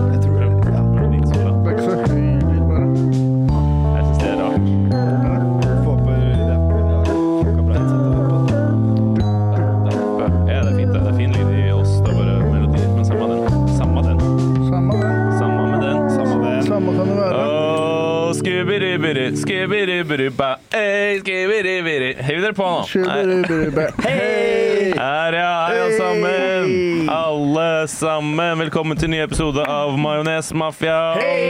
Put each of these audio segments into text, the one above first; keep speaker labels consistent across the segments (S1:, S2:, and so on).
S1: Det er ikke så høy lyd, bare. Samme det. Samme kan det være.
S2: Skubiribiribba, ey, skubiribiri. Hiv dere på nå. Nei.
S1: Skjubberubberubbe. Hei!
S2: Her, ja, hei alle sammen.
S1: Hei!
S2: Alle sammen. Velkommen til en ny episode av Majonesmafia. Hey!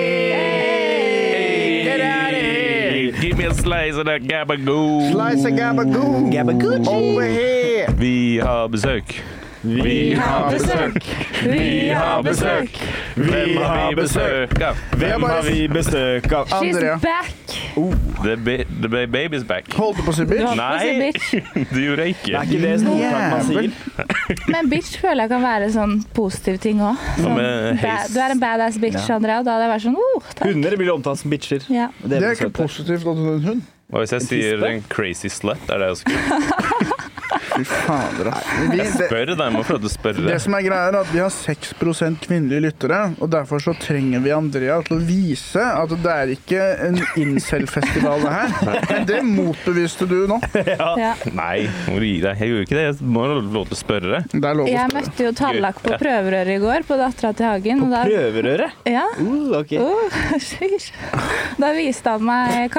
S1: Get out of here!
S2: Give me a slice of that gabagoo.
S1: Slice a gabagoo! Over here!
S2: Vi har besøk. Vi
S1: har
S3: besøk. Vi har besøk.
S2: Hvem har vi besøk av?
S1: Hvem har vi
S2: besøk av?
S1: Andrea.
S3: She's back.
S2: Oh, The, ba the ba baby's back.
S1: Holdt du på å si bitch?
S3: Du har- Hva sier
S2: Nei, det gjorde jeg
S4: Det
S2: ikke.
S4: er ikke det snoktak man sier.
S3: Men bitch føler jeg kan være sånn positiv ting òg. Sånn,
S2: med
S3: ba-
S2: heis?
S3: du er en badass bitch,
S4: Ja.
S3: Andrea. Og da hadde jeg vært sånn oh, takk.
S4: Hunder blir omtalt som bitcher.
S3: Ja.
S1: Det er
S4: blir
S1: ikke
S4: søte.
S1: positivt at hun er en hund.
S2: Hva hvis jeg sier
S4: tispe?
S2: en crazy slut? Er det jeg skulle
S1: Fy fader, ass. Vi, det,
S2: spørre? Nei, jeg må prøve å spørre.
S1: det som er greia er at vi har 6 kvinnelige lyttere, og derfor så trenger vi Andrea til å vise at det er ikke en incel-festival det her. Men det motbeviste du nå.
S3: Ja.
S2: Nei, må du gi deg. Jeg gjorde ikke det. Jeg må ha lov til å spørre.
S1: Det er lov å
S3: Jeg
S1: spørre.
S3: møtte jo Tallak på prøverøret i går, på dattera til Hagen. Og da,
S4: Prøverøre.
S3: ja.
S4: Uh, ok.
S3: oh, sheesh. da viste han meg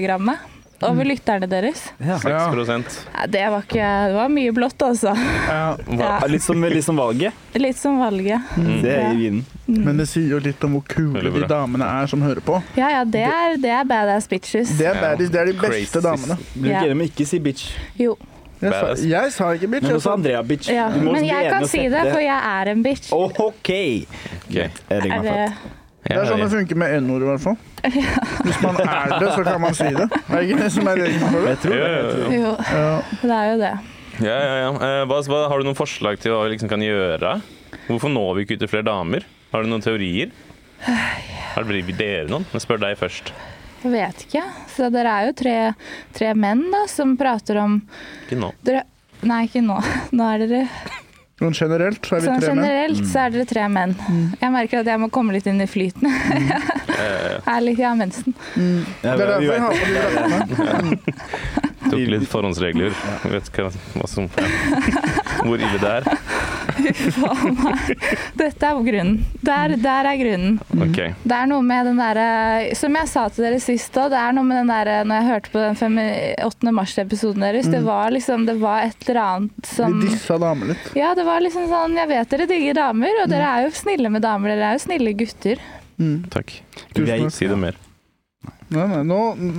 S3: kakediagrammet over lytterne deres.
S4: Ja.
S2: 6
S3: Ja, det var ikke Det var mye blått, altså.
S1: Ja,
S3: Ja.
S4: Ja, Litt som, litt som valget.
S1: Mm.
S3: Litt som valget.
S4: Det er i vinden.
S1: men det sier jo litt om hvor kule
S2: Veldig
S1: de
S2: bra.
S1: damene er som hører på.
S3: Ja ja, det er, det er badass bitches.
S1: Det er, baddies, det er de
S2: Crazy.
S1: beste damene.
S4: Blir
S3: Ja.
S4: ikke enig med ikke si bitch.
S3: Jo.
S1: Jeg sa,
S2: Badass.
S1: jeg sa ikke bitch.
S4: Men
S1: Jeg
S4: også
S1: sa
S4: Andrea bitch.
S3: Ja.
S4: Du må
S3: Men
S4: bli
S3: jeg
S4: enig
S3: kan
S4: og
S3: si
S4: sette-
S3: det, for jeg er en bitch.
S4: Åh, OK!
S2: Okay.
S4: Jeg legger
S3: Er
S4: meg
S3: det
S4: flat.
S1: Det er sånn det funker med n-ord, i hvert fall. Hvis man er det, så kan man si det. Er det ikke det som er regelen for det?
S4: Jeg tror det.
S3: Jo,
S1: Ja.
S3: det er jo det.
S2: Ja, ja, ja. Eh, Hva, hva, har du noen forslag til hva vi liksom kan gjøre? Hvorfor når vi ikke ut til flere damer? Har du noen teorier? Har dere dere noen? Jeg spør deg først.
S3: Jeg vet ikke. Så dere er jo tre, tre menn da, som prater om
S2: Ikke nå.
S3: dere, Nei, ikke nå. Nå er dere
S1: Men generelt så er vi
S3: Sånn
S1: tre menn.
S3: generelt så er dere tre menn. Jeg merker at jeg må komme litt inn i flyten.
S1: Mm.
S3: jeg er litt i mensen.
S1: Det
S4: Ja,
S1: er
S4: vi
S1: derfor jeg
S4: vet
S1: har på de draktene.
S2: Tok litt forhåndsregler. Jeg vet ikke hva som ja. Hvor ille det er.
S3: Faen meg. Dette er grunnen. Der, der er grunnen.
S2: OK.
S3: Det er noe med den derre Som jeg sa til dere sist òg, det er noe med den derre Når jeg hørte på den femi- 8. mars-episoden deres,
S1: Mm.
S3: det var liksom Det var et eller annet som
S1: Vi dissa damer litt.
S3: Ja, det var liksom sånn Jeg vet dere digger damer, og dere er jo snille med damer. Dere er jo snille gutter. Mm.
S2: Takk.
S1: Tusen
S4: Jeg-
S1: takk.
S2: Si det mer.
S1: Nei, nei, nå,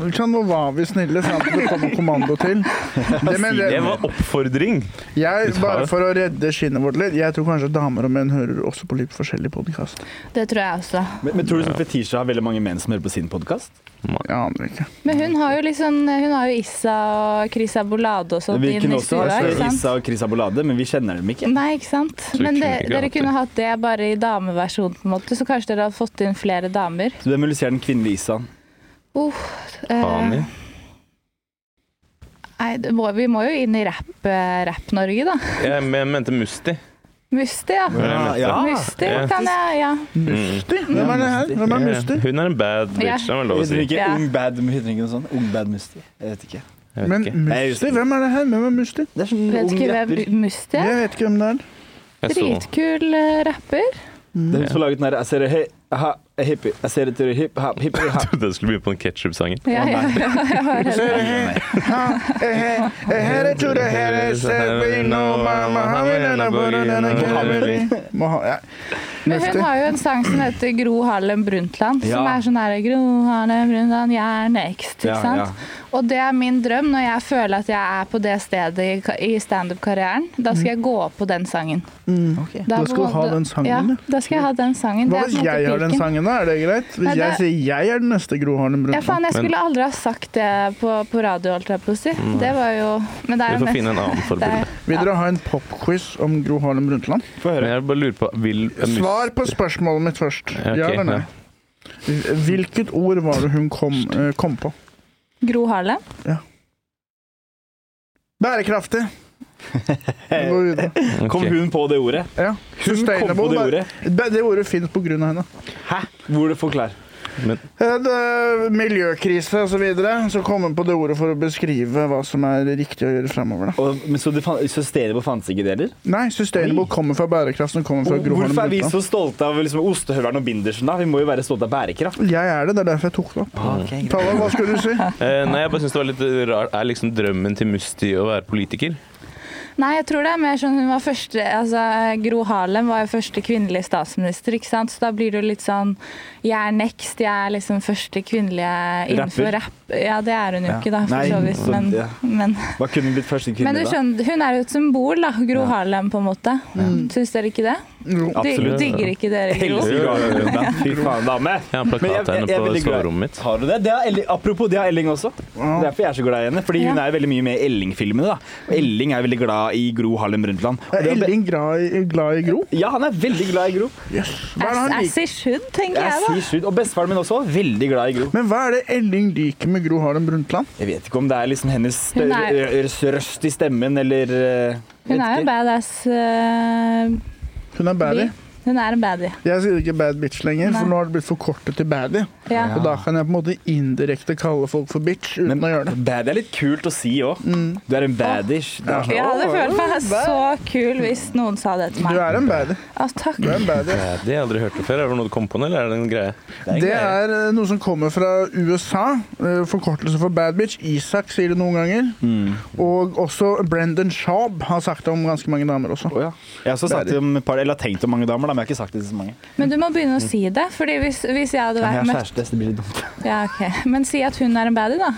S1: ikke sant, nå var vi snille fram til det kom en kommando til. Det mener
S2: Det
S1: jeg,
S2: var oppfordring!
S1: jeg, bare for å redde skinnet vårt litt, jeg tror kanskje damer og menn hører også på litt forskjellig podkast.
S3: Det tror jeg også.
S4: Men, men tror du sånn Fetisha har veldig mange menn som hører på sin podkast?
S1: Jeg aner ikke.
S3: Men hun har jo liksom Hun har jo Issa og Chris Abolade og sånn
S4: Vi
S3: inn
S4: kunne
S3: i
S4: også ha
S3: stua, ikke sant?
S4: Issa og Chris Abolade, men vi kjenner dem ikke.
S3: Nei, ikke sant?
S2: vi
S3: Men
S2: kunne
S3: det,
S2: ikke
S3: dere
S2: hatt
S3: kunne hatt det bare i dameversjon, på en måte. Så kanskje dere hadde fått inn flere damer.
S4: Så hvem vil du si er den kvinnelige Issa?
S3: Uh, eh,
S2: Ani.
S3: nei, det må, vi må jo inn i rapp-Norge, da.
S2: Jeg men- mente Musti.
S3: Musti, ja.
S4: Ja.
S3: Musti
S2: Ja.
S3: kan jeg, ja.
S2: Mm.
S1: Musti? Hvem er det her? Hvem er Musti?
S2: Hun er en bad
S3: Ja.
S2: bitch, det er vel lov å
S4: Heter
S2: si.
S4: den ikke
S3: Ja.
S4: Ung Bad heter den ikke noe sånn? Ung Bad Musti? Jeg vet ikke.
S2: Jeg vet
S1: Men
S2: ikke.
S1: Musti? Hvem er det her? Hvem er Musti?
S4: Det er sånn
S3: Vet
S4: ung
S3: ikke
S4: rapper.
S3: hvem Musti
S1: Jeg
S3: er.
S1: vet ikke hvem det er.
S2: Jeg så-
S3: Dritkul eh, rapper.
S4: Det er hun som har laget den der Jeg ser det hei, ha, hippie. Jeg ser etter hip, hop, hippie, ha.
S2: trodde jeg skulle begynne på den ketchup-sangen.
S3: Ja, ja, ja, jeg var redd. Men hun har jo en sang som heter Gro Harlem Brundtland, som
S4: Ja.
S3: er sånn her Gro Harlem Brundtland, jeg er next, ikke
S4: Ja, ja.
S3: sant? Og det er min drøm når jeg føler at jeg er på det stedet i ka- i standup-karrieren. Da skal jeg gå opp på den sangen.
S1: Da
S3: på
S1: skal Mm. du
S3: en
S1: ha
S3: måte-
S1: den sangen,
S3: Ja,
S1: ja.
S3: da skal jeg ha den
S1: Hva
S3: sangen. Det er
S1: hvis
S3: på en måte
S1: jeg har den
S3: piken.
S1: sangen, da? Er det greit?
S3: Nei,
S1: Hvis jeg
S3: det-
S1: sier jeg er den neste Gro Harlem
S3: Ja,
S1: Brundtland?
S3: faen, jeg
S2: Men-
S3: skulle aldri ha sagt det på, på radio, holdt jeg på å si.
S1: Mm.
S3: Det var jo Men det
S2: Vi
S3: er jo
S2: får
S3: mest-
S2: finne en annen
S3: det
S2: forbilde.
S3: er-
S1: Vil dere ha en popquiz om Gro Harlem Brundtland?
S4: Få
S2: Men
S4: høre.
S2: jeg bare lurer på Vil Musti
S1: Svar på spørsmålet mitt først.
S2: Ja, ok,
S1: Ja eller nei? Hvilket ord var det hun kom, eh, kom på?
S3: Gro Harlem?
S1: Bærekraftig. Vi går videre.
S4: Eh, Kom
S2: Ok.
S4: hun på det ordet?
S1: Ja. Sustainable.
S4: på det
S1: bæ-
S4: ordet.
S1: bæ- Det ordet finnes på grunn av henne.
S4: Hæ? Hvor det forklar.
S2: Men
S1: Eh, det- Miljøkrise osv. Så, videre, så kom hun på det ordet for å beskrive hva som er riktig å gjøre fremover. Da.
S4: Og, men så det fan, så stedet på fantes ikke det heller?
S1: Nei, sustainable kommer fra bærekraft som kommer fra
S4: Og
S1: Gro
S4: Hvorfor
S1: Harlem
S4: er vi
S1: Brundtland.
S4: så stolte av liksom, ostehøvelen og bindersen? da? Vi må jo være stolte av bærekraft.
S1: Jeg er det, det er derfor jeg tok det opp.
S2: Ah,
S1: Tala, hva skulle du si?
S2: eh, nei, jeg bare syns det var litt rart. Er liksom drømmen til Musti å være politiker?
S3: Nei, jeg tror det er mer sånn hun var første altså, Gro Harlem var jo første kvinnelige statsminister, ikke sant? Så da blir det jo litt sånn Jeg er next, jeg er liksom første kvinnelige
S4: Rapper.
S3: innenfor rapp. Ja, det er hun jo
S4: Ja.
S3: ikke, da, for
S4: Nei,
S3: så vidt.
S4: så-
S3: Men,
S4: ja.
S3: men,
S4: Hva kunne blitt første
S3: men
S4: kvinne,
S3: du
S4: da?
S3: skjønner, hun er jo et symbol, da. Gro
S4: Ja.
S3: Harlem, på en måte. Syns dere ikke det?
S1: Jo.
S3: Dy-
S2: Absolutt.
S3: Digger ikke dere Gro?
S4: Elsker Gro Harlem Brundtland. Fy faen, dame!
S2: Jeg har
S4: Men
S2: plakat
S4: jeg- jeg-
S2: henne
S4: jeg er
S2: på
S4: veldig glad-
S2: soverommet mitt.
S4: Har du det? det har Elling, apropos, det har Elling også. Det er Derfor jeg er så glad i henne. Fordi hun
S3: Ja.
S4: er veldig mye med i Elling-filmene. da. Og Elling er veldig glad i Gro Harlem Brundtland. Og
S1: Er
S4: det er-
S1: Elling glad i, glad i Gro?
S4: Ja, han er veldig glad i Gro.
S1: Yes. Hva er det
S3: Ass-
S1: han liker?
S3: Assy Shood, tenker
S4: Jeg
S3: jeg, da.
S4: sier slutt. Og bestefaren min også var veldig glad i Gro.
S1: Men hva er det Elling liker med Gro Harlem Brundtland?
S4: Jeg vet ikke om det er liksom hennes
S3: Hun er-
S4: rø- rø- rø- røst i stemmen, eller eh,
S3: Hun er
S4: vet
S3: jo
S4: ikke.
S3: badass. øh,
S1: Hun er baddie.
S3: bi. Hun er en baddie.
S1: Jeg sier ikke bad bitch lenger, for
S3: Nei.
S1: nå har det blitt forkortet til baddie.
S3: Ja.
S1: Og da kan jeg på en måte indirekte kalle folk for bitch uten
S4: Men
S1: å gjøre det. Mm.
S4: baddie er litt kult å si òg. Du er en baddish. Det er sånn,
S3: Jeg hadde
S4: «Åh,
S3: følt meg så kul hvis noen sa det til
S1: Du
S3: meg.
S1: er en baddie.
S3: Å, Ah, takk.
S1: Du er en baddie.
S2: Ja, Det har jeg aldri hørt det før. Er det noe du kom på nå, eller er det en greie?
S4: det er en
S1: Det
S4: greie».
S1: er eh, noe som kommer fra USA. eh, Forkortelse for bad bitch. Isak sier det noen ganger. Og også Brendan Schaub har sagt det om ganske mange damer også.
S4: Å, ja. Jeg har også sagt
S1: Baddie.
S4: om et par, eller har tenkt om mange damer, da, men jeg har ikke sagt det til så mange.
S3: Men du må begynne å si det. Fordi hvis, hvis jeg hadde
S4: Men jeg
S3: vært
S4: har
S3: møtt
S4: kjæreste, så det blir litt dumt.
S3: ja, ok. Men si at hun er en baddie, da.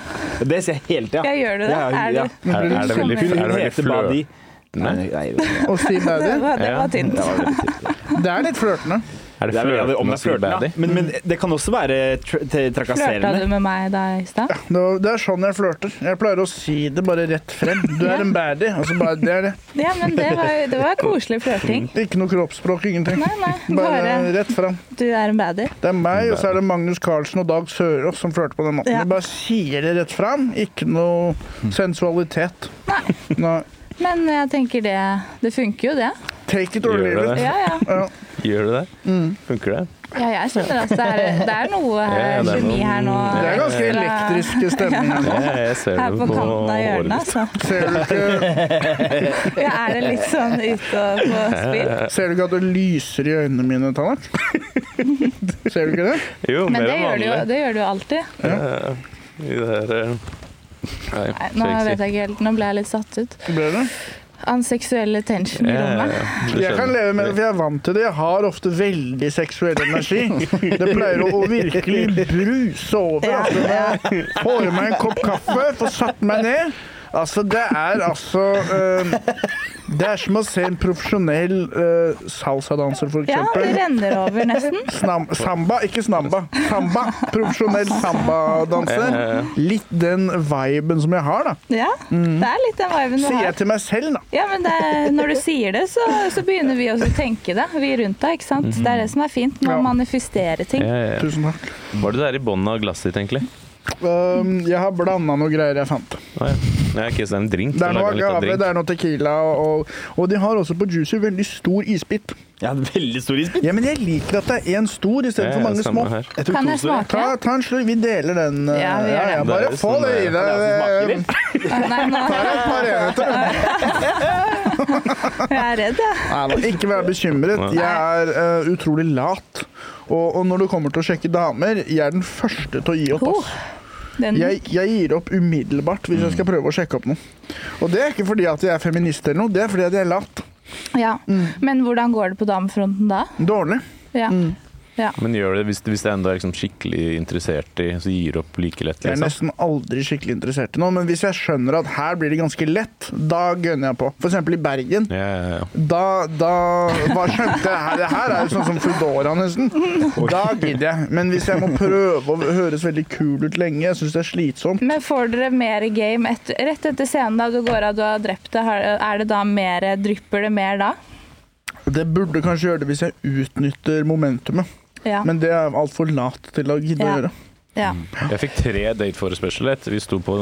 S4: Det sier jeg hele tida.
S3: Ja, gjør du det?
S4: Ja, hun,
S3: Er
S4: ja.
S3: du-
S2: Er, er det veldig,
S4: Hun,
S2: er det
S4: hun
S2: veldig
S4: heter Badi.
S2: flø?
S4: Nei, nei, nei,
S1: Og si
S3: Det
S1: baddie.
S3: var, det
S2: Ja.
S3: var tynt.
S4: det var veldig tynt.
S1: Det er litt flørtende.
S2: Er
S4: Det
S2: det
S4: er veldig- om
S2: flørtende
S4: det
S2: å
S4: er
S2: si
S4: flørten, ja.
S2: baddy?
S4: Men, men det kan også være tra tra-
S3: Flørta du
S4: trakasserende.
S3: med meg da i stad?
S1: Det det er sånn jeg flørter. Jeg pleier å si det bare rett frem. Du er en baddie. Altså bare, det er det.
S3: Ja, men det var, det var koselig flørting.
S1: Ikke noe kroppsspråk, ingenting.
S3: Nei, nei.
S1: Bare
S3: Bare
S1: rett frem.
S3: du er en baddie.
S1: Det er meg, og så er det Magnus Carlsen og Dag Sørås som flørter på den måten.
S3: Ja.
S1: De bare sier det rett frem. Ikke noe sensualitet.
S3: Nei.
S1: Nei.
S3: Men jeg tenker det Det funker jo, det.
S1: Take it or
S2: Gjør
S1: leave
S2: det
S1: it.
S2: det?
S3: Ja, ja.
S1: Ja.
S2: Gjør du det? Funker det?
S3: ja jeg skjønner at det er, det er noe eh,
S2: Ja, det er
S3: geni
S2: noe-
S3: her nå.
S1: Det er ganske
S3: ekstra-
S1: elektriske stemninger.
S2: Ja, jeg ser
S3: Her
S2: det
S3: på
S2: på
S3: kanten av
S2: håret
S3: hjørnet,
S2: ditt.
S3: altså.
S1: Ser du ikke,
S3: Ja, er det litt sånn ute og på spill?
S1: ser du ikke at det lyser i øynene mine, Tallak? Ser du ikke det?
S2: Jo,
S3: Men
S2: mer
S3: det
S2: enn
S3: gjør, du
S2: vanlig.
S3: jo, det gjør du jo alltid.
S2: Ja, I det her eh,
S3: Nei,
S2: Nei,
S3: nå
S2: skal
S3: vet
S2: ikke si.
S3: jeg ikke helt, nå ble jeg litt satt ut.
S1: Ble det?
S3: An seksuell tension i
S2: Ja, ja,
S3: rommet.
S2: ja, du
S1: Jeg kan
S2: skjønner.
S1: leve med det, for jeg er vant til det. Jeg har ofte veldig seksuell energi. Det pleier å, å virkelig bruse over. Altså, når jeg får i meg en kopp kaffe, får satt meg ned Altså, det er altså eh, Det er som å se en profesjonell uh, salsadanser, for
S3: Ja, det
S1: eksempel.
S3: renner over nesten.
S1: Snam samba, ikke snamba. Samba. Profesjonell sambadanser. Litt den viben som jeg har, da.
S3: Ja,
S2: Mm.
S3: Det er litt den viben du
S1: Sier jeg
S3: har.
S1: til meg selv, da.
S3: Ja, men det, er- når du sier det, så, så begynner vi også å tenke det, vi rundt deg. ikke sant? Det er det som er fint, med
S1: Ja.
S3: å manifestere ting.
S2: Mm. Ja, ja, ja.
S1: Tusen takk.
S2: Var det der i bånn av glasset ditt, egentlig?
S1: Um, jeg har blanda noe greier jeg fant.
S2: Nei, Nei, ok, så det er en drink.
S1: Det
S2: Du
S1: er noe
S2: lager litt av
S1: agave,
S2: drink.
S1: det er noe tequila, og, og, og de har også på Juicy veldig stor isbit.
S4: Jeg hadde veldig stor isbit.
S1: Ja, men jeg liker at det er én stor
S2: Ja,
S1: istedenfor
S2: ja,
S1: mange
S2: samme
S1: små.
S2: her.
S4: Jeg tok
S3: Kan
S4: to
S3: jeg
S4: store.
S3: smake?
S1: Ta, ta en slurk. Vi deler den. eh,
S3: Ja, vi gjør det.
S1: Bare
S2: Det er
S1: få det i
S2: sånn,
S1: deg.
S4: eh,
S1: Det-
S3: Ah, Nei, nå
S1: Her er et par enheter.
S3: jeg er redd, jeg.
S1: Nei, da, Ikke vær bekymret.
S2: Nei.
S1: Jeg er eh, utrolig lat. Og, og når det kommer til å sjekke damer, jeg er den første til å gi opp.
S3: Oh,
S1: ass.
S3: den,
S1: Jeg, jeg gir opp umiddelbart hvis jeg skal prøve å sjekke opp noe. Og det er ikke fordi at jeg er feminist eller noe, det er fordi at jeg er lat.
S3: ja. Men hvordan går det på damefronten da?
S1: Dårlig.
S3: Ja.
S2: Mm.
S3: ja.
S2: Men gjør det hvis, hvis det enda er liksom skikkelig interessert i, så gir du opp like lett,
S1: Jeg er
S2: liksom?
S1: nesten aldri skikkelig interessert i noe, men hvis jeg skjønner at her blir det ganske lett, da gønner jeg på. For eksempel i Bergen.
S2: Ja, ja, ja.
S1: Da, da Hva skjønte jeg her? Det her er jo sånn som Foodora, nesten. Da gidder jeg. Men hvis jeg må prøve å høres veldig kul ut lenge, jeg syns det er slitsomt.
S3: Men får dere mer game etter, rett etter scenen da du går av du har drept det? har- Er det da mer, drypper det mer da?
S1: Det burde kanskje gjøre det hvis jeg utnytter momentumet,
S3: Ja.
S1: men det er jeg altfor lat til å gidde å
S3: Ja.
S1: gjøre.
S3: Ja.
S2: Jeg fikk tre dateforespørsler. etter Vi sto på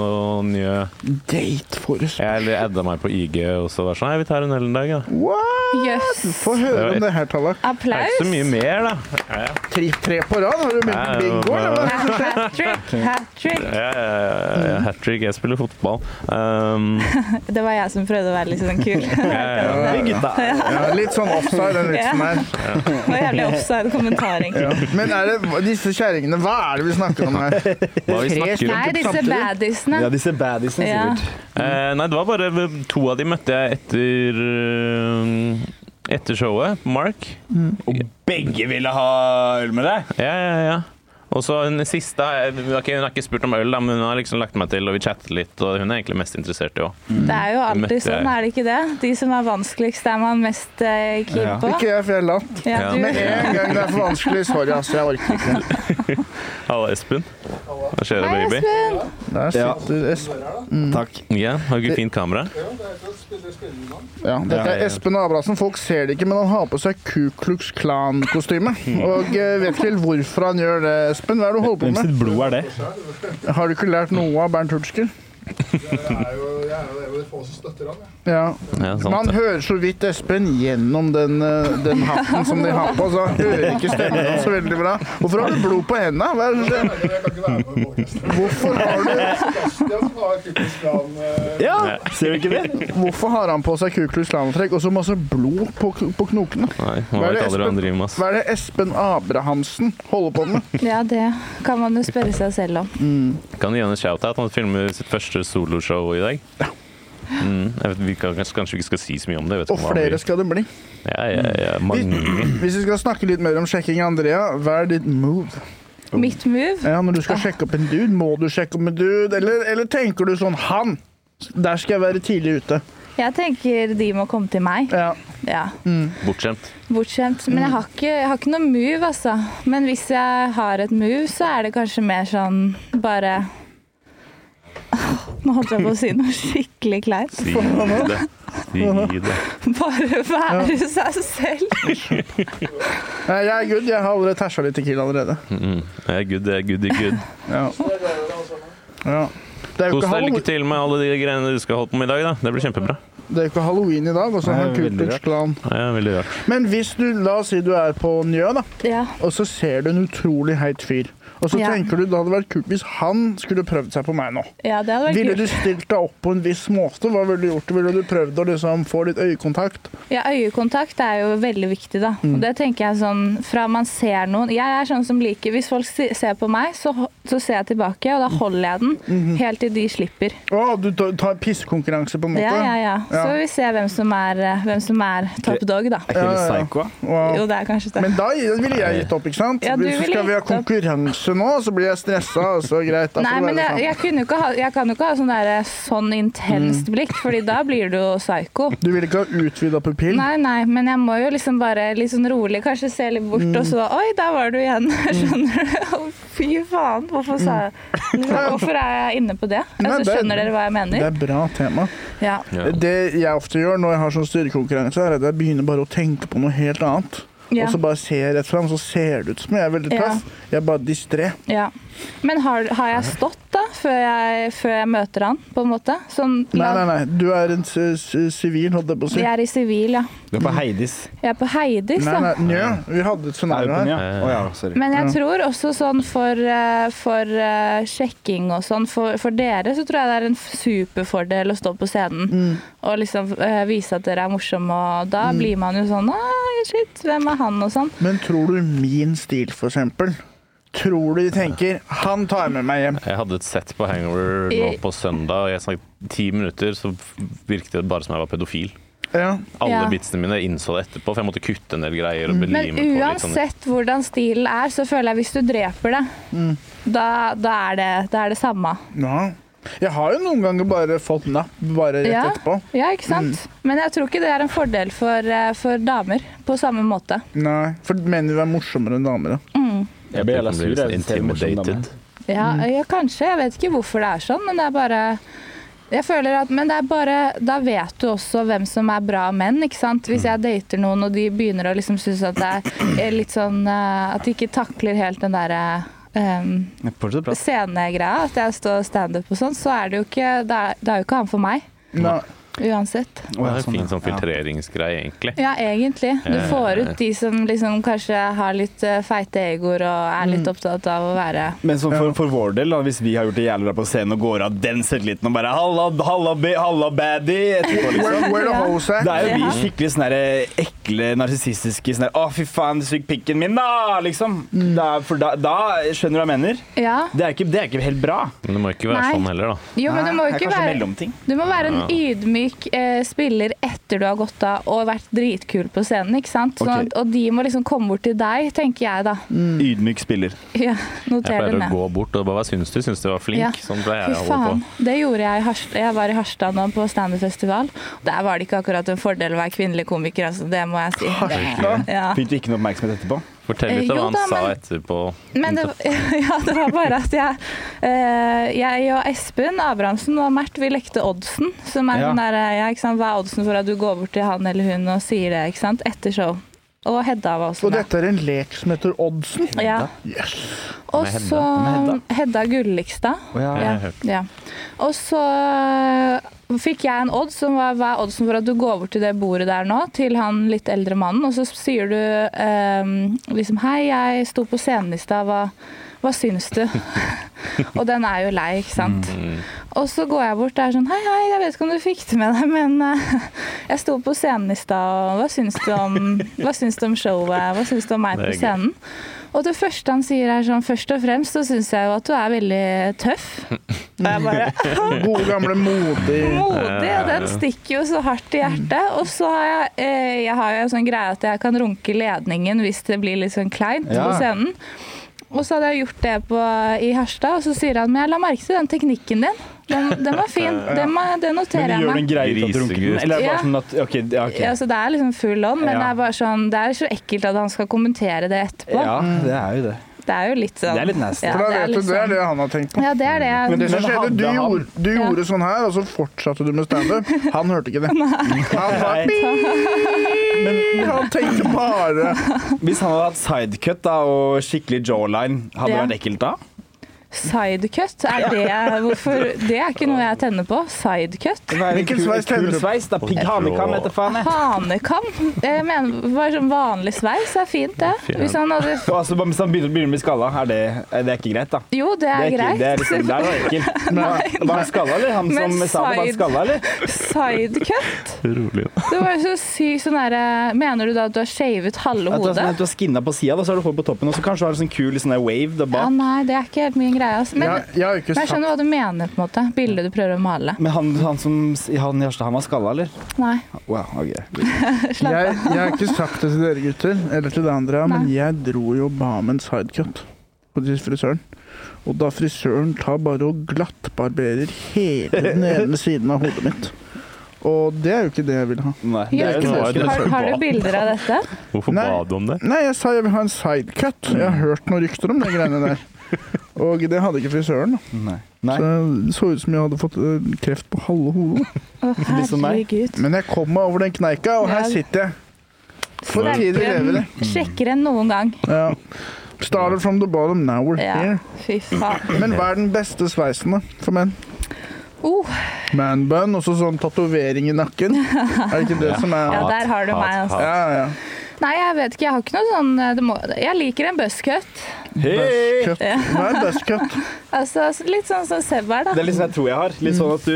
S2: Njø.
S1: Date for oss.
S2: Jeg eller adda meg på IG og så var sånn Nei, vi tar en øl en dag, da.
S1: What?
S3: Jøss.
S1: Få høre om det her tallet.
S2: Det er
S3: Applaus.
S2: ikke så mye mer, da. Ja, ja.
S1: Tre, tre på rad? Har du begynt
S2: Nei,
S1: med bingo?
S2: det var-
S1: eller hva?
S3: Hat trick, hat trick.
S2: Ja, ja, ja, ja. Hat trick. Jeg spiller fotball. Um,
S3: Det var jeg som prøvde å være litt sånn kul.
S2: ja, ja, ja.
S4: Hei, gutta.
S1: Ja, litt sånn offside, den vitsen
S3: Ja.
S1: her.
S3: Det var jævlig offside kommentar, egentlig.
S1: Ja. Men er det disse kjerringene, hva er det vi snakker om her?
S2: Hva vi snakker om?
S3: Nei, disse baddisene.
S4: Ja, disse baddisene,
S3: Ja.
S4: sikkert.
S2: Eh, nei, det var bare to av de møtte jeg etter eh, etter showet. Mark.
S4: Og begge ville ha øl med deg!
S2: Ja, ja, ja. Og så hun siste eh, ok, Hun har ikke spurt om øl, da, men hun har liksom lagt meg til, og vi chatter litt. Og hun er egentlig mest interessert i òg.
S3: Det er jo
S2: Møtte
S3: alltid
S2: jeg.
S3: sånn, er det ikke det? De som er vanskeligst, er man mest eh, keen
S4: Ja.
S3: på.
S1: Ikke jeg, for jeg er latt.
S3: Ja,
S2: Ja.
S3: du,
S1: Med en gang det er for vanskelig. Sorry, ass, jeg orker ikke.
S2: Halla, Espen. Hva skjer,
S3: Hei,
S2: baby?
S3: Espen!
S1: Der
S4: Ja.
S1: sitter Espen.
S4: Takk.
S2: Ja, har du ikke fint kamera?
S1: Ja, dette
S2: Ja,
S1: er
S2: ja.
S1: Espen Abrahamsen. Folk ser det ikke, men han har på seg Ku Klux Klan-kostyme. Og eh, vet ikke helt hvorfor han gjør det, Espen. Hva er det du holder på
S4: Hvem
S1: med?
S4: sitt blod er det?
S1: Har du ikke lært noe av Bernt Hulsker?
S5: Jeg er jo jeg er jo en av de få som støtter han. jeg.
S1: Ja.
S2: Ja, sant.
S1: Man
S2: det.
S1: hører så vidt Espen gjennom den, eh, den hatten som de har på, så han hører ikke stemmen hans så veldig bra. Hvorfor har du blod på hendene? Hva er det?
S5: Jeg kan ikke være med på podcasten.
S1: Hvorfor har du
S5: Sebastian har typisk plan eh,
S4: Ja, ser du ikke det?
S1: Hvorfor har han på seg Kuklus Klan-trekk og så masse blod på, på knokene?
S2: Nei, man
S1: Hva
S2: vet
S1: er det,
S2: aldri hva han driver med. ass.
S1: Hva er det Espen Abrahamsen holder på med?
S3: Ja, det kan man jo spørre seg selv om.
S2: Kan du gi han en shout-out? Han filmer sitt første soloshow i dag. Mm, jeg vet, vi kan, kanskje, kanskje vi ikke skal si så mye om det. Vet
S1: Og flere Mm. skal det bli.
S2: Ja, ja, ja, mange.
S1: Hvis vi skal snakke litt mer om sjekking, Andrea, hva er ditt move?
S3: Mitt move?
S1: Ja, Når du skal sjekke opp en dude, må du sjekke opp en dude, eller, eller tenker du sånn Han! Der skal jeg være tidlig ute.
S3: Jeg tenker de må komme til meg.
S1: Ja.
S3: Ja,
S2: Bortskjemt.
S3: Bortskjemt. Men jeg har ikke, jeg har ikke noe move, altså. Men hvis jeg har et move, så er det kanskje mer sånn bare Nå holdt jeg på å si noe skikkelig kleint.
S2: Si det. Si det.
S3: Bare være seg selv.
S1: Nei, Jeg er good. Jeg har allerede tæsja litt tequila allerede.
S2: Mm, jeg er good, jeg er good, jeg er good.
S1: Ja. ja. Det er jo
S2: Kos deg.
S1: ikke
S2: Lykke
S1: halloween,
S2: til med alle de greiene du skal holde på med i dag. da. Det blir kjempebra.
S1: det er jo ikke halloween i dag, og så har
S4: Nei,
S1: Ku
S4: veldig
S1: Klux
S4: rart.
S1: Klan
S2: Ja, veldig rart.
S1: Men hvis du, la oss si du er på Njø, da.
S3: Ja.
S1: og så ser du en utrolig heit fyr. Og så
S3: Ja.
S1: tenker du det hadde vært kult hvis han skulle prøvd seg på meg nå.
S3: ja, det hadde
S1: Ville
S3: vært
S1: du
S3: kult.
S1: stilt deg opp på en viss måte? Hva ville du gjort? Ville du prøvd å liksom få litt øyekontakt?
S3: Ja, Øyekontakt er jo veldig viktig, da. Og det tenker jeg sånn fra man ser noen Jeg er sånn som liker Hvis folk se- ser på meg, så, ho- så ser jeg tilbake, og da holder jeg den helt til de slipper.
S1: Å, du ta- tar pissekonkurranse, på en måte?
S3: Ja, ja, ja. Så
S1: Ja.
S3: vil vi se hvem som er, eh, hvem som er top dog, da.
S4: Er ikke det
S1: Ja, ja.
S4: psycho?
S1: Wow.
S3: Jo, det er kanskje det.
S1: Men da ville jeg gitt opp, ikke sant?
S3: Ja, du
S1: Hvis
S3: ville
S1: skal vi ha
S3: gitt opp.
S1: konkurranse nå, så blir jeg stressa, og så greit. Da får
S3: Nei,
S1: det
S3: men
S1: være
S3: jeg,
S1: sånn.
S3: jeg, kunne jo ikke ha, jeg kan jo ikke ha sånn, der, sånn
S1: Mm.
S3: intenst blikk, Fordi da blir du jo psyko.
S1: Du ville ikke ha utvida pupill?
S3: Nei, nei, men jeg må jo liksom bare litt sånn rolig kanskje se litt bort,
S1: Mm.
S3: og så Oi, der var du igjen. Skjønner du? Å, Fy faen, hvorfor sa jeg liksom, Hvorfor er jeg inne på det?
S1: Mm. Nei,
S3: Altså,
S1: det-
S3: skjønner dere hva jeg
S1: Det
S3: mener?
S1: er bra tema.
S3: Ja.
S2: Ja.
S1: Det jeg ofte gjør når jeg har sånn styrkekonkurranse, er at jeg begynner bare å tenke på noe helt annet.
S3: ja.
S1: Og så bare ser jeg rett fram, så ser det ut som jeg er veldig
S3: Ja.
S1: tøff. Jeg er bare distré.
S3: ja. Men har, har jeg stått, da, før jeg, før jeg møter han, på en måte? Sånn
S1: Nei, nei, nei. Du er en s- s- sivil, holdt jeg på å si.
S3: Vi er i sivil, ja.
S4: Du er på Heidis.
S3: Jeg er sånn. på Heidis,
S1: Nei,
S3: da.
S1: nei, njø. Vi hadde et
S4: Er du
S1: scenario
S4: på den,
S1: her.
S4: ja? Å ja, sorry.
S3: Men jeg tror også sånn for, eh, for eh, sjekking og sånn, for, for dere så tror jeg det er en f- superfordel å stå på scenen
S2: Mm.
S3: og liksom eh, vise at dere er morsomme, og da blir man jo sånn Nei, shit, hvem er han, og sånn.
S1: Men tror du min stil, for eksempel? Tror du de tenker 'han tar med meg hjem'?
S2: Jeg hadde et sett på Hangover nå
S3: I-
S2: på søndag. og Jeg snakket ti minutter, så virket det bare som jeg var pedofil.
S1: Ja.
S2: Alle
S3: Ja.
S2: bitsene mine jeg innså det etterpå, for jeg måtte kutte en del greier. og belime på
S3: Men
S2: litt sånn.
S3: uansett hvordan stilen er, så føler jeg hvis du dreper det,
S2: Mm.
S3: da, da, er det da er det samme.
S1: ja. Jeg har jo noen ganger bare fått napp bare rett
S3: Ja.
S1: etterpå.
S3: Ja, ikke sant?
S2: Mm.
S3: Men jeg tror ikke det er en fordel for, eh, for damer på samme måte.
S1: Nei, For menn vil være morsommere enn damer. Da.
S4: Jeg blir jævla
S2: Jeg
S4: sur.
S2: blir
S4: Jeg ser en morsom dame.
S2: intimidated.
S3: Ja,
S4: Mm.
S3: ja, kanskje. Jeg vet ikke hvorfor det er sånn, men det er bare jeg føler at, men det er bare, da vet du også hvem som er bra menn. ikke sant?
S4: Mm.
S3: Hvis jeg dater noen og de begynner å liksom synes at det er litt sånn eh, At de ikke takler helt den derre um,
S4: Fortsett å prate.
S3: scenegreia, at jeg står standup og sånn, så er det jo ikke Det er, det er jo ikke han for meg.
S1: Nei.
S3: Uansett.
S2: Det er en fin
S4: ja.
S2: sånn filtreringsgreie, egentlig.
S3: Ja, egentlig. Du
S2: Eh.
S3: får ut de som liksom kanskje har litt eh, feite egoer og er
S4: Mm.
S3: litt opptatt av å være
S4: Men sånn for, for vår del, da, hvis vi har gjort det jævlig bra på scenen og går av den selvtilliten og bare halla, halla, be- halla baddie etterpå, liksom.
S1: Where, where the hoes at?
S4: Da er jo vi
S3: Ja.
S4: skikkelig sånn der ekle, narsissistiske sånn der, Å, fy faen, du sugde pikken min, da! Liksom.
S3: Mm.
S4: Da, for da, da skjønner du hva jeg mener.
S3: Ja.
S4: Det er ikke, det er ikke helt bra.
S2: Men det må ikke være
S3: Nei.
S2: sånn heller, da.
S3: Jo, men
S4: Nei,
S3: du må jo
S4: det er
S3: ikke
S4: kanskje
S3: være
S4: mellomting.
S3: Du må være en
S2: Ja.
S3: ydmyk eh, spiller etter du har gått av og vært dritkul på scenen, ikke sant? Sånn
S4: Ok.
S3: at, og de må liksom komme bort til deg, tenker jeg da.
S4: Ydmyk spiller.
S3: Ja,
S2: Mm. Jeg
S3: noter det
S2: pleier å
S3: ned.
S2: gå bort og bare Hva syns du? Syns du var flink?
S3: Ja.
S2: Sånn pleier
S3: Fy
S2: jeg å holde
S3: faen.
S2: på.
S3: Det gjorde jeg i Harstad. Jeg var i Harstad nå på standup-festival. Der var det ikke akkurat en fordel å være kvinnelig komiker, altså. Det må jeg si.
S1: Harstad?
S3: Ja.
S4: Fikk du ikke noe oppmerksomhet etterpå?
S2: Fortell
S3: Eh,
S2: litt om
S3: jo
S2: hva han
S3: da,
S2: sa
S3: men-
S2: etterpå.
S3: Men det, ja, det var bare at jeg, eh, jeg og Espen Abrahamsen og Mert, vi lekte oddsen. Som er
S4: Ja.
S3: sånn der, eh, ja, ikke sant? Hva er oddsen for at du går bort til han eller hun og sier det ikke sant? etter show? Og Hedda var også
S1: Og
S3: med.
S1: dette er en lek som heter Oddsen.
S3: Ja.
S1: Yes.
S3: Og
S2: Hvem er Hedda?
S3: så
S4: Hvem er Hedda?
S3: Hedda Gullikstad.
S2: Ja, jeg har hørt.
S3: Ja. Og så eh, fikk jeg en odds som var hva er oddsen for at du går bort til det bordet der nå, til han litt eldre mannen, og så sier du ehm, liksom Hei, jeg sto på scenen i stad, hva, hva syns du? og den er jo lei, ikke sant.
S2: Mm.
S3: Og så går jeg bort der sånn Hei, hei, jeg vet ikke om du fikk det med deg, men eh, jeg sto på scenen i stad, og hva syns du om, hva syns du om showet? Hva syns du om meg
S2: Det er
S3: på
S2: gøy.
S3: scenen? Og det første han sier er sånn Først og fremst så syns jeg jo at du er veldig tøff. Og jeg bare
S1: Gode, gamle, modig
S4: Eh,
S3: Modig, og Oh, den stikker jo så hardt i hjertet. Og så har jeg, eh, jeg har jo en sånn greie at jeg kan runke ledningen hvis det blir litt sånn kleint
S4: Ja.
S3: på scenen. Og så hadde jeg gjort det på, i Harstad, og så sier han men jeg la merke til den teknikken din. Den, den var fin. Den, må-
S4: Men
S3: den noterer
S4: du
S3: jeg
S4: gjør
S3: meg.
S4: den greie ut av drunken?
S2: Grisegutt.
S4: Eller er det
S3: Ja.
S4: bare sånn at OK. Ja, ok.
S3: Ja, så det er liksom full on, men
S4: Ja.
S3: det er bare sånn, det er så ekkelt at han skal kommentere det etterpå.
S4: ja det er jo det.
S3: Det er jo litt sånn
S4: Det er litt nasty.
S1: For da
S3: det er
S1: vet
S3: litt
S1: du, det er
S3: sånn-
S1: det han har tenkt på.
S3: Ja, det er det.
S4: Men sånn-
S1: Det som
S4: Men
S1: skjedde,
S4: hadde
S1: du,
S4: han-
S1: gjorde, du
S3: Ja.
S1: gjorde sånn her, og så fortsatte du med standup. Han hørte ikke det. Han, var, han tenkte bare
S4: Hvis han hadde hatt sidecut da, og skikkelig jawline, hadde det
S3: Ja.
S4: vært ekkelt da?
S3: Sidecut, er det hvorfor Det er ikke noe jeg tenner på. Sidecut.
S1: Hvilken sveis tenner du på?
S4: Kulsveis, da. Pighanekam, etter faen. jeg.
S3: Hanekam. Jeg mener bare sånn vanlig sveis er fint, det. Hvis han hadde
S4: Og altså, hvis han begynner, begynner å bli skalla, er det, er det ikke greit, da?
S3: Jo, det er
S4: ikke, det er liksom, det
S3: greit.
S4: er jo ekkelt. Var- Var han skalla, eller? Han
S3: Men
S4: som sa det, var han
S3: side-
S4: skalla, eller?
S3: Sidecut.
S2: Rolig, da.
S3: Det var jo så sykt sånn derre Mener du da at du har shavet
S4: At du,
S3: halve
S4: har
S3: hodet?
S4: sånn, at du har skinna på sida, så har du hår på toppen, og så kanskje du har en sånn kul sånn der wave der
S3: Ja,
S4: bak.
S3: nei, det er ikke helt min greie, altså. Men,
S1: Jeg, jeg har jo ikke
S3: men jeg
S1: sagt
S3: skjønner hva du mener, på en måte. Bildet du prøver å male.
S4: Men han, han som han, i Harstad, han var skalla, eller?
S3: Nei.
S4: Wow, ok.
S1: jeg, jeg har ikke sagt det til dere gutter, eller til det andre, men
S3: Nei.
S1: jeg dro jo bare med en sidecut på til frisøren. Og da frisøren tar bare og glattbarberer hele den ene siden av hodet mitt. Og det er jo ikke det jeg vil ha.
S4: Nei, det
S3: Ja,
S4: er jo
S2: det var jo
S4: sånn.
S3: Har, har du bilder av dette?
S2: Hvorfor
S1: Nei.
S2: ba du om det?
S1: Nei, jeg sa jeg vil ha en sidecut. Jeg har hørt noen rykter om de greiene der. Og det hadde ikke frisøren. da.
S4: Nei. Nei.
S1: Så det så ut som jeg hadde fått eh, kreft på halve hodet.
S3: Å,
S4: Litt sånn som meg.
S3: herregud.
S1: Men jeg kom meg over den kneika, og her
S3: Ja.
S1: sitter jeg. For
S2: Men-
S1: tidlig lever det.
S4: Mm.
S3: Sjekkere enn noen gang.
S1: Ja. Started from the bottom, now we're
S3: Ja,
S1: here.
S3: fy faen.
S1: Men hva er den beste sveisen da, for menn?
S3: Oh,
S1: Manbun og så sånn tatovering i nakken. Er det ikke det som er
S3: ja, der har du
S2: Hat,
S3: meg,
S2: hat,
S3: altså.
S2: hat.
S1: Ja, ja.
S3: Nei, jeg vet ikke. Jeg har ikke noe sånn eh, det må, Jeg liker en buzzcut.
S4: Hei!
S1: Buzzcut. Hva er buzzcut?
S3: Altså, litt sånn som Seb er,
S4: Det
S3: da.
S4: er litt sånn jeg tror jeg har. Litt sånn at du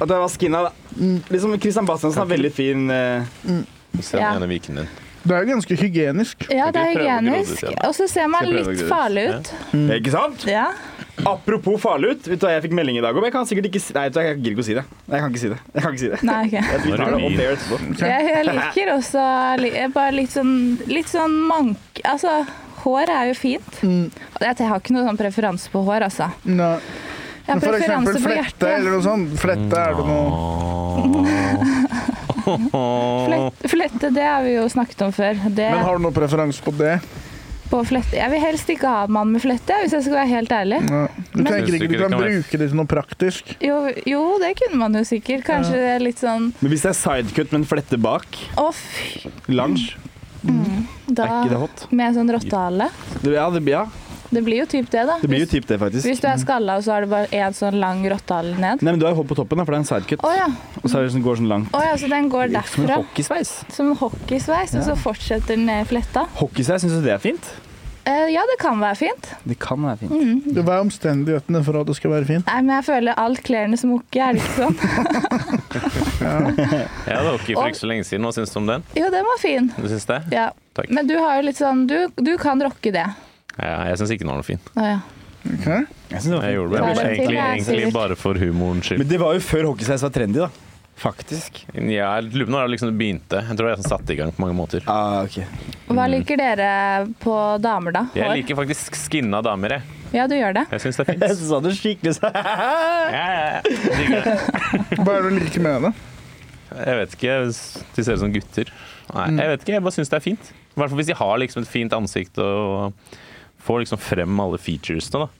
S4: At jeg var skinna, da. Liksom Christian Bastiansen har veldig fin eh,
S2: Se
S3: Ja.
S2: den ene viken din.
S1: Det er jo ganske hygienisk.
S3: Ja,
S2: Skal
S3: det er
S2: ikke prøve å grodde
S3: hygienisk.
S2: ut igjen, da?
S3: Og så ser man
S2: Skal jeg prøve å
S3: litt
S2: grodde ut?
S3: farlig ut.
S4: Ikke sant?
S3: Ja.
S4: Apropos farlig ut. Vet du hva jeg fikk melding i dag om? Jeg kan sikkert ikke si Nei, vet du, hva, jeg gidder ikke å si det. Jeg kan ikke si det. Jeg kan ikke si det.
S3: Nei, ok.
S4: Jeg tror vi tar det opp air etterpå.
S3: Jeg, jeg liker også li- jeg bare litt sånn, litt sånn mank... Altså, hår er jo fint.
S1: Mm.
S3: Og Jeg jeg har ikke noe sånn preferanse på hår, altså.
S1: Nei.
S3: Jeg har
S1: For eksempel
S3: preferanse på
S1: flette
S3: hjerte.
S1: eller noe sånt. Flette er det noe
S3: Flette, flette, det har vi jo snakket om før. Det,
S1: Men har du noe preferanse på det?
S3: på flette. Jeg vil helst ikke ha en mann med flette, hvis jeg skal være helt ærlig.
S1: Nei. Du
S3: Men-
S1: tenker ikke du kan bruke det til noe praktisk?
S3: Jo, jo, det kunne man jo sikkert. Kanskje det er litt sånn
S4: Men hvis det er sidecut med en flette bak,
S3: Å, fy!
S4: lange,
S3: Da
S4: Mm. er ikke det hot?
S3: Med sånn rottehale.
S4: Det- Ja, det blir ja.
S3: Det blir jo typ det, da.
S4: Det blir jo
S3: Hvis-
S4: typ det, faktisk.
S3: Hvis du er skalla, og så har du bare én sånn lang rottehale ned.
S4: Nei, men Du har jo hopp på toppen, da, for det er en sidecut.
S3: Å ja.
S4: Og så er det sånn, går det sånn langt.
S3: Å ja, så den går
S4: Som en
S3: derfra.
S4: hockeysveis.
S3: Som en hockeysveis, og så fortsetter den ned i fletta.
S4: Hockeysveis, syns du det er fint? Mm.
S3: Eh, ja, det kan være fint.
S4: Det kan være fint.
S1: Det var omstendighetene for at det skal være fint.
S3: Nei, men jeg føler alt klærne smokker, er det ikke sånn?
S2: Jeg hadde hockey for ikke så lenge siden. Hva syns du om den?
S3: Jo, den var fin.
S2: Du syns det?
S3: Ja.
S2: Takk.
S3: Men du har jo litt sånn Du, du kan rocke det.
S2: Ja, jeg syns ikke den var noe fin.
S3: Å ja.
S1: Ok?
S4: Jeg synes det var
S2: Jeg
S4: fint.
S2: gjorde det
S3: Ja,
S2: bare,
S3: men-
S2: egentlig,
S3: Ja,
S2: egentlig
S3: sikkert.
S2: bare for humorens skyld.
S4: Men det var jo før hockeysveis var trendy, da. Faktisk.
S2: Ja, jeg lurer på når det liksom begynte. Jeg tror jeg satte i gang på mange måter.
S4: Ah, ok.
S3: Hva liker dere på damer, da?
S2: Jeg liker faktisk skinna damer, jeg.
S3: Ja, du gjør det.
S2: Jeg syns det er fint.
S4: Jeg sa det skikkelig sånn.
S2: Ja, ja, ja. Digger det.
S1: Hva er det du liker med det?
S2: Jeg vet ikke. hvis De ser ut som gutter. Nei, jeg vet ikke. Jeg bare syns det er fint. I hvert fall hvis de har liksom et fint ansikt og får liksom frem alle featuresene, da.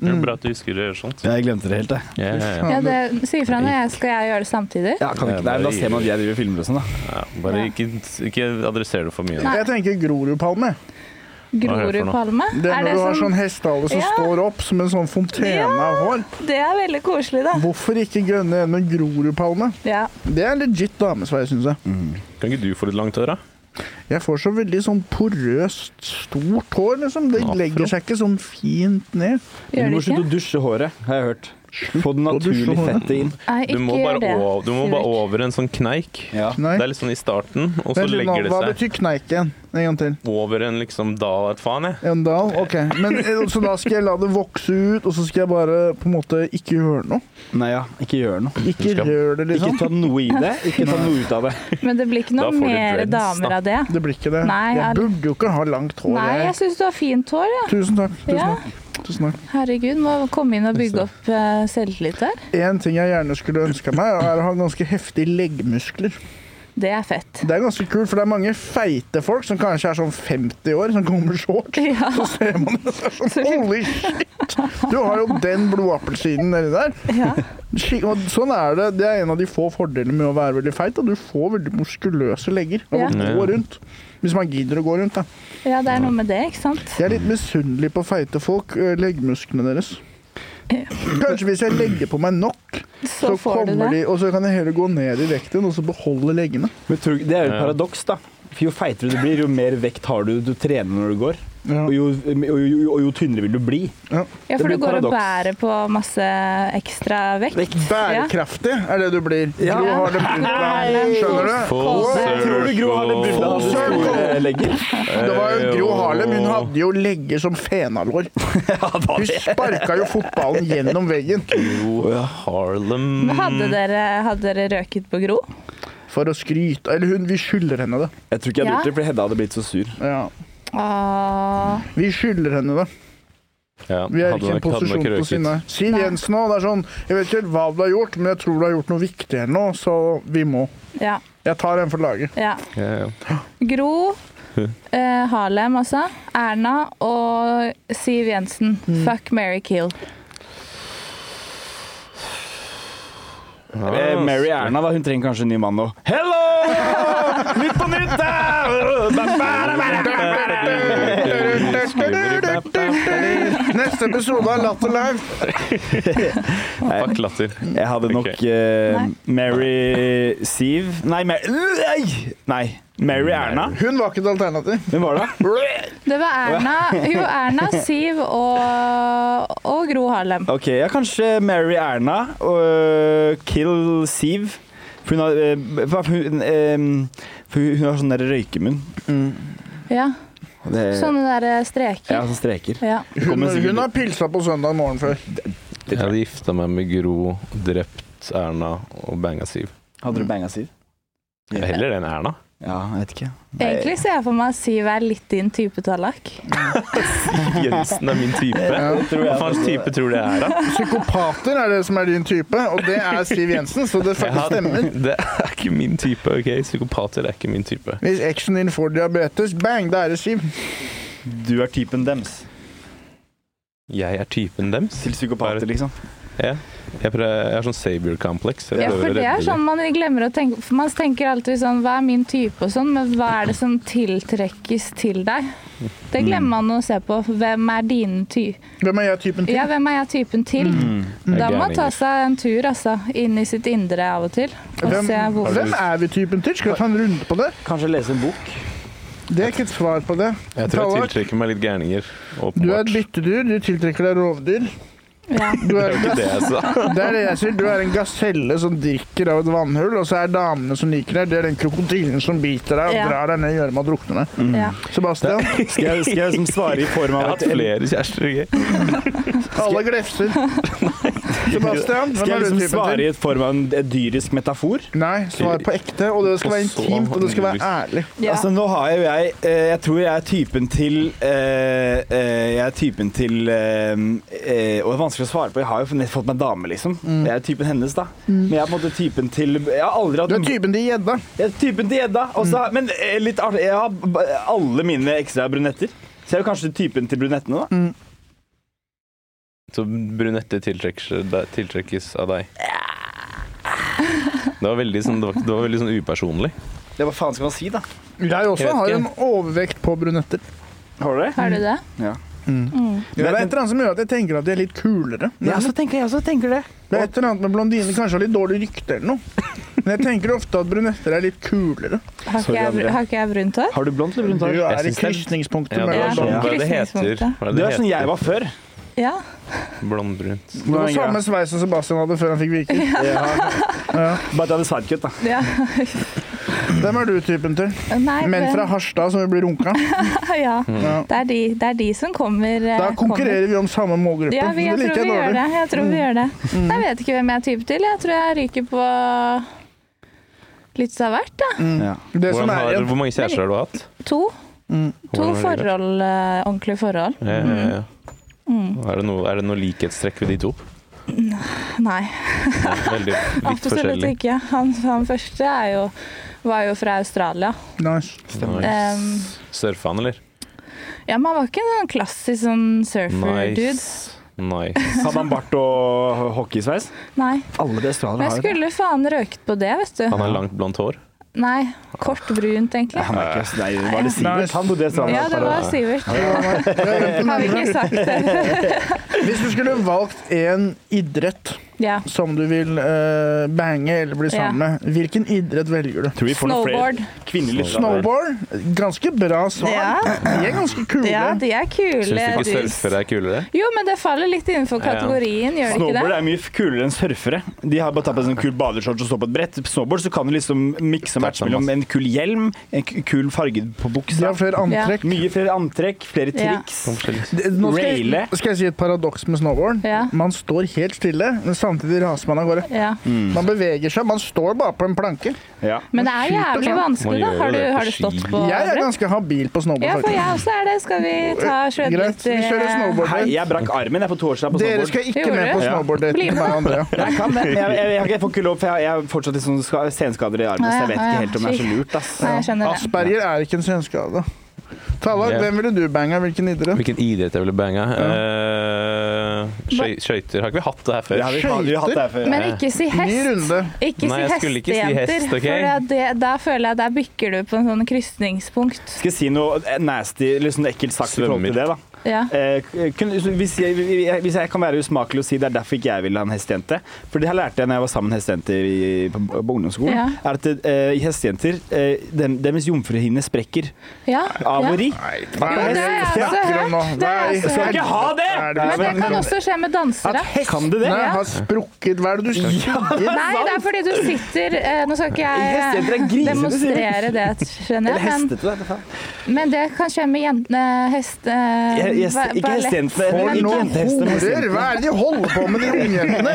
S2: Det er bra at du husker å gjøre sånt.
S4: Jeg glemte det helt, jeg.
S2: Ja, ja, ja.
S3: Ja, det si ifra når jeg skal jeg gjøre det samtidig.
S4: Ja, kan ikke. Nei, men da ser man at jeg driver og filmer og sånn, da.
S2: Ja, bare ikke, ikke adresser det for mye.
S3: Nei.
S1: Jeg tenker Grorudpalme.
S2: er det for noe?
S3: Grorudpalme.
S1: Det er
S3: Er
S1: når
S3: det
S1: du har
S3: sånn
S1: sånn hestehale som
S3: Ja.
S1: står opp som en sånn fontene av hår.
S3: Det er veldig koselig, da.
S1: Hvorfor ikke grønne en med Grorudpalme?
S3: Ja.
S1: Det er legit damesveis, syns jeg.
S2: Kan ikke du få litt langt hår, da?
S1: Jeg får så veldig sånn porøst, stort hår, liksom. Det
S2: Afro.
S1: legger seg ikke sånn fint ned.
S3: Gjør
S4: Du må
S3: det
S4: slutte
S3: ikke?
S4: å dusje håret, har jeg hørt. Få det
S1: å dusje
S4: naturlig
S1: håret.
S4: fettet inn.
S3: Nei,
S2: Du
S3: ikke
S2: må
S3: gjør
S2: bare,
S3: det.
S2: over, du må bare
S3: Fredrik.
S2: over en sånn kneik.
S4: Ja.
S1: Nei.
S2: Det er litt sånn i starten, og så
S1: Vent litt nå,
S2: legger det
S1: Hva
S2: seg
S1: betyr kneik igjen? En gang til.
S2: over en liksom dal et faen, jeg.
S1: En dal? OK. Men, eh, så da skal jeg la det vokse ut, og så skal jeg bare på en måte ikke gjøre noe?
S4: Nei ja, ikke gjør noe.
S1: Ikke
S2: skal-
S1: rør det,
S4: Ikke
S1: liksom?
S4: ta noe i det. Ikke ta noe ut av det.
S3: Men det blir
S2: Da
S3: ikke noe
S2: får du
S3: mer
S2: dreads,
S3: damer
S2: da.
S3: av det.
S1: Det blir ikke det.
S3: Nei,
S1: jeg
S3: jeg-
S1: burde jo ikke ha langt hår.
S3: Nei, jeg
S1: Jeg.
S3: syns du har fint hår, ja.
S1: Tusen takk. Tusen
S3: Ja.
S1: takk. Tusen takk.
S3: Herregud, må komme inn og bygge opp eh, selvtillit her.
S1: En ting jeg gjerne skulle ønska meg, er å ha ganske heftige leggmuskler.
S3: Det er fett.
S1: Det er ganske kult, for det er mange feite folk som kanskje er sånn 50 år, som kommer short.
S3: Ja,
S1: Så ser man det så er det sånn Holy shit! Du har jo den blodappelsinen nedi der.
S3: ja.
S1: Skik- Og sånn er det. Det er en av de få fordelene med å være veldig feit, at du får veldig muskuløse legger av å
S2: Ja.
S1: gå rundt. Hvis man gidder å gå rundt, da.
S3: ja det er noe med det, ikke sant?
S1: Jeg er litt misunnelig på feite folk, ø, leggmusklene deres.
S3: Ja.
S1: Kanskje hvis jeg legger på meg nok, så,
S3: Så får du
S1: kommer
S3: det.
S1: de, og så kan jeg heller gå ned i vekten og så beholde leggene.
S4: Men tror, du- det er jo
S2: Ja.
S4: et paradoks, da. For jo feitere du blir, jo mer vekt har du. Du trener når du går.
S1: Ja.
S4: Og jo, og jo, og jo tynnere vil du bli.
S1: Ja.
S3: Ja, for
S4: blir
S3: du går og
S4: paradoks.
S3: bærer på masse ekstra vekt.
S1: Bærekraftig er det du blir.
S4: Ja.
S1: Gro har det brunt der. Skjønner du?
S2: Full
S3: Åh, jeg
S4: Tror du Gro Harlem Brundtland hadde
S1: Circle.
S4: store legger?
S1: Det var jo Gro Harlem. Hun hadde jo legger som fenalår. Hun sparka jo fotballen gjennom veggen
S2: Gro Harlem
S3: Men Hadde
S2: Mm.
S3: dere, hadde dere røket på Gro?
S1: for å skryte. Eller hun, vi skylder henne det.
S4: Jeg tror ikke jeg hadde
S3: Ja.
S4: gjort det, for Hedda hadde blitt så sur.
S1: Ja.
S3: Åh,
S1: Vi skylder henne det.
S2: Ja,
S1: Vi er
S2: hadde
S1: ikke i en
S2: nok- hadde nok
S1: posisjon til å
S2: røket.
S1: si nei. Siv Jensen òg. Det er sånn Jeg vet ikke helt hva du har gjort, men jeg tror du har gjort noe viktig her nå, så vi må.
S3: ja,
S1: Jeg tar en for laget.
S3: ja.
S2: Ja, ja.
S3: Gro, eh, Harlem altså, Erna og Siv Jensen. Fuck, marry, kill.
S4: Eh, Mary
S2: altså.
S4: Erna, da. Hun trenger kanskje en ny mann nå. Hello! Nytt på nytt!
S1: Neste episode av Latter Live.
S2: Fuck latter.
S4: Jeg hadde nok
S2: Ok.
S4: eh,
S3: Nei.
S4: Mary Siv Nei, Mary Nei. Mary Erna.
S1: Hun var ikke et alternativ.
S4: Hvem var det?
S3: Det var Erna, jo, Erna Siv og, og Gro Harlem.
S4: Ok, ja, kanskje Mary Erna og Kill Siv. For hun har, eh, hva- for hun, eh, for hun hun har sånn der røykemunn.
S3: Ja,
S4: Og det-
S3: sånne der eh,
S4: Ja,
S3: streker.
S4: sånn streker.
S3: Sånn, Ja.
S1: Hun,
S4: Kommer sikkert-
S1: hun har pilsa på søndag morgen før.
S2: Jeg hadde gifta meg med Gro, drept Erna og banga Siv.
S4: Hadde
S1: Mm.
S4: du banga Siv?
S2: Heller det enn Erna.
S4: Ja, jeg vet ikke.
S3: Egentlig ser jeg for meg at Siv er litt din type tallak.
S2: Jensen er min type.
S1: Ja.
S2: Hva faens type tror du jeg er, da?
S1: Psykopater er det som er din type, og det er Siv Jensen, så det
S2: Jeg
S1: faktisk
S2: har-
S1: stemmer.
S2: Det er ikke min type. ok? Psykopater er ikke min type.
S1: Hvis eksen din får diabetes, bang, da er det Siv.
S4: Du er typen dems.
S2: Jeg er typen dems.
S4: Til psykopater, liksom.
S2: Ja. Jeg, prøver, jeg har sånn savior complex. Jeg
S3: Ja,
S2: prøver å
S3: for det er
S2: redde
S3: sånn man glemmer å tenke for Man tenker alltid sånn Hva er min type og sånn, men hva er det som tiltrekkes til deg? Det glemmer man å se på. Hvem er din ty?
S1: Hvem er jeg typen til?
S3: Ja, hvem er jeg typen til?
S1: Mm.
S3: Da
S2: Mm. Det er
S3: må man ta
S2: gærninger.
S3: seg en tur altså, inn i sitt indre av og til. Og
S1: Hvem,
S3: se hvor
S1: hvem er vi typen til? Skal vi ta en runde på det?
S4: Kanskje lese en bok.
S1: Det er ikke et svar på det.
S2: Jeg tror jeg
S1: Tallak,
S2: tiltrekker meg litt gærninger.
S1: du er et
S2: Åpenbart.
S1: byttedyr. Du tiltrekker deg rovdyr.
S3: ja.
S1: Du er,
S2: Det var ikke det jeg sa.
S1: det er det jeg sier. Du er en gaselle som drikker av et vannhull, og så er damene som liker deg, det er den krokodillen som biter deg
S3: Ja.
S1: og drar deg ned i gjørma og drukner deg.
S3: Ja.
S1: Sebastian,
S4: Skal jeg, skal jeg liksom svare i
S2: Jeg
S4: form
S2: har
S4: av
S2: hatt
S4: et
S2: flere kjærester. ikke?
S1: alle glefser. Sebastian,
S4: Skal
S1: hvem
S4: jeg
S1: er
S4: liksom
S1: du typen
S4: svare
S1: til?
S4: i et form av en et dyrisk metafor?
S1: Nei, svar på ekte, og det skal være
S2: Og så-
S1: intimt, og det skal være ærlig.
S3: Ja.
S4: Altså nå har jo jeg eh, Jeg tror jeg er typen til eh, eh, Jeg er typen til eh, eh, Og det er vanskelig å svare på Jeg har jo nett fått meg dame liksom
S1: Mm.
S4: Jeg er typen hennes da Men jeg er på en måte typen til Jeg har aldri hatt
S1: Du er Mm. typen til gjedda.
S4: Jeg er typen til gjedda og så- Men eh, litt artig Jeg har b- alle mine ekstra brunetter Så jeg er jo kanskje typen til brunettene
S1: Mm.
S4: da
S2: Så brunette tiltrekkes, tiltrekkes av deg. Det var veldig sånn, det var, det var veldig sånn upersonlig.
S4: Det hva faen skal man si da
S1: Jeg også
S2: Jeg vet
S1: har
S2: ikke.
S1: en overvekt på brunetter.
S4: Har du det?
S3: Har du det?
S4: Ja.
S3: Mm.
S1: Det er et eller annet som gjør at jeg tenker at de er litt kulere.
S4: Ja, så tenker jeg også tenker det
S1: Det er et eller annet med blondiner kanskje har litt dårlig rykte eller noe. Men jeg tenker ofte at brunetter er litt kulere.
S3: Har, ikke
S4: Sorry,
S3: jeg, br-
S4: Andrea.
S3: har ikke jeg brunt hår?
S4: Har du blond eller brunt
S1: Du
S4: hår?
S1: er
S2: synes
S1: i
S2: det er-
S1: krysningspunktet
S2: Ja, det
S3: Ja,
S2: var sånn,
S3: ja.
S2: hva er det det heter?
S3: Krysningspunktet.
S2: Hva er
S4: Du
S2: det
S4: er
S2: det
S4: sånn jeg
S2: heter?
S4: var før
S3: Ja.
S2: Blondbrunt.
S1: Det var samme sveis som Sebastian hadde før han fikk viker.
S4: Ja.
S1: Ja.
S4: Bare at jeg hadde sidecut da
S3: ja.
S1: Hvem er du typen til?
S3: Nei,
S1: Menn fra Harstad som vil bli runka?
S3: ja.
S1: Ja.
S3: Det, er de, det er de som kommer. eh,
S1: Da
S3: kommer.
S1: konkurrerer vi om samme målgruppe.
S3: Ja, vi, jeg,
S1: Det liker
S3: tror vi
S1: dårlig. Mm.
S3: gjør det. jeg tror vi gjør det. Jeg vet ikke hvem jeg er type til. Jeg tror jeg ryker på litt av hvert. Da.
S4: ja.
S1: Det
S2: Hvordan
S1: som er sånn
S2: har,
S1: igjen.
S2: hvor mange kjærester har du hatt?
S3: To.
S1: Mm.
S3: To
S2: Hvordan har du det?
S3: forhold, eh, ordentlige forhold.
S2: Ja, ja, ja. Er det noe, er det noe likhetstrekk ved de to?
S3: Nei,
S2: Ja, Veldig vidt
S3: absolutt
S2: forskjellig.
S3: ikke. Han, han første er jo, var jo fra Australia.
S1: Nice.
S3: Um,
S2: Surfa han, eller?
S3: ja, men han var ikke en sånn klassisk sånn surfer-dude.
S2: Nice. Nice.
S4: Hadde han bart og hockeysveis?
S3: Nei.
S4: Alle de
S3: Men
S4: australierne
S3: jeg
S4: har jo det.
S3: skulle faen røkt på det, vet du.
S2: Han har langt, blondt hår.
S3: Nei, kort brunt,
S4: Nei,
S3: egentlig.
S4: Han er ikke nei, Var det Sivert?
S1: Nice.
S4: Han bodde i
S3: Ja,
S4: Australia.
S3: det var Sivert. Har vi ikke sagt det?
S1: Hvis du skulle valgt en idrett
S3: Ja.
S1: som du vil eh, bange eller bli sammen med, hvilken idrett velger du?
S4: Tror vi får noen flere
S3: Snowboard.
S4: Kvinnelige lyttere.
S1: Snowboard? Ganske bra svar.
S3: Ja.
S1: De er ganske kule.
S3: ja, de er
S2: Syns du
S3: kule
S2: ikke
S3: dudes.
S2: surfere er kulere?
S3: Jo, men det faller litt innenfor
S2: Ja.
S3: kategorien, gjør det ikke
S4: Snowboard
S3: det?
S4: er mye kulere enn surfere. De har bare tatt på seg en kul badeshorts og står på et brett. Snowboard så kan du liksom mikse og matche mellom en kul hjelm, en k- kul farge på
S1: De
S4: buksa.
S1: har flere antrekk.
S4: Mye flere antrekk, flere
S3: Ja.
S4: triks.
S2: Forskjellig.
S1: Det- Nå skal jeg,
S4: Raile.
S1: skal jeg si et paradoks med snowboard.
S3: Ja.
S1: Man står helt stille, men samtidig raser man av gårde.
S3: Ja.
S4: Mm.
S1: Man beveger seg, man står bare på en planke.
S4: Ja.
S3: Men det er jævlig vanskelig, da. Har du, har du stått på
S1: Jeg er
S3: brett?
S1: ganske habil på
S3: Ja,
S1: snowboard.
S3: for jeg
S1: faktisk.
S3: også er det. Skal vi ta svømme
S1: Greit,
S3: litt
S1: vi kjører
S3: eh,
S1: snowboard.
S4: Hei, jeg brakk armen jeg på torsdag på
S1: Dere
S4: snowboard.
S1: skal ikke
S3: Gjorde
S1: med på
S4: du? Ja.
S1: snowboard-date
S3: Bli
S1: med meg og Andrea.
S4: Jeg kan det, men jeg, jeg, jeg, jeg får ikke lov, for jeg jeg har fortsatt litt sånn ska- senskader i armen, så jeg vet ikke helt om det er så lurt. ass.
S3: Nei, jeg skjønner det.
S1: Asperger er ikke en svenskehave. Tallak,
S2: Ja.
S1: hvem ville du banga? Hvilken idrett?
S2: Hvilken idrett jeg ville banga? Eh, skøy- Skøyter. Har ikke vi hatt det her
S4: Det
S2: før?
S4: har vi, faen- vi har hatt det her før.
S3: Men ikke si
S1: Ny
S3: hest.
S1: runde.
S3: Ikke
S2: Nei, jeg
S3: si
S2: skulle ikke si hest,
S3: hestejenter,
S2: ok?
S3: for det, da føler jeg der bykker du på en sånn krysningspunkt.
S4: Skal jeg si noe nasty, litt sånn ekkelt sagt i forhold til det, da?
S3: Ja.
S4: Eh, kun, så hvis, jeg, hvis jeg kan være usmakelig og si det er derfor ikke jeg ville ha en hestejente For det her lærte jeg når jeg var sammen med hestejenter i, på, på ungdomsskolen.
S3: Ja.
S4: Er at eh, hestejenter, eh, dem, deres jomfruhinne sprekker
S3: ja.
S4: av
S3: ja.
S4: å ri.
S1: Nei,
S3: Jo, det har jeg
S1: snakker
S3: også
S1: du om nå?
S3: hørt. Det har jeg
S1: Nei,
S3: også
S1: skal
S4: Skal
S3: hørt.
S4: ikke ha det!
S1: Er det
S3: Men det kan også skje med dansere.
S4: Kan det det?
S1: Nei,
S3: Ja.
S1: har sprukket Hva er det du sier?
S3: Nei, det er fordi du sitter eh, Nå skal ikke
S4: Hestejenter er
S3: jeg eh,
S4: grisete,
S3: demonstrere det, skjønner
S4: Eller
S3: jeg, men,
S4: hestete, vet du faen.
S3: men det kan skje med jentene hest... eh,
S4: Jeg- jeg-
S3: ba-
S4: Ikke
S3: ballett.
S4: hestejentene.
S1: For
S4: ikke
S1: noen
S4: jentehester, men
S1: horer!
S4: hestejentene.
S1: Hva er det de holder på med, de ungjentene?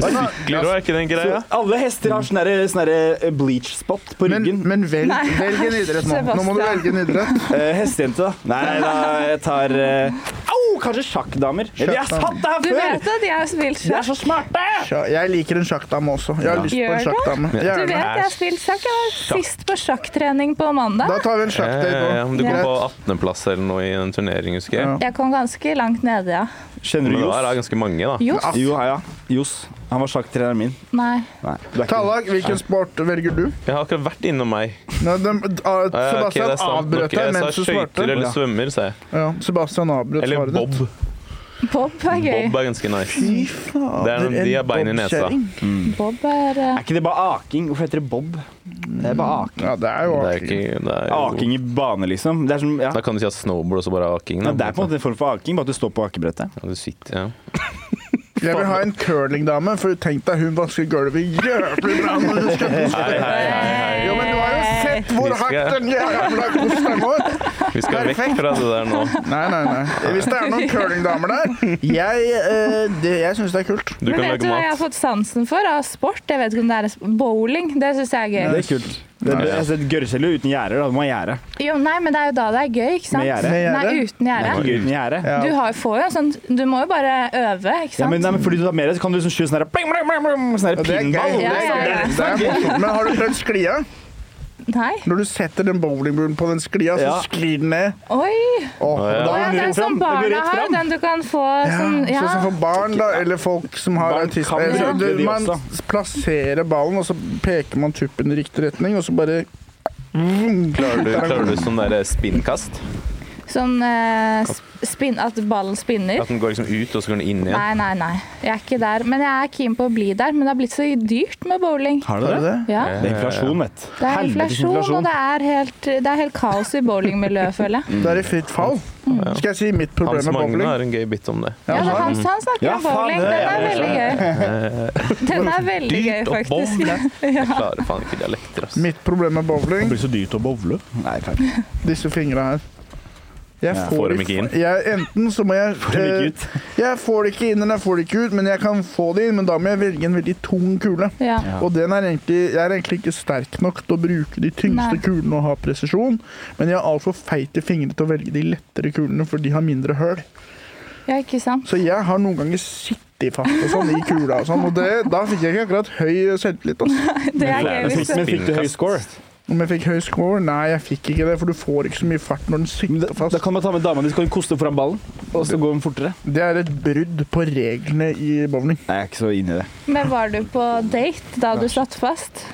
S2: Sykler òg, er ikke det en greie?
S4: Så Alle hester har sånn derre- sånn derre bleach spot på
S1: Men,
S4: ryggen.
S1: men velg,
S3: Nei,
S1: velg en idrett nå. Nå må du
S3: Sebastian.
S1: velge en idrett.
S4: Eh, hestejente, da. Nei, da, jeg tar eh, Au! Kanskje sjakkdamer. Vi har
S1: Sjakkdamer.
S4: satt det her
S3: Du
S4: før!
S3: vet at jeg har spilt
S4: De er
S3: sjakk?
S4: så smarte!
S1: Sja, Jeg liker en sjakkdame også. Jeg har lyst på en
S3: Gjør det?
S1: sjakkdame.
S3: Du vet
S1: Gjerne.
S3: jeg har spilt sjakk? Jeg var sist på sjakktrening på mandag.
S1: Da tar vi en
S2: Ja, ja,
S1: sjakkdate
S2: ja.
S1: òg.
S2: Eh, Du kom
S3: Ja.
S2: på 18.-plass eller noe i en turnering, husker jeg.
S1: Ja.
S3: Jeg kom ganske langt nede, ja.
S4: Kjenner
S2: Men
S4: du
S2: det
S4: Johs?
S2: var da ganske mange, da.
S3: Jos?
S4: Jo, ja, ja. Johs. Han var sjakktreneren min.
S3: Nei.
S4: Nei, du er ikke
S1: Tallag, hvilken sport velger du?
S2: Jeg har akkurat vært innom meg.
S1: Nei, dem- ah,
S2: Eh, ok,
S1: Sebastian
S2: det er sant nok.
S1: avbrøt deg
S2: Jeg sa
S1: mens du
S2: skøyter
S1: svarte.
S2: eller
S4: Ja.
S2: svømmer, sa jeg.
S1: Ja, Sebastian avbrøt
S2: Eller
S1: svaret
S2: bob.
S1: ditt.
S3: Bob er gøy.
S2: Bob er ganske nice.
S1: Fy faen,
S2: Det er når de har bein i nesa.
S3: Bob er eh,
S4: Er ikke det bare aking? Hvorfor heter det bob? Det er bare aking.
S1: Ja, det er jo
S2: Det er
S1: artig.
S2: ikke, det er jo,
S4: Aking i bane, liksom. Det er, som, ja.
S2: da kan du si at snowboard og så bare aking.
S4: Nei, det er på en måte en form for aking, bare at du står på akebrettet.
S2: Ja, du sitter, ja.
S1: Jeg vil ha en curlingdame, for tenk deg hun vasker gulvet jævlig bra når du skal
S2: Hei, hei, hei, hei.
S1: Jo, men du har jo
S3: Eh.
S1: sett hvor
S2: Vi skal-
S1: hardt den jævla kosten går!
S2: Vi skal vekk fra det der nå.
S1: Nei, nei, nei. Hvis det er noen curlingdamer der Jeg, eh, det, jeg syns det er kult.
S2: Du
S3: Men
S2: kan
S3: vet du
S2: lage
S3: hva jeg har
S2: mat.
S3: fått sansen for av sport? Jeg vet ikke om det er en sp- Bowling, det syns jeg er gøy.
S4: Det er kult. Det,
S2: Ja,
S4: det,
S2: ja.
S4: altså, et Gørrkjelle uten gjerder, da. Du må ha gjerde.
S3: Jo, nei, men det er jo da det er gøy, ikke sant?
S4: Med gjerde.
S1: Med gjerde?
S3: Nei, uten gjerde.
S4: Ikke gøy uten gjerde.
S1: Ja.
S3: Du har, får jo en sånn Du må jo bare øve, ikke sant?
S4: Ja, men, nei, men fordi du tar med deg, så kan du liksom skyte sånn her bling, bling, bling, bling, Sånn her
S1: Ja, det er
S4: pinball.
S1: gøy.
S3: Ja, ja, ja.
S1: Det er morsomt. Men har du prøvd sklia?
S3: Nei.
S1: Når du setter den bowlingbulen på den sklia, så
S4: Ja.
S1: sklir den ned.
S3: Oi!
S1: Åh,
S2: Ja.
S3: Å,
S4: Da
S3: ja,
S4: går det
S3: den
S4: rett fram.
S3: som
S4: Det går
S3: barna
S4: rett
S3: har,
S4: fram.
S3: sånn den du kan få sånn Ja.
S1: Sånn som for barn, da, eller folk som har
S4: Barn
S1: autisme.
S4: kan
S1: Eller,
S4: bruke
S1: du-
S4: de
S1: man
S4: også.
S1: plasserer ballen, og så peker man tuppen i riktig retning, og så bare Vroom.
S2: Klarer du, klarer du sånn der spinnkast?
S3: Sånn eh, sp- spin, At ballen spinner.
S2: At den går liksom ut, og så går den inn igjen?
S3: Nei, nei, nei. Jeg er ikke der. Men jeg er keen på å bli der. Men det har blitt så dyrt med bowling.
S4: Har du
S1: Har du
S4: det?
S1: det?
S3: Ja.
S2: Ja.
S4: Det er inflasjon, vet du.
S3: Det er
S4: Helvetes
S3: inflasjon, og det er helt, det er helt kaos i bowlingmiljøet, føler jeg.
S1: Det er i fritt fall. Skal jeg si mitt problem
S2: Hans
S1: med
S2: Magne
S1: bowling?
S2: har en gøy bit om det.
S3: Ja, men Hans han snakker
S4: Ja,
S3: om
S4: faen,
S3: bowling.
S4: det
S3: Den
S4: er
S3: er veldig gøy. Den er veldig gøy,
S2: Dyrt og
S3: faktisk.
S2: bowle. Jeg klarer faen ikke dialekter, ass.
S1: Mitt problem med bowling,
S4: blir så dyrt å bowle. Nei, feil.
S1: disse fingra her. Jeg
S4: Ja.
S2: Får
S1: får
S2: dem ikke inn.
S1: Jeg, enten så må jeg
S4: Det
S1: eh,
S4: gikk ut.
S1: Jeg får det ikke inn eller jeg får det ikke ut, men jeg kan få det inn. Men da må jeg velge en veldig tung kule.
S3: Ja.
S4: Ja.
S1: Og den er egentlig, jeg er egentlig ikke sterk nok til å bruke de tyngste
S3: Nei.
S1: kulene og ha presisjon. Men jeg har altfor feite fingre til å velge de lettere kulene, for de har mindre høl.
S3: ja, ikke sant?
S1: Så jeg har noen ganger sittet fast og sånn i kula og sånn, og det, da fikk jeg ikke akkurat høy selvtillit. Altså.
S3: Det er gøy
S2: Men
S3: hvis du
S4: Men fikk du høy score?
S1: Om jeg fikk høy score? Nei, jeg fikk ikke det, for du får ikke så mye fart når den sitter
S4: Da
S1: fast.
S4: kan man ta med dama di, så kan hun koste foran ballen, og så går hun fortere.
S1: Det er et brudd på reglene i bowling.
S4: Nei, jeg er ikke så inn i det.
S3: Men var du på date da du satt fast?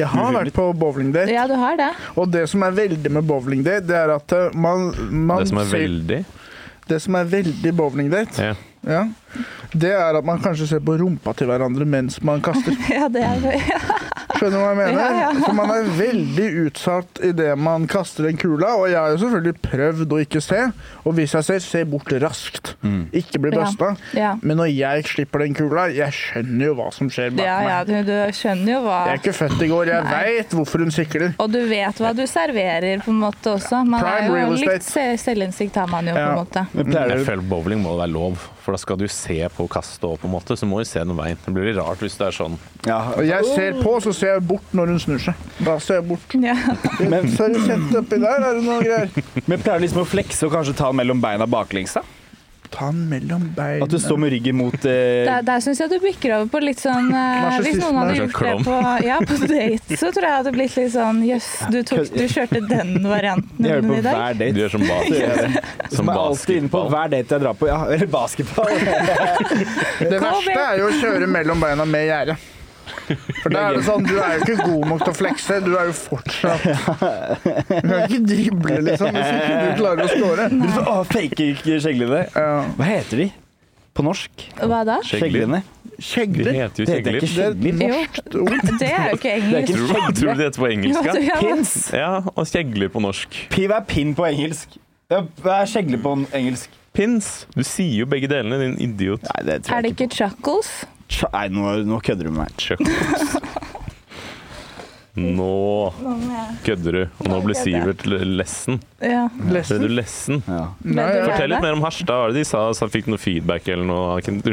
S1: Jeg har vært på bowlingdate.
S3: Ja, du har det.
S1: Og det som er veldig med bowlingdate, det er at eh, man, man
S2: Det som er
S1: ser-
S2: veldig
S1: det som er veldig bowlingdate,
S2: ja.
S1: ja, det er at man kanskje ser på rumpa til hverandre mens man kaster.
S3: Ja, det er gøy.
S1: Skjønner du hva jeg mener?
S3: Ja, ja.
S1: For man er veldig utsatt idet man kaster en kula, og jeg har jo selvfølgelig prøvd å ikke se, og hvis jeg ser, se bort raskt.
S2: Mm.
S1: Ikke bli
S3: Ja.
S1: busta.
S3: Ja.
S1: Men når jeg slipper den kula, jeg skjønner jo hva som skjer bak
S3: Ja, ja,
S1: meg.
S3: du, du skjønner jo hva
S1: Jeg er ikke født i går, jeg
S3: Nei.
S1: veit hvorfor hun sikler.
S3: Og du vet hva du serverer, på en måte også. Man
S1: Prime
S3: er jo
S1: real
S3: litt
S1: estate.
S3: se- selvinnsikt har man jo, på
S1: Ja.
S3: en måte.
S4: Men pleier
S2: Jeg
S4: du
S2: føler bowling må være lov, for da skal du se på kastet òg, på en måte. Så må du se den veien. Det blir litt rart hvis det er sånn.
S4: ja.
S1: Og jeg ser på, så ser jeg bort når hun snur seg. Da ser jeg bort.
S3: Ja.
S1: Men så er det sett oppi der, er det noe greier?
S4: Men pleier du liksom å flekse og kanskje ta den mellom beina baklengs? da?
S1: Ta den mellom beina.
S4: At du står med ryggen mot eh,
S3: Der, der syns jeg du bikker over på litt sånn eh, Hvis noen hadde
S2: Narsissisme.
S3: gjort det på, ja, på date, så tror jeg det hadde blitt litt sånn Jøss, du, tok- du kjørte den varianten
S4: Jeg hører
S3: din
S4: på
S3: i dag.
S4: hver
S2: Du
S4: date.
S2: gjør som bas.
S4: Så gjør jeg det.
S2: Som
S4: Som er alltid inne på
S2: basketball.
S4: hver date jeg drar på. Ja, eller basketball.
S1: Det
S3: Kom
S1: verste
S3: igjen.
S1: er jo å kjøre mellom beina med gjerde. For da er det sånn, du er jo ikke god nok til å flekse, du er jo fortsatt Du kan ikke drible, liksom, hvis ikke du klarer å score.
S4: Å, faker ikke skjeglene.
S1: Ja.
S4: Hva heter de på norsk?
S3: Hva da?
S2: Skjegler.
S4: Skjeglene.
S2: De
S1: Kjegler.
S2: heter jo
S4: Det heter
S2: kjegler.
S4: ikke
S1: Det er et
S4: skjegler.
S1: norskt ord.
S3: Det er jo ikke
S4: Det er
S3: engelsk.
S2: Tror du,
S4: ikke skjegle.
S2: tror du det heter på engelsk?
S3: Jo, det
S2: Ja?
S3: er-
S4: Pins.
S2: ja, og kjegler på norsk.
S4: Piv er pin på engelsk. Ja, Hva er skjegle på engelsk?
S2: Pins. Du sier jo begge delene, din idiot.
S4: Nei, det
S3: Er det ikke chuckles?
S4: Tja, Nei, nå, nå kødder du med meg.
S2: Chuckles. Nå kødder du, og nå ble Sivert l- lessen.
S3: Ja.
S2: Ble du
S1: Lessen.
S2: lessen?
S4: Ja.
S1: Nei,
S3: Ble du
S1: ja.
S3: lei
S2: Fortell litt
S3: deg?
S2: mer om Harstad. Hva var det de sa? Så fikk du noe feedback eller noe? Eller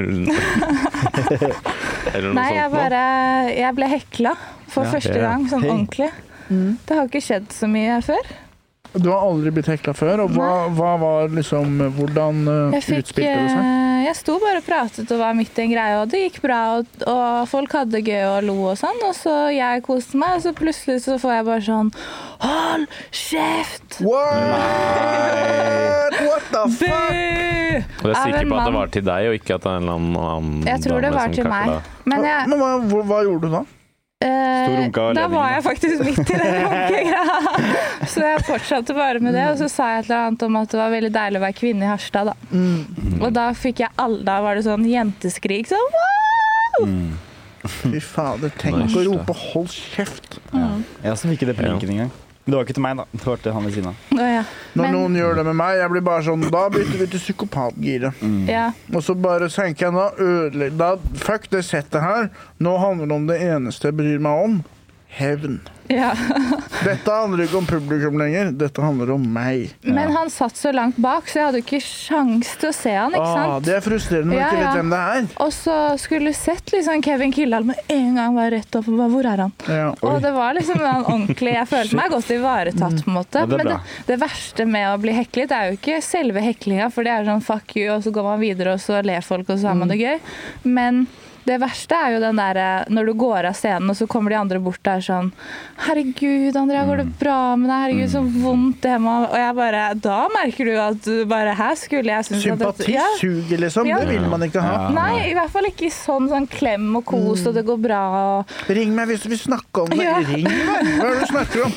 S2: noe
S3: Nei, jeg
S2: sånt noe?
S3: bare Jeg ble hekla for
S4: Ja.
S3: første
S2: Ja.
S3: gang, sånn
S4: Hey.
S3: ordentlig. Det har ikke skjedd så mye før.
S1: Du har aldri blitt hekla før, og hva, hva var liksom Hvordan eh,
S3: Jeg fikk,
S1: utspilte det seg?
S3: eh, eh, jeg sto bare og pratet og var midt i en greie, og det gikk bra. Og, og folk hadde det gøy og lo og sånn, og så jeg koste meg, og så plutselig så får jeg bare sånn Hold kjeft!
S1: What? What the
S3: Bu!
S1: fuck?
S2: Og jeg er
S3: Av
S2: sikker
S3: en
S2: på at det
S3: mann.
S2: var til deg, og ikke at det er en eller annen annen
S3: Jeg tror det
S2: dame
S3: var
S2: som
S3: til meg.
S2: kakla.
S3: Men jeg,
S1: Men hva, hva, hva gjorde du da?
S4: Stor
S3: eh,
S4: runke av
S3: da
S4: ledningen,
S3: var
S4: da.
S3: jeg faktisk midt i den runkegreia. Så jeg fortsatte bare med det, og så sa jeg et eller annet om at det var veldig deilig å være kvinne i Harstad, da.
S2: Mm.
S3: Og da fikk jeg alle Da var det sånn jenteskrik sånn wow!
S1: Fy fader, tenk
S2: Nei,
S1: å
S2: det.
S1: rope 'hold kjeft'
S3: Mm.
S4: Jeg også fikk det på
S2: Ja.
S4: linken engang. Det var ikke til meg, da. Det var til han ved siden av.
S3: Å, ja.
S1: når
S3: Men-
S1: noen gjør det med meg. Jeg blir bare sånn Da bytter vi til psykopatgiret.
S3: Ja.
S1: Og så bare tenker jeg da ødelegg da, Fuck det settet her. Nå handler det om det eneste jeg bryr meg om. Hevn.
S3: ja.
S1: Dette handler ikke om publikum lenger. Dette handler om meg.
S3: Men han satt så langt bak, så jeg hadde jo ikke sjans til å se han, ikke
S1: Ah,
S3: sant?
S1: det er frustrerende når du
S3: Ja,
S1: ikke
S3: ja.
S1: vet hvem det er.
S3: Og så skulle du sett liksom Kevin Kildahl med en gang var rett opp og bare Hvor er han?
S1: Ja.
S3: Og det var liksom en ordentlig Jeg følte meg godt ivaretatt, på en måte.
S4: Ja, det er
S3: Men det,
S4: bra.
S3: det verste med å bli heklet er jo ikke selve heklinga, for det er sånn fuck you, og så går man videre, og så ler folk, og så har man
S4: Mm.
S3: det gøy. Men det verste er jo den derre når du går av scenen, og så kommer de andre bort der sånn Herregud, Andrea, går det
S4: Mm.
S3: bra med deg? Herregud, så vondt det må Og jeg bare Da merker du at du bare Her skulle jeg synes at dette-
S1: Sympati
S3: Ja.
S1: suger, liksom. Det vil man ikke ha.
S3: Nei, i hvert fall ikke sånn, sånn klem og kos,
S4: Mm.
S3: og det går bra og
S1: Ring meg hvis du vil snakke om det.
S3: Ja.
S1: Ring meg! Hva er det du snakker om?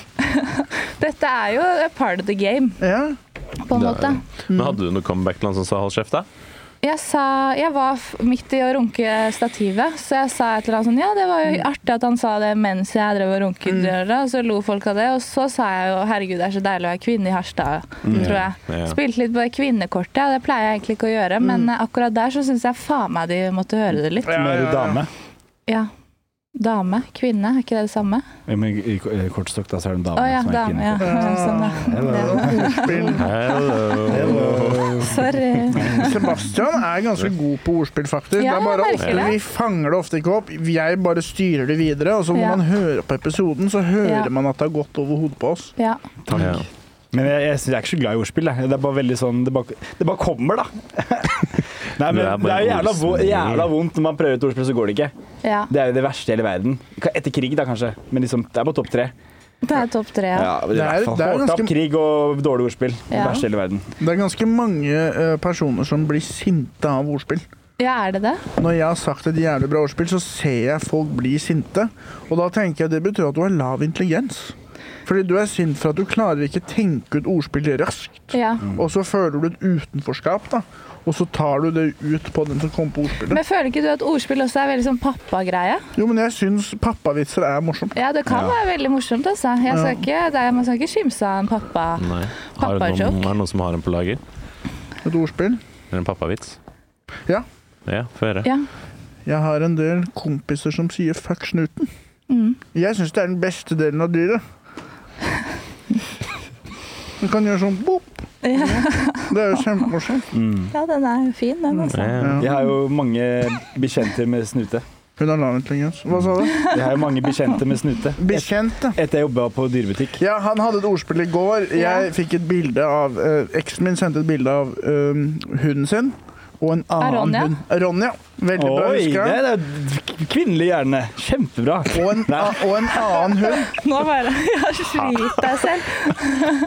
S3: Dette er jo a part of the game,
S1: Ja.
S3: på en
S2: Det er-
S3: måte. Mm.
S2: Men hadde du noe comeback til han som sa 'hold kjeft', da?
S3: Jeg sa Jeg var f- midt i å runke stativet, så jeg sa et eller annet sånn Ja, det var jo
S4: Mm.
S3: artig at han sa det mens jeg drev og runket døra, og så lo folk av det. Og så sa jeg jo herregud, det er så deilig å være kvinne i Harstad, Mm, tror
S4: Mm.
S3: jeg.
S2: Ja.
S3: Spilte litt på det kvinnekortet, og det pleier jeg egentlig ikke å gjøre, men
S4: Mm.
S3: eh, akkurat der så syns jeg faen meg de måtte høre det litt.
S1: Ja,
S4: Mer
S1: ja, ja.
S4: dame.
S3: Ja. Dame, kvinne, er ikke det det samme?
S4: Ja, men i ko- eh, kortstokk, da, så er det en
S3: Å
S4: dame
S3: ja,
S4: som er
S3: dame. Ja.
S4: kvinne.
S3: Sånn,
S4: Hello.
S3: ja.
S1: Ordspill.
S4: Hello.
S3: Ja. Sorry.
S1: Sebastian er ganske god på ordspill, faktisk.
S3: Ja,
S1: det er bare
S3: jeg merker
S1: ofte,
S3: det.
S1: vi fanger det ofte ikke opp. Jeg bare styrer det videre. Og så når
S3: Ja.
S1: man hører på episoden, så hører
S3: Ja.
S1: man at det har gått over hodet på oss.
S3: Ja.
S4: Takk.
S2: Ja.
S4: Men jeg, jeg, synes- jeg er ikke så glad i ordspill. Jeg. Det er bare veldig sånn Det bare, det bare kommer, da. Nei, men
S2: Det er
S4: det er,
S2: bare
S4: jo jævla, vo-
S2: ordsmil.
S4: jævla vondt når man prøver et ordspill, så går det ikke.
S3: ja.
S4: Det er jo det verste i hele verden. Ka- Etter krig, da, kanskje. Men liksom, det er på topp tre.
S3: Det er topp tre, ja.
S4: Ja, men
S1: Det er-
S4: i hvert fall
S1: det er
S4: hårdt
S1: ganske-
S4: opp krig og dårlig ordspill. Det
S3: Ja.
S4: verste i hele verden.
S1: Det er ganske mange eh, personer som blir sinte av ordspill.
S3: Ja, er det det?
S1: Når jeg har sagt et jævlig bra ordspill, så ser jeg folk bli sinte. Og da tenker jeg det betyr at du har lav intelligens. Fordi du er sint for at du klarer ikke tenke ut ordspill raskt.
S3: Ja.
S4: Mm.
S1: Og så føler du et utenforskap, da. Og så tar du det ut på den som kommer på ordspillet.
S3: Men føler ikke du at ordspill også er veldig sånn pappagreie?
S1: Jo, men jeg syns pappavitser er morsomt.
S3: Ja, det kan
S4: Ja.
S3: være veldig morsomt, altså. Jeg skal ikke, det er, man skal ikke skimse av en pappa.
S2: Nei. Har du
S3: Pappajokk.
S2: noen, er det noen som har en på lager?
S1: Et ordspill.
S2: Eller en pappavits?
S1: Ja.
S2: Ja, få høre.
S3: Ja.
S1: Jeg har en del kompiser som sier 'fuck snuten'.
S3: Mm.
S1: Jeg syns det er den beste delen av dyret. Du kan gjøre sånn bopp.
S3: Ja.
S1: Det er jo kjempemorsomt.
S3: ja, den er jo fin, den, altså.
S2: Ja.
S4: Jeg har jo mange bekjenter med snute.
S1: Hun har lav intelligens. Hva sa du?
S4: Jeg har jo mange bekjente med snute. Et-
S1: Bekjent, ja.
S4: Etter jeg jobba på dyrebutikk.
S1: Ja, han hadde et ordspill i går. Jeg
S3: Ja.
S1: fikk et bilde av eh, Eksen min sendte et bilde av eh, hunden sin og en annen
S3: Ronja?
S1: hund. Ronja. Veldig bra
S4: Oi, det
S1: huska.
S4: er det er kvinnelig hjerne. Kjempebra.
S1: Og en, a, og en annen hund.
S3: Nå bare ja, Slit deg selv.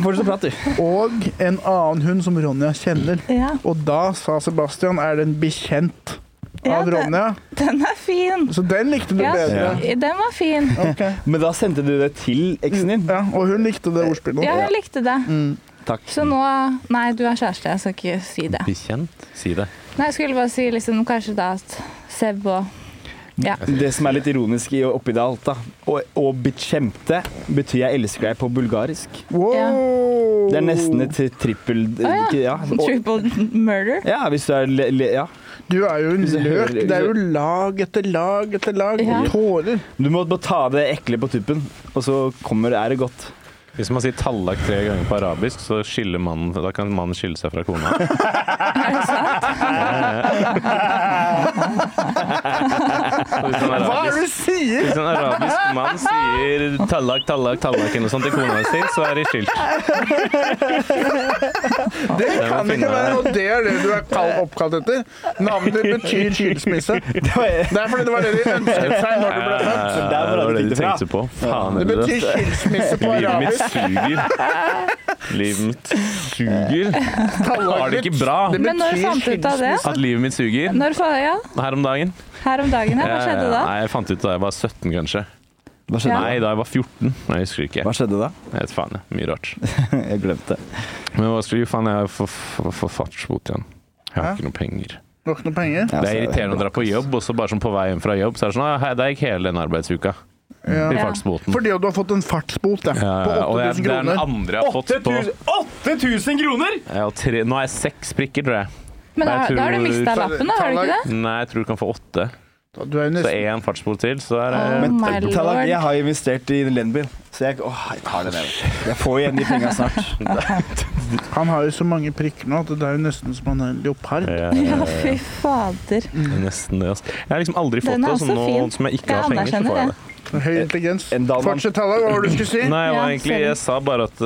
S4: Fortsett å prate, du.
S1: Og en annen hund som Ronja kjenner.
S3: Ja,
S1: Og da sa Sebastian er den bekjent
S3: Ja,
S1: av
S3: det-
S1: Ronja.
S3: den er fin.
S1: Så den likte du
S3: Ja,
S1: bedre.
S3: den var fin.
S1: Ok.
S4: Men da sendte du det til eksen din?
S1: Ja, og hun likte det ordspillet.
S3: Ja, jeg likte det.
S4: Takk.
S3: Så nå Nei, du er kjæreste, jeg skal ikke si det.
S2: Bekjent? Si det.
S3: Nei, jeg skulle bare si liksom kanskje da at Seb og Ja.
S4: Det som er litt ironisk i oppi det alt, da. Å- Å bekjemte betyr jeg elsker deg på bulgarisk.
S1: Wow.
S3: Ja.
S4: Det er nesten et trippel...
S3: Å
S4: ja.
S3: ja.
S4: Og,
S3: Triple murder.
S4: ja, hvis du er le, le, Ja.
S1: Du er jo en
S4: Hvis jeg hører-
S1: løk. Det er jo lag etter lag etter lag.
S3: Ja.
S1: Og tårer.
S4: Du må bare ta det ekle på tuppen, og så kommer er det godt.
S2: Hvis man sier tallak tre ganger på arabisk, så skiller mannen, da kan mannen skille seg fra kona. Så hvis en
S1: Hva er
S2: arabisk-
S1: det du sier?!
S2: Hvis en arabisk mann sier 'tallak, tallak, tallak' eller noe sånt til kona si, så er de skilt.
S1: Det kan
S2: finne-
S1: ikke være, og det er det du er kall- oppkalt etter. Navnet ditt betyr skilsmisse.
S4: Det var,
S1: Det er fordi det var det de ønsket seg når du ble født.
S4: der var
S2: Eh, det var det
S4: det
S2: de
S4: fra.
S2: tenkte på. Faen,
S1: Det
S2: er det
S1: betyr skilsmisse på
S2: Livet mitt
S1: arabisk.
S2: suger. Livet mitt suger. Har det ikke bra.
S1: Det
S3: Men når
S1: betyr
S3: fant du ut av det?
S1: skilsmisse.
S2: At livet mitt suger.
S3: Når fa ja,
S2: Her om dagen.
S3: her om dagen her, hva
S2: Jeg-
S3: skjedde da?
S2: Eh, Nei, jeg fant ut da jeg var 17, kanskje.
S4: Hva skjedde,
S2: Nei, da jeg var 14. Nei, jeg husker ikke.
S4: Hva skjedde da?
S2: Jeg vet faen, jeg. Mye rart.
S4: Jeg glemte.
S2: Men hva skulle jo faen jeg få få- få fartsbot igjen? Jeg har ikke noe penger.
S1: Du har ikke noe penger?
S4: Ja,
S2: Det
S4: så-
S2: er irriterende å dra på jobb, og så bare sånn på vei hjem fra jobb, så er det sånn «Ah, hei, Det gikk hele den arbeidsuka. I
S1: Ja.
S2: fartsboten.
S1: Fordi du har fått en fartsbot ja,
S2: Ja, ja,
S1: på
S2: og jeg,
S1: 8000
S2: det er den
S1: kroner.
S2: andre jeg har fått på
S4: 8000 kroner?!
S2: jeg har tre, Nå er jeg seks prikker, tror jeg.
S3: Men da,
S2: Nei, jeg
S3: da har
S2: tror-
S3: du mista lappen, da, har du ikke det?
S2: Nei, jeg tror du kan få åtte.
S1: Du er jo
S2: Så
S1: nesten
S2: én fartsbot til, så er det
S3: Oh my
S4: Tallak, jeg
S3: lord.
S4: har investert i Lenbil, så jeg, åh, jeg tar det med. Jeg får igjen de penga snart.
S1: Han har jo så mange prikker nå at det er jo nesten som han er en leopard.
S2: Jeg-
S3: Ja, fy fader.
S2: Nesten det, altså. Jeg har liksom aldri fått
S3: Den er
S2: det, så
S3: også
S2: nå
S3: fin.
S2: som jeg ikke
S3: Jeg
S2: har penger, så
S3: anerkjenner
S2: får jeg
S3: det.
S2: det.
S1: Høy intelligens.
S4: En dalmann.
S1: Fortsett, Talla. Hva var det du skulle si?
S2: Nei, jeg, var
S3: Ja,
S2: egentlig,
S3: sorry.
S2: jeg sa bare at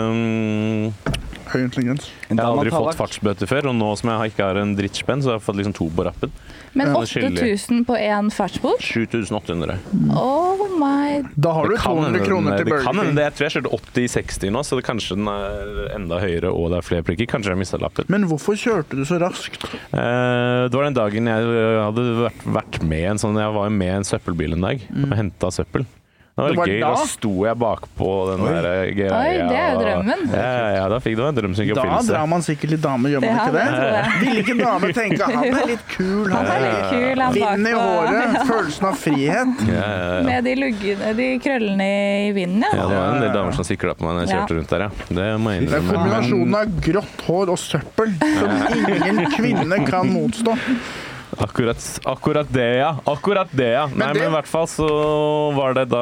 S2: øh,
S1: Høy intelligens.
S4: En
S2: jeg har
S4: dame,
S2: aldri fått
S4: Tallak.
S2: fartsbøter før, og nå som jeg ikke har en drittspenn, så har jeg fått liksom to på rappen.
S3: Men
S2: Ja, det skiller.
S3: 8000 på én fartsbot?
S2: 7800.
S3: Oh my
S1: Da har du 200 kroner til
S2: det
S1: Burger
S2: kan hende
S1: King.
S2: det. Jeg tror jeg kjørte 80-60 nå, så det kanskje den er enda høyere og det er flere prikker. Kanskje jeg mista lappen.
S1: Men hvorfor kjørte du så raskt?
S2: Eh, det var den dagen jeg eh, hadde vært, vært med en sånn Jeg var jo med en søppelbil en dag og henta søppel. Det var,
S1: Mm. Det var
S2: gøy.
S1: da?
S2: Da sto jeg bakpå den der eh, greia.
S3: Oi, det er jo
S2: og-
S3: drømmen.
S2: Ja, ja, ja, da fikk det var en drøm som gikk i
S1: Da
S2: oppfyllelse.
S1: drar man sikkert litt damer, gjør man
S3: Ja,
S1: ikke
S3: det tror
S1: det?
S3: jeg.
S1: Vil ikke damer tenke han er litt kul,
S3: Han
S1: han
S3: er
S1: er
S3: litt kul, han
S1: Vinden i
S3: bakpå.
S1: håret, følelsen av frihet.
S2: Ja, ja, ja.
S3: Med de, luggene, de krøllene i vinden,
S2: Ja,
S3: ja.
S2: det var en del damer som sikla på meg når jeg kjørte rundt der, ja. Det må jeg
S1: Det er
S2: innrømme.
S1: kombinasjonen av grått hår og søppel som ingen kvinne kan motstå.
S2: Akkurat, akkurat det, ja. Akkurat det, ja. Nei,
S1: det-
S2: men i hvert fall så var det da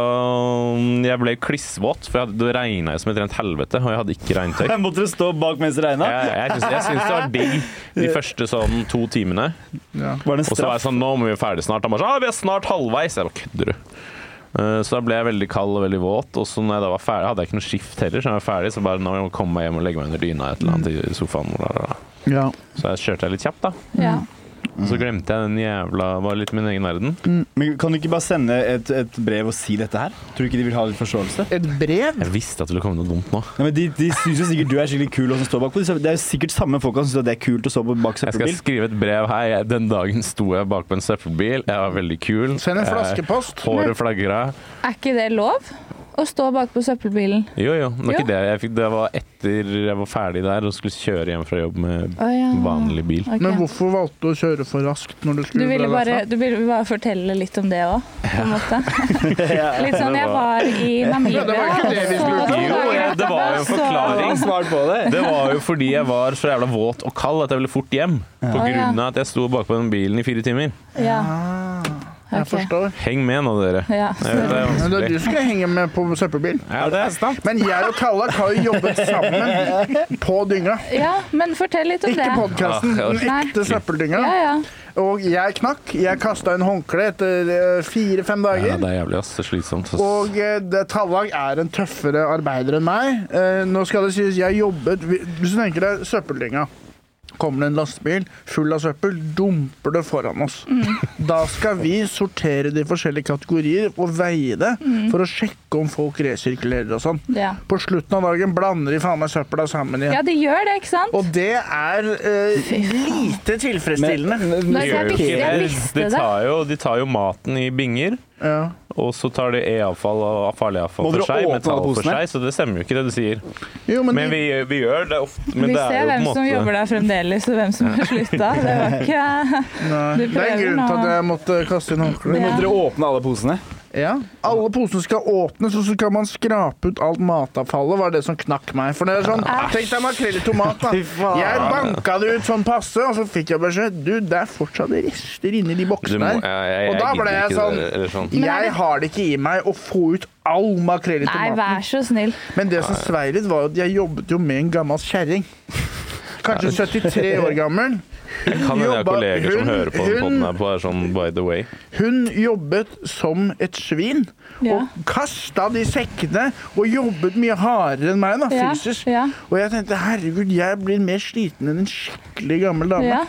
S2: mm, jeg ble klissvåt, for jeg hadde, det regna jo som et rent helvete, og jeg hadde ikke regntøy.
S4: Jeg måtte stå bak mens det regna.
S2: Jeg, jeg, syns, jeg syns det var digg de første sånn to timene.
S4: Var det
S2: Og så
S4: en
S2: var
S4: straff?
S2: jeg sånn Nå må vi være ferdig snart. Han bare sånn ah, Vi er snart halvveis. Jeg bare kødder du? Eh, Så da ble jeg veldig kald og veldig våt. Og så når jeg da var ferdig, hadde jeg ikke noe skift heller, så når jeg var ferdig, så bare nå må jeg komme meg hjem og legge meg under dyna et eller annet i sofaen. bla, bla, bla.
S1: Ja.
S2: Så jeg kjørte jeg litt kjapt, da.
S3: ja.
S2: Og så glemte jeg den jævla Var litt i min egen verden.
S4: Men kan du ikke bare sende et, et brev og si dette her? Tror du ikke de vil ha litt forståelse?
S1: Et brev?
S2: Jeg visste at det ville komme noe dumt nå.
S4: Nei, men de, de syns jo sikkert du er skikkelig kul og som står bakpå. Det er jo sikkert samme folka som syns det er kult å stå på bak
S2: Jeg skal
S4: søppelbil.
S2: skrive et brev her. Den dagen sto jeg bakpå en søppelbil. Jeg var veldig kul.
S1: Send en
S2: Eh,
S1: flaskepost.
S2: Håret flagra.
S3: Er ikke det lov? Å stå bakpå søppelbilen?
S2: Jo, jo. Det var
S3: Ja.
S2: ikke det. Jeg fikk, det var etter jeg var ferdig der og skulle kjøre hjem fra jobb med
S3: Å ja.
S2: vanlig bil.
S3: Ok.
S1: Men hvorfor valgte du å kjøre for raskt når du
S3: Du
S1: skulle
S3: ville,
S1: dra
S3: bare,
S1: derfra?
S3: du ville bare fortelle litt om det òg, på en måte?
S4: Ja.
S3: Litt sånn Jeg var i Namibia.
S1: Ja, det var ikke det vi skulle-
S3: og så-
S2: Jo, ja, det var jo en forklaring.
S4: Svar på det.
S2: Det var jo fordi jeg var så jævla våt og kald at jeg ville fort hjem. På
S3: Å, ja.
S2: grunn av at jeg sto bakpå den bilen i fire timer.
S3: Ja,
S1: Jeg
S3: ok.
S1: forstår.
S2: Heng med nå, dere.
S3: ja.
S2: Jeg vet Det er
S1: Men det er du
S2: vanskelig.
S1: som skal henge med på søppelbil.
S2: Ja, det er sant.
S1: Men jeg og Tallak har jo jobbet sammen på dynga.
S3: ja, men fortell litt om
S1: Ikke
S3: det.
S1: podkasten,
S2: Ah,
S1: den
S2: jeg
S3: orker
S1: ekte søppeldynga.
S3: Ja, ja.
S1: Og jeg knakk. Jeg kasta en håndkle etter eh, fire-fem
S2: Ja,
S1: dager.
S2: det er jævlig ass. Det er slitsomt. ass.
S1: Og eh, det, Tallag er en tøffere arbeider enn meg. Eh, nå skal det sies, jeg jobbet vi- Hvis du tenker deg søppeldynga. Kommer det en lastebil full av søppel, dumper det foran oss.
S2: Mm.
S1: Da skal vi sortere det i forskjellige kategorier og veie det
S2: Mm.
S1: for å sjekke om folk resirkulerer og sånn.
S3: ja.
S1: På slutten av dagen blander de faen meg søpla sammen igjen.
S3: Ja, de gjør det, ikke sant?
S1: Og det er eh, lite tilfredsstillende.
S3: Nei,
S2: De gjør jo
S3: jeg visste-
S2: ikke
S3: jeg
S2: det.
S3: visste
S2: De
S3: det.
S2: tar jo, de tar jo maten i binger.
S1: ja.
S2: Og så tar de e-avfall og farlig avfall
S4: Må
S2: for
S4: dere
S2: seg,
S4: åpne
S2: metall
S4: alle
S2: for
S4: posene?
S2: seg, så det stemmer jo ikke det du sier.
S1: Jo, men,
S2: Men vi, vi gjør det ofte. Men
S3: Vi
S2: det er
S3: ser
S2: jo på
S3: hvem
S2: en
S3: som jobber
S2: måte
S3: der fremdeles, og hvem som har slutta. Det var ikke
S1: Nei,
S3: Du
S1: det er en
S3: prøver
S1: grunn til
S3: nå.
S1: at jeg måtte kaste inn håndkleet.
S3: Ja.
S4: Dere åpne alle posene.
S1: Ja. Alle posene skal åpnes, og så skal man skrape ut alt matavfallet, var det som knakk meg. For det er sånn, Tenk deg makrell i tomat, da.
S4: Fy faen.
S1: Jeg banka det ut sånn passe, og så fikk jeg beskjed Du, det er fortsatt rester inni de
S2: Du må-
S1: boksene
S2: ja,
S1: her.
S2: jeg- jeg
S1: Og da
S2: gidder
S1: ble jeg
S2: ikke
S1: sånn-
S2: det der, eller sånn.
S3: Men er
S1: Jeg
S3: det-
S1: har det ikke i meg å få ut all makrell i
S3: Nei,
S1: tomaten.
S3: vær så snill.
S1: Men det som svei litt, var at jeg jobbet jo med en gammel kjerring. Kanskje 73 år gammel.
S2: Jeg kan hende jeg har
S1: jobba-
S2: kolleger som
S1: hun-
S2: hører på den
S1: hun-
S2: podden her, bare sånn by the way.
S1: Hun jobbet som et svin.
S3: Ja.
S1: Og kasta de sekkene og jobbet mye hardere enn meg, da,
S3: Ja,
S1: fysisk.
S3: ja.
S1: Og jeg tenkte herregud, jeg blir mer sliten enn en skikkelig gammel dame.
S3: Ja.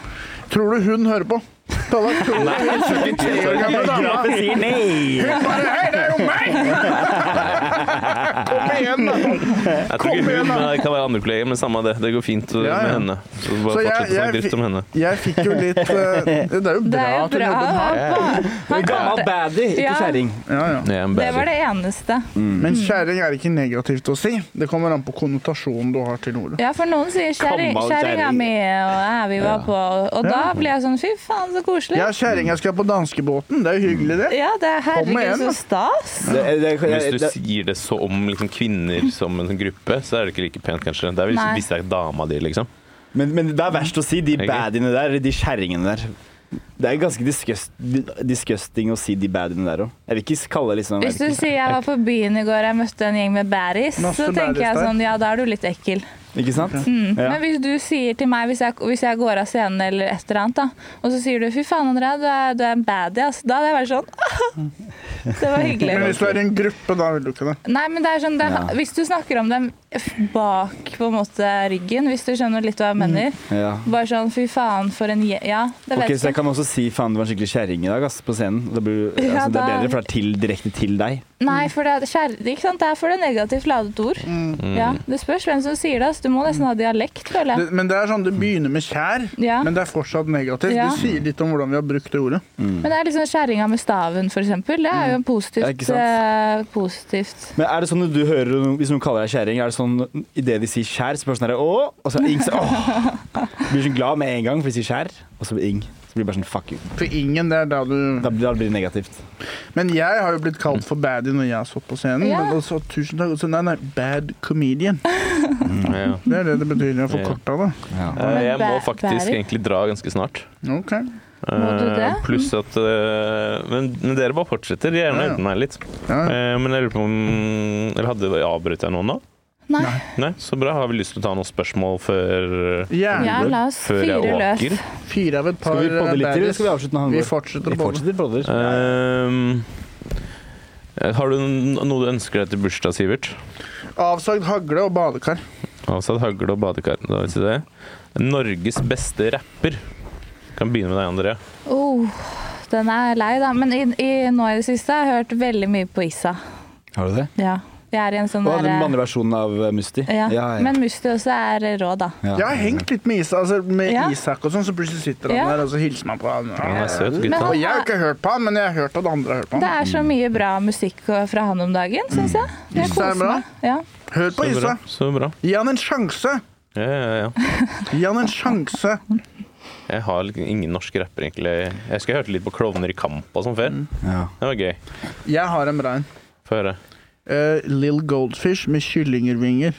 S1: Tror du hun hører på? Talla, tror du hun 73 år gammel dame?
S4: sier nei!
S1: Hun bare Hei, det er jo meg! Kom igjen, da!
S2: Jeg tror ikke
S1: Kom
S2: hun,
S1: igjen, da!
S2: men det kan være andre kolleger, men samme det. Det går fint uh,
S1: Ja, ja.
S2: med henne. Så bare
S1: Så
S2: fortsett
S1: jeg-
S2: å
S1: jeg
S2: snakke dritt
S1: fi-
S2: om henne.
S1: Jeg fikk jo litt eh, Det er jo
S3: Det
S1: bra
S3: er jo
S1: at hun
S3: bra.
S1: jobber her.
S3: Han- han
S4: Gammel
S3: klarte-
S4: baddie, ikke
S3: Ja.
S4: kjerring.
S1: Ja, ja.
S2: Jeg er en
S3: Det var
S2: baby.
S3: det eneste.
S1: Men kjerring er ikke negativt å si. Det kommer an på konnotasjonen du har til ordet.
S3: Ja, for noen sier kjerring-
S4: Gammel
S3: kjerringa
S4: kjerring.
S3: mi og jeg, vi var på Og da blir jeg sånn fy faen, så koselig.
S1: Ja, kjerringa skal på danskebåten. Det er jo hyggelig, det.
S3: Ja, det er
S1: Kom igjen,
S3: herregud
S1: da.
S3: så stas.
S4: Det, det,
S2: Hvis du
S4: det,
S2: sier det så om liksom, kvinner som en sånn gruppe, så er det ikke like pent, kanskje. Det er hvis,
S3: Nei.
S2: hvis det er dama di, liksom.
S4: men, men det er verst å si de
S2: Ikke?
S4: baddiene der, eller de kjerringene der. Det er ganske disgust, disgusting å si de baddiene der òg. Jeg vil ikke kalle det liksom jeg
S3: Hvis
S4: vet
S3: du sier jeg var på byen i går og jeg møtte en gjeng med baddies,
S1: Masse
S3: så tenker
S1: baddies
S3: jeg
S1: der.
S3: sånn ja, da er du litt ekkel.
S4: ikke, ikke sant? Ja.
S3: Men hvis du sier til meg, hvis jeg, hvis jeg går av scenen eller et eller annet, da, og så sier du 'fy faen, Andrea, du er, du er en baddie', ass. Da hadde jeg vært sånn Det var
S1: Men
S3: hyggelig.
S1: hvis du er i en gruppe, da vil du ikke det.
S3: Nei, men det er sånn, det er,
S4: Ja.
S3: Hvis du snakker om dem f- bak på en måte ryggen, hvis du skjønner litt hva jeg mener
S4: Ja.
S3: Bare sånn 'fy faen, for en je... Ja, det vet
S4: Mm. Ok, så
S3: jeg
S4: jeg kan også si faen, du var en skikkelig kjerring i dag ass, på scenen. Da blir, du-
S3: Ja,
S4: altså, det er
S3: da-
S4: bedre, for det er til, direkte til deg.
S3: Nei, for det er kjærlig, ikke sant? Det er for det negativt ladet ord.
S4: Mm.
S3: Ja, det spørs hvem som sier det. ass. Du må nesten ha dialekt, føler
S1: det.
S3: jeg.
S1: Men det er sånn, det begynner med kjær,
S3: Ja.
S1: men det er fortsatt negativt.
S3: Ja.
S1: Det sier litt om hvordan vi har brukt det ordet.
S3: Men det er liksom kjerringa med staven, for eksempel. Det er jo
S4: Mm. Ja,
S3: positivt.
S4: ikke sant?
S3: eh, positivt.
S4: Men er det sånn når du hører noen, Hvis noen kaller deg kjerring, er det sånn idet de sier skjær, så blir det sånn der, åh, og så er ing så, åh. Blir sånn glad med en gang, for de sier skjær, og så blir ing. Så blir det bare sånn fuck you.
S1: For ingen, det er da du
S4: Da, da blir det negativt.
S1: Men jeg har jo blitt kalt for baddie når jeg har stått på scenen.
S3: Ja.
S1: Men også, tusen takk. Så nei, nei, bad comedian.
S2: Ja, ja.
S1: Det er det det betyr. Jeg får
S2: Ja.
S1: kort av det.
S2: Eh, Jeg må
S3: bæ-
S2: faktisk
S3: bærer?
S2: egentlig dra ganske snart.
S1: Ok.
S3: Må du det?
S2: Eh, Pluss at eh, men, men dere bare fortsetter. Jeg
S1: Ja, ja.
S2: nøyde meg litt.
S1: Ja.
S2: Eh, Men jeg lurer på om Eller hadde avbrøt jeg noen nå?
S3: Nei.
S2: Nei, så bra. Har vi lyst til å ta noen spørsmål før
S1: Gjerne.
S3: Ja, la oss
S2: Før jeg
S3: fyre løs.
S2: åker?
S1: Fire av et par eh,
S4: Skal vi podde litt til, eller
S1: baddies.
S4: skal vi avslutte når han
S1: Vi
S4: går?
S1: fortsetter
S4: Vi
S1: å podde.
S4: fortsetter podder.
S2: Ehm, har du n- noe du ønsker deg til bursdag, Sivert?
S1: Avsagd hagle og badekar.
S2: Altså et hagle og badekar. Da vet du det. Norges beste rapper. Kan begynne med deg, André.
S3: Oh, den er lei, da. Men i, i, nå i det siste har jeg hørt veldig mye på Issa.
S4: Har du det?
S3: Ja. Jeg er i en sånn
S4: Og den
S3: derre
S4: andre versjonen av eh, Musti.
S3: ja.
S4: ja.
S3: Men Musti også er rå, da.
S4: Ja.
S1: Jeg har hengt litt med, Isa, altså med
S3: Ja.
S1: Isak og sånn, så plutselig sitter han
S3: Ja.
S1: der og så hilser man på han.
S2: Han er søt,
S3: Men
S2: gutta.
S1: Og jeg har ikke hørt på han, men jeg har hørt at andre har hørt på
S3: Det
S1: han.
S3: er så mye bra musikk fra han om dagen, syns jeg.
S1: Issa
S3: Jeg
S1: er
S3: koser
S1: bra.
S3: meg. Ja.
S1: Hør på
S2: Så bra.
S1: Isa!
S2: Så bra.
S1: Gi han en sjanse!
S2: Ja, ja, ja.
S1: Gi han en sjanse!
S2: Jeg har liksom ingen norske rappere, egentlig. Jeg husker jeg hørte litt på Klovner i kamp og sånn før.
S4: Ja.
S2: Det var gøy.
S1: Jeg har en bra en.
S2: Få høre.
S1: Eh, Lill Goldfish med kyllingervinger.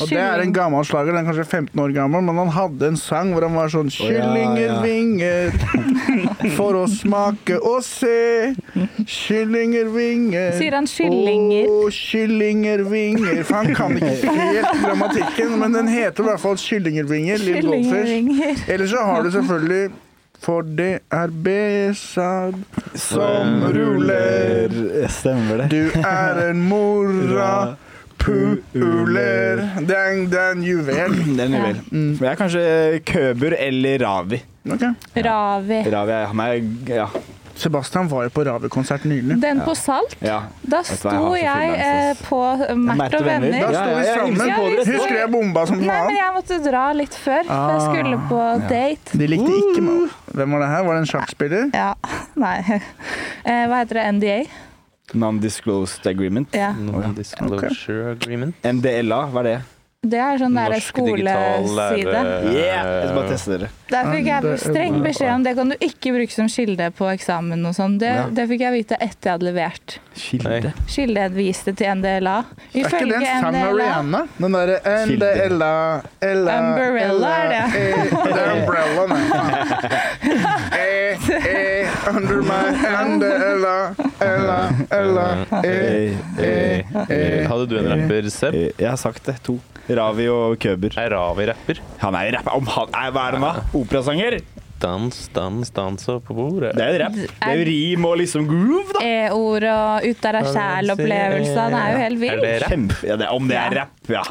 S1: Og det er en
S3: Kylling.
S1: gammel slager, den er kanskje 15 år gammel, men han hadde en sang hvor han var sånn Kyllingervinger for å smake og se. Kyllingervinger.
S3: Sier han kyllinger?
S1: Å, kyllingervinger. For han kan ikke helt grammatikken, men den heter i hvert fall Kyllingervinger. Lill Goldfish.
S3: Kyllingringer.
S1: Eller så har du selvfølgelig For det er Besad som ruller.
S4: Eh, Stemmer det.
S1: Du er en mora. Puler. Det er en- det er en juvel.
S4: Det er en juvel. Men jeg er kanskje Købur eller Ravi.
S1: Ok.
S3: Ravi.
S4: Ravi er han er Ja.
S1: Sebastian var jo på Ravi-konsert nylig.
S3: Den på Salt.
S4: ja.
S3: Da
S4: du hva, jeg
S3: sto
S4: har så full
S3: jeg eh,
S4: angst, ass.
S3: på Mert og venner.
S1: Da
S4: Ja,
S1: sto
S4: ja,
S1: vi
S4: jeg
S1: sammen.
S4: hilser på dere.
S1: Husker jeg bomba som
S3: Nei, men
S1: faen?
S3: jeg måtte dra litt før, for jeg skulle på date.
S1: De likte ikke
S4: Uh.
S1: meg. Hvem var det her? Var det en sjakkspiller?
S3: Ja, nei eh, Hva heter det? NDA?
S4: Non-disclosed agreement.
S3: Ja.
S2: Non-disclosure agreement.
S4: MDLA, hva er det?
S3: Det er sånn der
S2: Norsk digital Eh,
S3: skoleside.
S2: lære-
S4: Yeah! Jeg skal bare teste dere.
S3: Der fikk jeg
S1: Det er
S3: streng
S1: bra.
S3: beskjed om det kan du ikke bruke som kilde på eksamen og sånn. Det,
S4: Ja.
S3: det fikk jeg vite etter jeg hadde levert.
S2: Nei.
S4: Kilde.
S3: Skildeviste til NDLA.
S1: Er ikke det en
S3: eh,
S1: sang av Rihanna? Den derre And
S4: Kilde.
S1: the Ella Ella
S3: Umbrella er det.
S1: eh, det er Umbrella, nei. faen. Eh, eh, under my and the Ella Ella Ella eh.
S4: Eh,
S2: Eh, eh, Hadde du en rapper, Seb?
S4: eh, Jeg har sagt det. To. Ravi og Køber.
S2: Er Ravi-rapper?
S4: Han er jo rapper. Om han er, hva er han da? Operasanger?
S2: Dans, dans, dans og på bordet.
S4: Det er jo rap. Det er jo rim og liksom groove, da.
S3: E-ord og ut der er sjæl-opplevelser. Han er jo helt
S2: Er
S3: vill.
S2: det rap?
S4: Kjempe, ja, det, om det er
S3: Ja.
S4: rap, ja.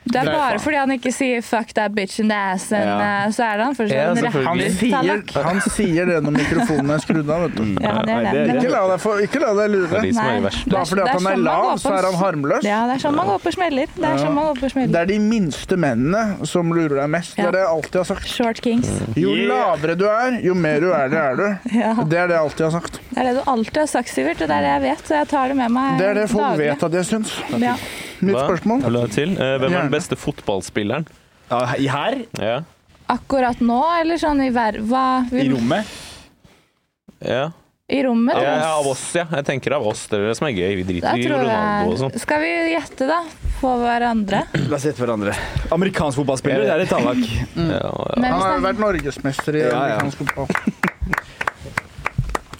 S3: Det er
S1: Nei,
S3: bare
S4: faen.
S3: fordi han ikke sier 'fuck that bitch in the ass', and,
S4: Ja.
S3: eh, så er det han fortsatt
S2: Ja,
S3: en
S2: selvfølgelig.
S1: Han
S3: rapper.
S1: sier,
S3: Tallak.
S1: han sier det når mikrofonen er skrudd av, vet
S4: Mm.
S1: du.
S3: Ja, han
S4: Nei,
S3: gjør
S4: det er
S3: det.
S4: det.
S1: Ikke la deg, få, ikke la deg
S2: Det
S1: lure.
S2: er de som
S3: Nei.
S2: er verst.
S1: Bare fordi
S3: Det er
S1: at han er
S3: sånn man
S1: lav,
S3: går på
S1: så er han
S3: en
S1: harmløs.
S3: Ja, det er sånn man går på smeller. Det er sånn man går på
S1: Det
S3: smeller.
S1: er de minste mennene som lurer deg mest. Det
S3: Ja.
S1: er det jeg alltid har sagt.
S3: Short kings.
S1: Jo
S4: Yeah.
S1: lavere du er, jo mer uærlig er du.
S3: Ja.
S1: Det er det jeg alltid har sagt.
S3: Det er det du alltid har sagt, Sivert, og det er det jeg vet, så jeg tar det med meg
S1: Det er det folk
S3: daglig.
S1: vet at jeg syns.
S3: Ja.
S1: Nytt
S2: Hva?
S1: spørsmål.
S2: Vil du ha et til? Eh, Hvem er
S1: Gjerne.
S2: den beste fotballspilleren?
S4: Ja, i- Her,
S2: Ja.
S3: Akkurat nå, eller sånn i verva?
S4: i rommet.
S2: ja.
S3: I rommet?
S2: Ja,
S3: da.
S2: ja, av oss, ja. Jeg tenker av oss. Det er det som er gøy. Vi
S3: Da
S2: driter i
S3: tror
S2: Ronaldo og sånn.
S3: jeg Skal vi gjette, da? På hverandre?
S4: La oss gjette hverandre. Amerikansk fotballspiller, det er litt tallak.
S2: Ja, ja.
S1: Han
S3: Men vi
S1: har jo
S3: snakker
S1: vært norgesmester i
S4: Ja, ja.
S1: amerikansk fotball.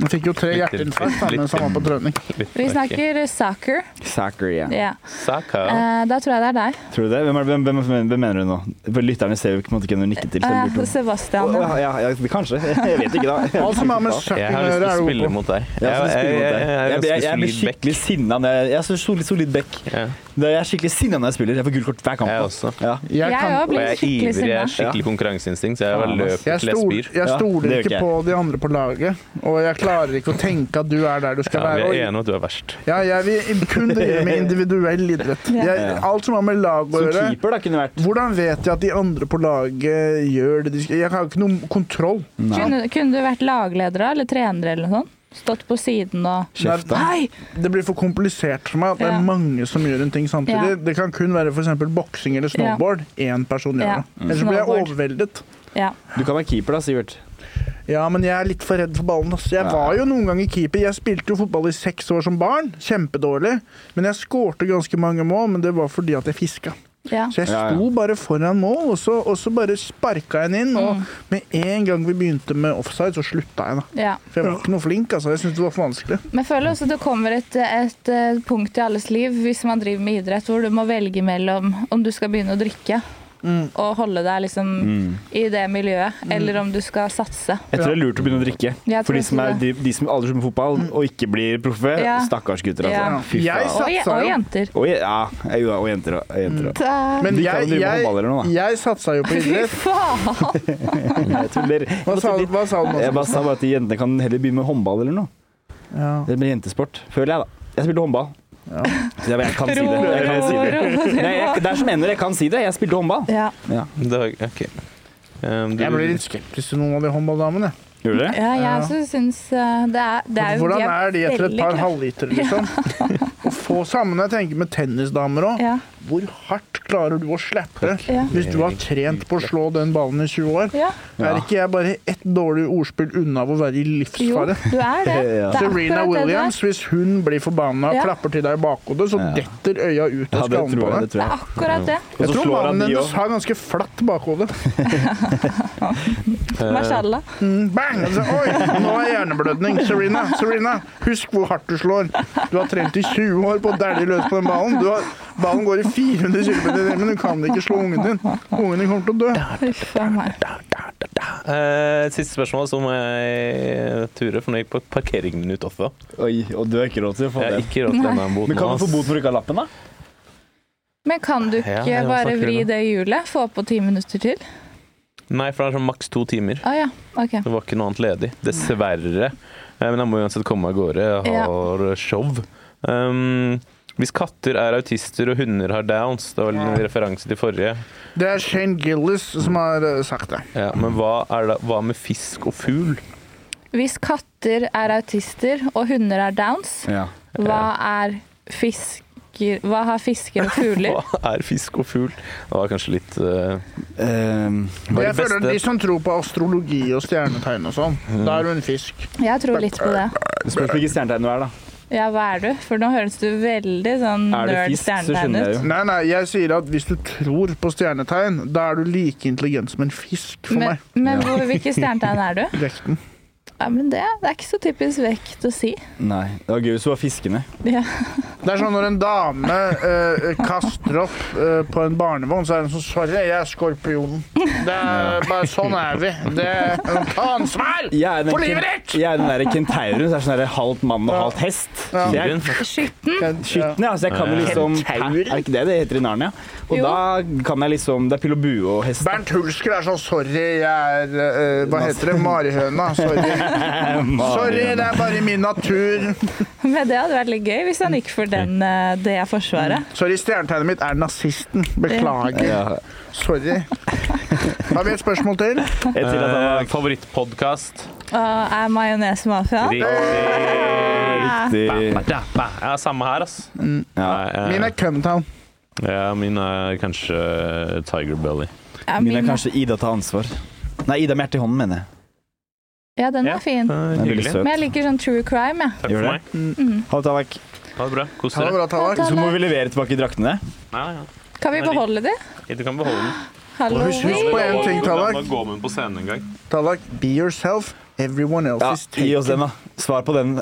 S1: Han fikk jo tre
S2: Litt til,
S1: hjerteinfarkt da,
S2: litt
S1: mens han var på trening.
S2: Litt
S3: vi
S2: merkelig.
S3: snakker soccer.
S4: Sacker, ja.
S3: Ja.
S2: Saka.
S3: Eh, Da tror jeg det er deg.
S4: Tror du det? Hvem, er, hvem, hvem, hvem mener du nå? For lytterne ser jo ikke på en måte ikke når du nikker til. så jeg
S3: Eh,
S4: lurte
S3: Sebastian.
S4: på-
S3: ja.
S4: Å, ja, ja, ja, kanskje. Jeg vet ikke, da.
S1: Alt som har med
S2: Jeg
S1: søkken å
S2: har lyst til
S1: gjøre,
S2: å
S1: er du
S2: spille
S1: god på.
S2: mot deg.
S4: Jeg, jeg, jeg,
S2: er
S4: jeg, jeg,
S2: ganske
S4: jeg, jeg blir
S2: solid back.
S4: skikkelig sinna når jeg, jeg er så solid, solid back.
S2: Ja.
S4: Det- Jeg er skikkelig sinna når jeg spiller. Jeg får gult kort hver kamp.
S2: Jeg
S4: da.
S2: også.
S4: Ja.
S1: Jeg,
S3: Jeg
S1: kan,
S3: òg
S2: Og
S3: blir
S2: jeg er
S3: skikkelig
S2: ivrig. Jeg
S3: sinna.
S2: er skikkelig konkurranseinstinkt, så jeg bare
S4: Faen, ass.
S2: løper
S1: jeg,
S2: til jeg
S1: stol,
S2: spyr.
S1: jeg
S4: Ja, det
S1: stoler
S4: gjør
S1: ikke
S4: ikke
S1: på de andre på laget, og jeg klarer ikke å tenke at du er der du
S2: Ja,
S1: skal
S2: vi
S1: være.
S2: er
S1: og-
S2: enige om at du er verst.
S1: Ja, jeg vil kun drive med individuell idrett.
S3: Ja.
S1: Jeg, alt som har med lag å
S4: Som
S1: gjøre.
S4: keeper da kunne vært
S1: Hvordan vet jeg at de andre på laget gjør det de skal? Jeg har jo ikke noe kontroll.
S3: Kunne, kunne du vært lagleder da, eller trener eller noe sånt? Stått på siden og
S4: sjef, da.
S3: Hei!
S1: Det blir for komplisert for meg at det
S3: Ja.
S1: er mange som gjør en ting samtidig.
S3: Ja.
S1: Det kan kun være f.eks. boksing eller snowboard. Én person
S3: Ja.
S1: gjør det. Ellers så blir jeg
S3: Snowboard.
S1: overveldet.
S3: Ja.
S4: Du kan være keeper, da, Sivert.
S1: Ja, men jeg er litt for redd for ballen. Ass. Jeg var jo noen ganger keeper. Jeg spilte jo fotball i seks år som barn. Kjempedårlig. Men jeg skårte ganske mange mål, men det var fordi at jeg fiska.
S3: ja.
S1: Så jeg
S4: Ja, ja.
S1: sto bare foran mål, og så, og så bare sparka jeg den inn.
S3: Mm.
S1: Og med en gang vi begynte med offside, så slutta jeg, da.
S3: ja.
S1: For jeg var ikke noe flink, altså. Jeg syntes det var for vanskelig.
S3: Men jeg føler også det kommer et, et eh, punkt i alles liv hvis man driver med idrett, hvor du må velge mellom om du skal begynne å drikke
S1: Mm.
S3: og holde deg liksom i det miljøet, eller om du skal satse.
S4: Jeg tror det er lurt å begynne å drikke.
S3: Jeg
S4: For
S3: tror
S4: de som, er,
S3: også
S4: de, de som aldri spiller fotball og ikke blir proffe,
S3: Ja.
S4: stakkars gutter,
S3: Ja.
S4: altså. Fy
S1: Jeg
S4: faen.
S1: sa-
S3: Og, je-
S1: Satsa
S3: og
S1: jo.
S3: jenter.
S4: Og, ja, jeg- og jenter og jenter også.
S3: Da-
S1: Men
S4: De kan jo
S1: Mm. jeg,
S4: drive med
S1: jeg,
S4: håndball eller noe, da.
S1: jeg satsa jo på
S3: Fy
S1: idrett.
S3: faen!
S4: Jeg tuller.
S1: Hva sa, hva sa du nå?
S4: Jeg bare sa bare at de jentene kan heller begynne med håndball eller noe.
S1: Ja.
S4: Det blir jentesport, føler jeg, da. Jeg spilte håndball.
S1: Ja.
S4: Så jeg, jeg kan si det. Jeg kan si det. Nei, jeg, det er som ender, jeg kan si det. Jeg spilte håndball.
S3: Ja.
S4: Ja.
S2: Det var, ok. Um, du,
S1: Jeg blir litt skeptisk til noen av de håndballdamene.
S4: Gjorde du det?
S3: ja, jeg også syns eh, det er, det er jo
S1: Hvordan
S3: de
S1: er de etter et
S3: veldig
S1: par
S3: kraft-
S1: halvliter, liksom? Å få sammen, jeg tenker med tennisdamer òg.
S3: Ja.
S1: Hvor hardt klarer du å slappe
S3: Ja.
S1: hvis du har trent på å slå den ballen i 20 år?
S3: Ja.
S1: Er ikke jeg bare ett dårlig ordspill unna av å være i
S3: Jo,
S1: livsfare?
S3: du er det. det
S4: Ja.
S3: er
S1: Serena
S3: akkurat det du er.
S1: Williams, hvis hun blir forbanna og
S3: Ja.
S1: klapper til deg i bakhodet, så
S4: Ja.
S1: detter øya ut
S4: Ja,
S1: av
S4: det
S1: skallen
S4: tror
S1: på deg.
S4: jeg. Det tror
S3: Det er
S4: jeg.
S3: akkurat det.
S4: Og
S1: Jeg
S4: så
S1: tror
S4: slår han
S1: mannen
S4: de
S1: hennes
S4: òg.
S1: har ganske flatt bakhode.
S3: Mashallah.
S1: Mm, Bang! Og så, Oi, nå er hjerneblødning. Serena, Serena, husk hvor hardt du slår. Du har trent i 20 år på å dælje løs på den ballen. Du har, ballen går i 400 km i timen. Du kan ikke slå ungen din. Ungen din kommer til å dø.
S3: Huff a meg.
S2: eh, siste spørsmål som jeg turer, for nå gikk på parkeringen min ut også.
S4: Oi, og du har ikke råd til å få
S2: Jeg har
S4: den.
S2: ikke råd til denne boten.
S4: Men kan du få
S2: ass.
S4: bot for å ikke ha lappen, da?
S3: Men kan du
S2: Ja,
S3: ikke
S2: det er jo
S3: bare
S2: snakker
S3: vri
S2: du nå.
S3: det hjulet? Få på ti minutter til?
S2: Nei, for det er sånn maks to timer.
S3: Å ja, ok.
S2: Det var ikke noe annet ledig. Dessverre. Eh, Men jeg må uansett komme av gårde. Jeg har eh, show. Um, hvis katter er autister og hunder har downs, det var en referanse til forrige.
S1: Det er Shane Gillis som har eh, sagt det.
S2: Ja, men hva, er det, hva med fisk og fugl?
S3: Hvis katter er autister og hunder er downs,
S4: Ja.
S3: hva er fisk fisker, hva har fisker og fugler?
S2: Hva er fisk og fugl? Det var kanskje litt eh,
S4: Ehm,
S2: var
S1: Jeg
S2: det
S1: føler De
S2: beste.
S1: som tror på astrologi og stjernetegn og sånn,
S4: Mm.
S1: da er du en fisk.
S3: Jeg tror litt på det.
S4: det spørs hvilket stjernetegn du er, da.
S3: Ja, hva er du? For nå høres du veldig sånn
S4: Er du
S3: nerd
S4: fisk, så skjønner
S3: stjernetegn
S4: jeg
S3: ut.
S4: jo.
S1: Nei, nei, jeg sier at hvis du tror på stjernetegn, da er du like intelligent som en fisk for
S3: Men,
S1: meg.
S3: men hvor, hvilke stjernetegn er du?
S1: Vekten.
S3: Ja, men det, det er ikke så typisk vekt å si.
S4: Nei, det var gøy hvis du var fiskene.
S3: Ja.
S1: Det er sånn når en dame eh, kaster opp eh, på en barnevogn, så er hun sånn Sorry, jeg er skorpionen. Det er bare sånn er vi. Det Ta ansvar!
S4: Jeg er den,
S1: For livet
S4: ken-
S1: ditt!
S4: jeg er den der kentauren, så er det sånn der halvt mann og
S1: Ja.
S4: halvt hest. Så
S1: Ja.
S4: jeg er
S3: Skytten.
S4: Skytten, ja. Så jeg kan jo liksom
S1: Kentaur?
S4: Hæ? Er ikke det det heter i Narnia? Og
S3: Jo.
S4: da kan jeg liksom Det er pil og bue og hest.
S1: Bernt Hulsker er sånn Sorry, jeg er eh, Hva heter det? Marihøna. Sorry. Sorry, det er bare min natur.
S3: Men det hadde vært litt gøy hvis han gikk
S4: Mm.
S3: for den, eh, det forsvaret.
S1: Sorry, stjernetegnet mitt er nazisten. Beklager.
S4: Ja.
S1: Sorry. Har vi et spørsmål til?
S4: Jeg til at han var
S2: eh, Favorittpodkast?
S3: Og er majones
S1: Ah.
S3: mafia?
S2: Riktig.
S4: riktig.
S2: Ja, samme her, ass.
S4: Ja.
S2: Nei, eh,
S1: Min er Cumtown.
S2: ja, min er kanskje eh, Tiger Belly.
S3: Ja,
S4: Min er
S3: min-
S4: kanskje Ida tar ansvar. Nei, Ida med hjertet i hånden, mener jeg.
S3: ja, den
S2: Ja.
S3: var fin.
S2: Eh,
S4: Den er veldig
S2: Hyggelig.
S4: søt.
S3: Men jeg liker sånn true crime, jeg.
S2: Takk
S4: Gjør
S2: for
S4: det.
S2: meg.
S4: Ha det, Tallak.
S2: Ha det bra. Kos
S1: Ha det
S2: dere.
S1: bra, Tallak.
S4: Så må vi levere tilbake draktene.
S2: Ja, ja.
S3: Kan vi
S2: Den er lik.
S3: beholde de?
S2: Du kan beholde den.
S1: Husk på
S3: Halloween!
S1: en ting,
S2: La
S1: Tallak.
S2: meg gå med den på scenen en gang.
S1: Tallak, be yourself. Everyone else
S4: Ja,
S1: is
S4: gi oss
S1: taken.
S4: den, da. Svar på den.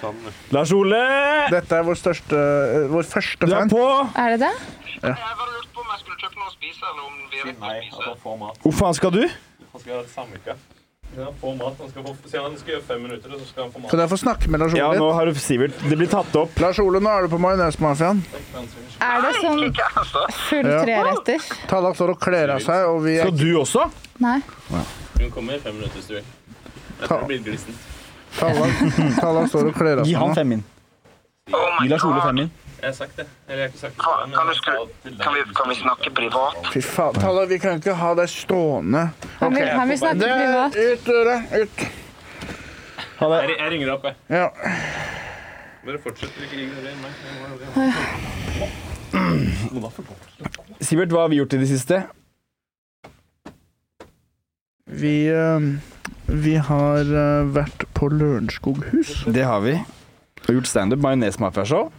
S2: Ta den, du.
S4: Lars Ole!
S1: Dette er vår største eh, Vår første
S4: Du er
S1: fan.
S4: på!
S3: Er det det?
S6: Jeg bare lurte på om jeg skulle kjøpe noe å spise, eller om vi rett
S2: Nei, at han får mat.
S4: Hvor faen skal du?
S2: Han skal ha samvika. Han får mat. Han skal, få, sier han skal gjøre fem minutter, og så skal han få mat.
S1: Kan jeg få snakke med Lars
S4: Ja,
S1: Ole
S4: nå
S1: litt?
S4: har du Sivert. Det blir tatt opp.
S1: Lars Ole, nå er du på Majonesmafiaen.
S3: Er det sånn full
S1: Ja.
S3: treretter?
S1: Tallak står og kler av seg, og vi er
S4: Skal du også?
S3: Nei.
S2: Du kan komme i fem minutter hvis du vil. Jeg tror det blir glissent.
S1: Tallak, Tallak står og kler av
S4: Gi han
S1: seg nå.
S4: femmin.
S6: Oh my
S4: Gi Lars Ole
S6: God.
S4: femmin.
S2: Jeg har sagt det. Eller jeg har ikke sagt det. til deg,
S6: Faen,
S2: men
S6: Kan, du
S2: jeg
S6: skru,
S2: sa til deg
S6: kan, vi,
S2: at du
S6: kan vi
S2: skulle-
S6: snakke privat?
S1: Fy faen, Tallak, vi kan ikke ha deg stående.
S3: Han vil, han vil snakke
S1: Det
S3: privat.
S1: er ut døra. Ut.
S4: Ha det.
S2: Jeg, jeg ringer opp, jeg.
S1: Ja.
S2: Bare fortsett. Ikke ignorer meg. Jeg må- jeg må-
S4: Sivert, hva har vi gjort i det siste?
S1: Vi eh, Vi har eh, vært på Lørenskoghus.
S4: Det har vi. Og gjort standup. Majonesmafiashow.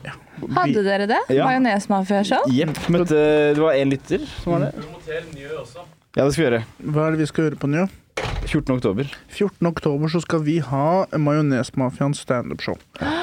S3: Hadde dere det?
S4: Ja.
S3: Majonesmafia-show?
S4: Jepp. Møtte Det var én lytter som var det.
S2: Du må notere Njø også.
S4: Ja, det skal vi gjøre.
S1: Hva er det vi skal gjøre på Njø?
S4: 14. oktober.
S1: 14. oktober så skal vi ha Majonesmafiaens standup-show.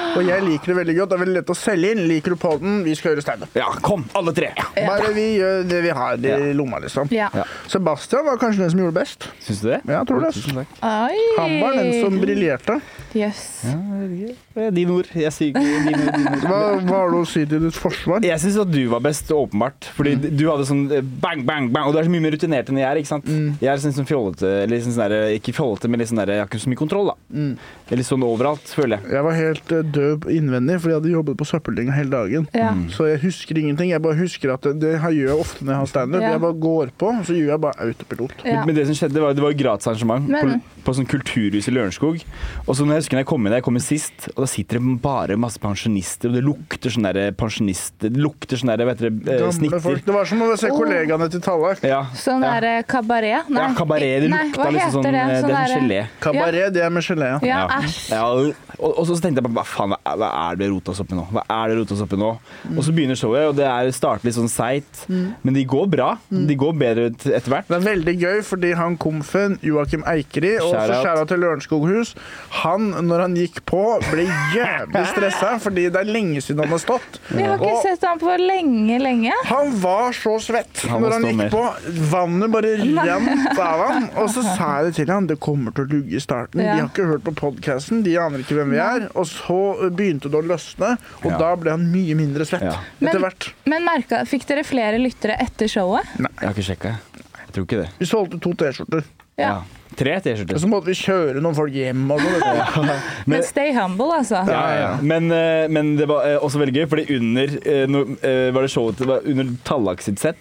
S1: Og jeg liker det veldig godt. Det er veldig lett å selge inn. Liker du podden? Vi skal gjøre standup.
S4: Ja, kom, alle tre.
S1: Bare vi gjør det vi har i
S4: Ja.
S1: lomma, liksom.
S3: Ja.
S4: Ja.
S1: Sebastian var kanskje den som gjorde det best.
S4: Syns du det?
S1: Ja, jeg tror det.
S4: Tusen takk.
S3: Oi!
S1: Han var den som briljerte.
S3: Jøss.
S4: Eh, Dine ord. Jeg sier ikke dine ord. Dine ord.
S1: Hva hva har du å si til ditt forsvar?
S4: Jeg syns at du var best, åpenbart. Fordi du hadde sånn eh, bang, bang, bang. Og du er så mye mer rutinert enn jeg er. ikke sant? Jeg er sånn, sånn fjollete, eller sånn der, ikke fjollete, men litt sånn der, jeg har ikke så mye kontroll. da. Eller sånn overalt, føler jeg.
S1: Jeg var helt eh, døv innvendig, fordi jeg hadde jobbet på søppeldynga hele dagen.
S3: Ja.
S1: Så jeg husker ingenting. Jeg bare husker at det, det her gjør jeg ofte når jeg har standup.
S3: Ja.
S1: Jeg bare går på, så gjør jeg bare autopilot.
S3: ja.
S4: Men, men det som skjedde, var, det var jo gratis arrangement
S3: Men-
S4: på, på sånn kulturhus i Lørenskog. Og så når jeg husker når jeg kom inn der, jeg kom inn sist, og da sitter det bare masse pensjonister, og det lukter sånn der pensjonist... Det lukter sånn der, vet dere, eh,
S1: Gamle folk.
S4: snitter.
S1: Det var som å se
S3: Åh.
S1: kollegaene til Tallak.
S4: Ja.
S3: Sånn
S4: ja.
S3: derre kabaret? Nei.
S4: Ja, kabaret. Det
S3: Nei,
S4: lukta liksom sånn, eh, det er sånn gelé.
S1: Kabaret, det er med gelé. ja.
S3: Ja,
S4: Ja.
S3: æsj.
S4: Ja, og, og så tenkte jeg bare, hva faen, hva er- hva er det vi roter oss oppi nå? Hva er det vi roter oss oppi nå? Og så begynner showet, og det er starter litt sånn seigt,
S1: Mm.
S4: men de går bra. De går bedre ut etter hvert.
S1: Det er veldig gøy, fordi han komfen, Joakim Eikeri, og også
S4: Shout-out.
S1: skjæra til Lørenskoghus, han, når han gikk på, ble jævlig stressa, fordi det er lenge siden han har stått.
S3: Vi har ikke
S1: Og-
S3: sett han på lenge, lenge.
S1: Han var så svett
S4: Han må
S1: når han
S4: stå
S1: gikk
S4: mer.
S1: på. Vannet bare rant av ham. Og så sa jeg det til han, det kommer til å lugge i starten.
S3: Ja.
S1: De har ikke hørt på podkasten, de aner ikke hvem vi er. Og så eh, begynte det å løsne, og
S4: Ja.
S1: da ble han mye mindre svett
S4: Ja.
S1: etter
S3: Men-
S1: hvert.
S3: Men merka, fikk dere flere lyttere etter showet?
S4: Jeg har ikke sjekka. Jeg tror ikke det.
S1: Vi solgte to T-skjorter.
S3: Ja.
S4: Tre
S1: Og
S4: T-skjorter.
S1: så måtte vi kjøre noen folk hjem og sånn.
S3: Men stay humble, altså.
S4: Ja, ja, ja. Men, eh, men det var eh, også veldig gøy, fordi under, eh, no- eh, var det showet, til- var under Tallak sitt sett,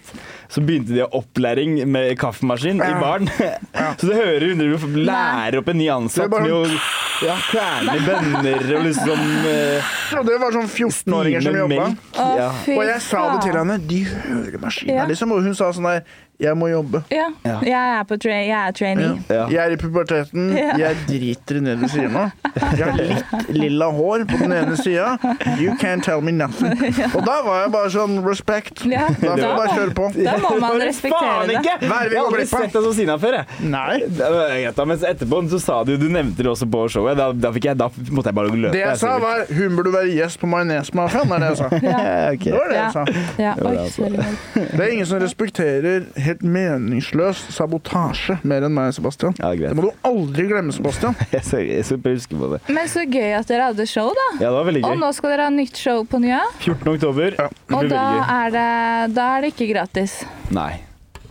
S4: så begynte de å ha opplæring med kaffemaskin i baren. Så du hører under du får lære opp en ny ansatt
S1: Det er bare sånn-
S4: med å ja, kverne bønner og liksom eh,
S1: Og det var sånn 14-åringer som
S4: stime
S1: jobba.
S4: melk.
S3: Å,
S4: Ja.
S3: fy
S1: Og jeg sa det til
S3: faen.
S1: henne. De hører maskina,
S3: Ja.
S1: liksom. Og hun sa sånn der Jeg må jobbe.
S3: Ja.
S4: Ja.
S3: Jeg er på tra jeg er trainee.
S4: Ja.
S1: Jeg er i puberteten.
S3: Ja.
S1: Jeg driter i det du sier nå. Jeg har litt lilla hår på den ene sida. You can't tell me nothing. Og da var jeg bare sånn respect.
S3: Ja,
S1: Da får
S3: da-
S1: jeg bare kjøre på.
S3: Da må man
S4: Bare
S3: respektere
S4: faen
S3: det.
S4: ikke! Jeg
S1: Hva er det vi
S4: har
S1: går
S4: aldri
S1: glipp av?
S4: sett deg så sinna før, jeg.
S1: Nei.
S4: Det var greit, da, mens etterpå så sa du Du nevnte det også på showet. Da, da, fikk jeg, da måtte jeg bare løpe.
S1: Det jeg sa,
S4: så-
S1: var 'hun burde være gjest på Majonesmafiaen'. Det er det jeg sa.
S4: Ja, eh, ok.
S1: Det var det
S3: Ja.
S1: jeg sa.
S3: Ja,
S4: var
S3: oi,
S4: det, altså.
S3: sorry.
S1: Det er ingen som respekterer helt meningsløs sabotasje mer enn meg og Sebastian.
S4: Ja,
S1: Det
S4: greit.
S1: må du aldri glemme, Sebastian.
S4: Jeg skal jeg skal bare huske på det.
S3: Men så gøy at dere hadde show, da.
S4: Ja, det var veldig
S3: Og
S4: gøy.
S3: nå skal dere ha nytt show på Njø.
S4: 14. oktober. Det
S3: Og
S4: blir
S3: da
S4: veldig gøy.
S3: er, det, da er det ikke gratis.
S4: Nei,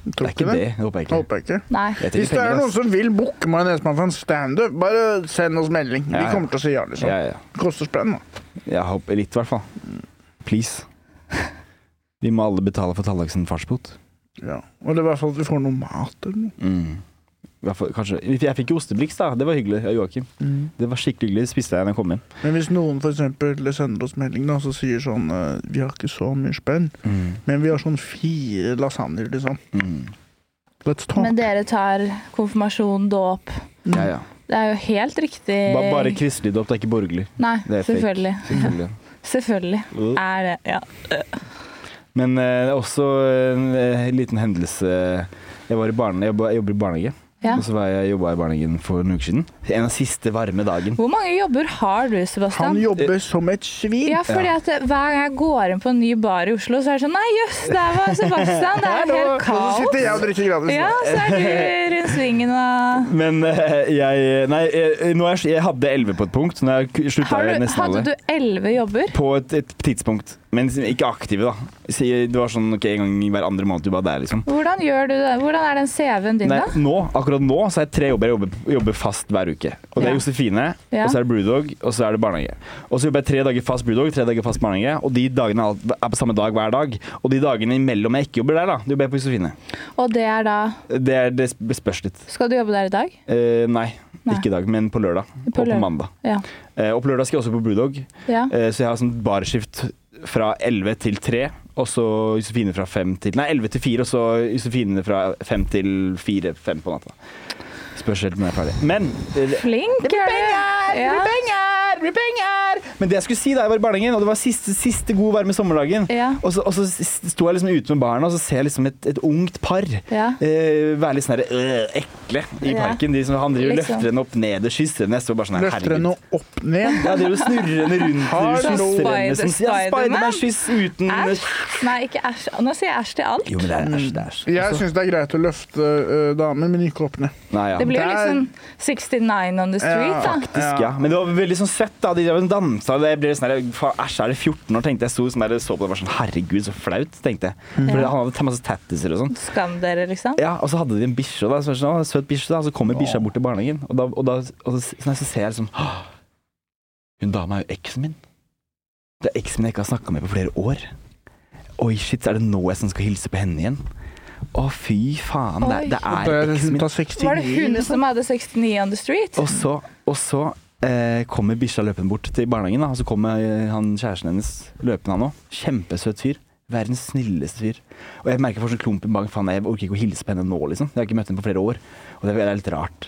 S1: Tror
S4: det er ikke det. Håper jeg ikke.
S1: Håper jeg ikke.
S3: Nei.
S4: Jeg trenger
S1: Hvis det er
S4: penger,
S1: noen
S4: ass.
S1: som vil booke Majonesmafiaen for en standup, bare send oss melding. Vi
S4: Ja, ja.
S1: kommer til å si ja, liksom.
S4: Ja, ja.
S1: Det koster spenn, da.
S4: Jeg håper litt, i hvert fall. Please. Vi må alle betale for tallaksen farsbot.
S1: Ja. Og det er i hvert fall at vi får noe mat eller noe.
S4: Mm. I hvert fall, Kanskje. Jeg fikk jo ostebliks, da. Det var hyggelig av Joakim. Det var skikkelig hyggelig. Det spiste jeg da jeg kom hjem.
S1: Men hvis noen for eksempel sender oss melding da, så sier sånn eh, Vi har ikke så mye spenn,
S4: Mm.
S1: men vi har sånn fire lasagner, liksom. Let's talk.
S3: Men dere tar konfirmasjon, dåp.
S4: Ja, ja.
S3: Det er jo helt riktig
S4: Bare, bare kristelig dåp, det er ikke borgerlig.
S3: Nei,
S4: Det er fake. Mm.
S3: selvfølgelig.
S4: Selvfølgelig.
S3: Selvfølgelig er det Ja.
S4: Men eh, det er også en eh, liten hendelse Jeg, var i barne, jeg, ba- jeg jobber i barnehage.
S3: ja.
S4: Og så var jeg jobba i barnehagen for noen uker siden. En av siste varme dagen.
S3: Hvor mange jobber har du, Sebastian?
S1: Han jobber som et svin.
S3: Ja, fordi at det- hver gang jeg går inn på en ny bar i Oslo, så er det sånn Nei, jøss, der var Sebastian! Det er jo helt
S1: Og så
S3: kaos.
S1: sitter jeg og drikker gratis.
S3: Ja,
S4: sånn.
S3: så er du rundt svingen og
S4: Men eh, jeg Nei, eh, nå er, jeg hadde elleve på et punkt. Nå har jeg slutta
S3: Har du,
S4: nesten
S3: Hadde
S4: alle.
S3: du elleve jobber?
S4: På et, et tidspunkt, men ikke aktive, da. Så jeg- Det var sånn ok, en gang hver andre måned du var der, liksom.
S3: Hvordan gjør du det? Hvordan er den CV-en din,
S4: Nei,
S3: da?
S4: nå, akkurat nå så er det tre jobber jeg jobber, jobber fast hver uke. Og det
S3: Ja.
S4: er Josefine,
S3: Ja.
S4: og så er det Brewdog, og så er det barnehage. Og så jobber jeg tre dager fast Brewdog, tre dager fast barnehage. Og de dagene er alt- er på samme dag hver dag. Og de dagene imellom jeg ikke jobber der, da, jobber jeg på Josefine.
S3: Og det er da
S4: Det, er, det spørs litt.
S3: Skal du jobbe der i dag?
S4: Eh, nei,
S3: Nei.
S4: ikke i dag, men på lørdag.
S3: På
S4: og
S3: lørdag.
S4: på mandag.
S3: Ja.
S4: Eh, og på lørdag skal jeg også på Brewdog,
S3: ja.
S4: eh, så jeg har sånn barskift fra 11 til 3. Og så Josefine fra 5 til Nei, 11 til 4, og så Josefine fra 5 til 4 5 på natta. Spørs helt når jeg er ferdig. Men eh,
S3: Flink er du! Ja.
S4: penger! Blir penger! Men det jeg skulle si da jeg var i barnehagen, og det var siste, siste god varme sommerdagen,
S3: Ja.
S4: og så, og så s- sto jeg liksom ute med barna, og så ser jeg liksom et, et ungt par
S3: Ja.
S4: eh, være litt sånn der, øh, ekle i
S3: Ja.
S4: parken. De som, han driver og
S3: Liksom.
S4: løfter henne opp ned og kysser henne. Jeg står bare sånn her,
S1: Løfter henne opp ned.
S4: Ja, driver og snurrer henne rundt
S1: Har
S4: og
S1: du
S4: kysser henne.
S3: Spider-
S4: Som, ja,
S3: Spiderman?
S4: Spiderman-kyss uten
S3: Æsj. Nei, ikke æsj. Nå sier jeg æsj til alt.
S4: Jo, men det er æsj, det er æsj.
S1: Jeg syns det er greit å løfte ø, damer, men ikke opp ned.
S4: Nei, ja.
S3: Det blir jo
S1: Der-
S3: liksom 69 on the street,
S1: Ja,
S3: da.
S4: Faktisk, ja. Men det var veldig sånn søtt. da De drev og dansa. og Jeg ble sånn her, "Fa- Æsj, er det 14 år? tenkte jeg. Sto sånn der, så på det og var sånn Herregud, så flaut, tenkte jeg. For
S3: Mm. Ja.
S4: han hadde masse tattiser og sånn.
S3: Skam dere, liksom.
S4: Ja, Og så hadde de en bikkje, da, så var det sånn, «Å, søt bikkje, da, og så kommer bikkja bort til barnehagen. Og, da, og, da, og så, sånn, her, så ser jeg liksom «Åh, Hun dama er jo eksen min. Det er eksen min jeg ikke har snakka med på flere år. Oi, shit, er det nå jeg som skal hilse på henne igjen? Å, fy faen. Det,
S3: Oi.
S4: det
S1: Det
S4: er
S1: er
S4: eksen
S1: hun
S4: min.
S1: tar 69.
S3: Var det
S4: liksom?
S3: hun som hadde 69 on the street?
S4: Og så, og så eh, kommer bikkja løpende bort til barnehagen, da, og så kommer eh, han, kjæresten hennes løpende, han òg. Kjempesøt fyr. Verdens snilleste fyr. Og jeg merker jeg får sånn klump i magen. Faen, jeg orker ikke å hilse på henne nå, liksom. Jeg har ikke møtt henne på flere år. Og det er- det er litt rart.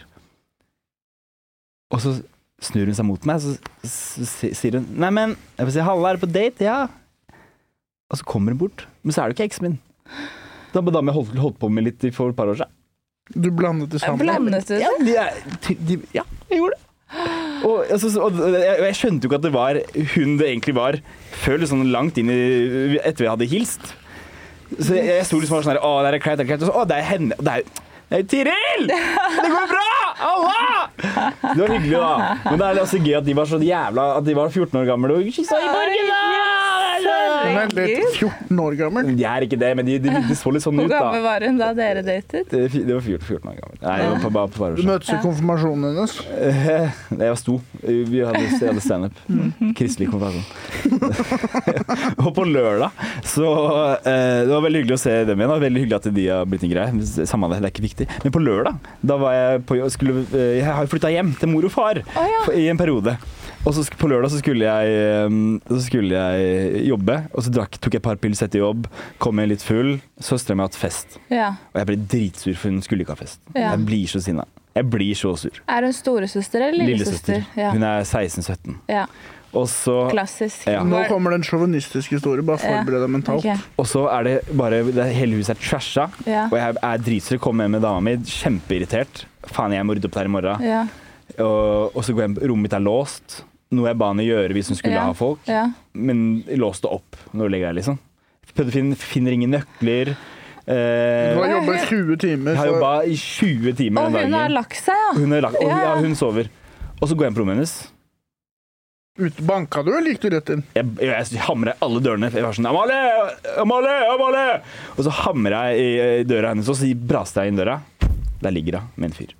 S4: Og så snur hun seg mot meg, så, så, si- sier hun Nei, men Jeg får si Halla, er du på date? Ja. Og så kommer hun bort. Men så er det jo ikke eksen min. Da var dama jeg holdt, holdt på med litt for et par år siden.
S1: Du blandet det sammen.
S3: Blandet du
S4: Ja,
S3: det?
S4: de er, ty- de, ja jeg gjorde det. Og, jeg synes- og jeg, og jeg skjønte jo ikke at det var hun det egentlig var, før liksom langt inn i, etter vi hadde hilst. Så jeg, jeg sto liksom bare sånn her Å, det er kleint, det er kleint. Og så Å, det er henne. Og det er det er jo Tiril! Det går bra! Allah! Det var hyggelig, da. Men det er altså gøy at de var så jævla At de var 14 år gamle og kyssa i borgen, da!
S1: hun er lett
S3: Herregud.
S1: 14 år gammel.
S4: De er ikke det, men de, de, de så litt sånn
S3: Hvor
S4: ut, da.
S3: gammel var hun da dere datet?
S4: Det, det var 14 14 år gammel. Nei, det var på, bare på
S1: Du
S4: bare
S1: møtes i konfirmasjonen hennes.
S4: Eh, Jeg sto. Vi hadde, jeg hadde standup.
S3: Mhm.
S4: Kristelig konfirmasjon. og på lørdag så eh, Det var veldig hyggelig å se dem igjen. Og veldig hyggelig at de har blitt en greie. Samme av det, det er ikke viktig. Men på lørdag, da var jeg på jobb skulle, eh, Jeg har flytta hjem til mor og far
S3: Å ja.
S4: for- i en periode. Og så sk- på lørdag så skulle jeg, eh, så skulle jeg jobbe, og så drakk, tok jeg et par pils etter jobb. Kom hjem litt full. Søstera mi har hatt fest,
S3: Ja.
S4: og jeg ble dritsur, for hun skulle ikke ha fest.
S3: Ja.
S4: Jeg blir så sinna. Jeg blir så sur.
S3: Er hun storesøster eller lillesøster? Ja.
S4: Hun er 16-17.
S3: ja.
S4: Og så,
S3: Klassisk.
S4: Ja.
S1: Nå
S3: Hvor-
S1: kommer det en sjåvinistisk historie. Bare forbered deg mentalt.
S3: Ok.
S4: og så er det bare det, Hele huset er trasha.
S3: Ja.
S4: Og jeg er dritsur, kommer hjem med dama mi, kjempeirritert. Faen, jeg må rydde opp der i morgen.
S3: Ja.
S4: Og, og så går jeg Rommet mitt er låst. Noe jeg ba henne gjøre hvis hun skulle
S3: Ja.
S4: ha folk.
S3: ja.
S4: Men låst det opp. Nå ligger jeg liksom. Prøvde å finne, finner ingen nøkler.
S1: Du
S4: Eh,
S1: har jobba i 20 timer.
S4: jeg har
S1: så-
S4: jobba i 20 timer
S3: Og
S4: den
S3: hun har
S4: dagen.
S3: lagt seg, ja.
S4: Hun, er lagt, og, ja,
S3: Ja.
S4: hun sover. Og så går jeg inn på rommet hennes.
S1: Ut, banka du, eller gikk du rett inn?
S4: jeg, jeg hamra i alle dørene. Jeg var sånn Amalie! Amalie! Amalie! Og så hamra jeg i, eh, i døra hennes, og så braste jeg inn døra. Der ligger hun med en fyr.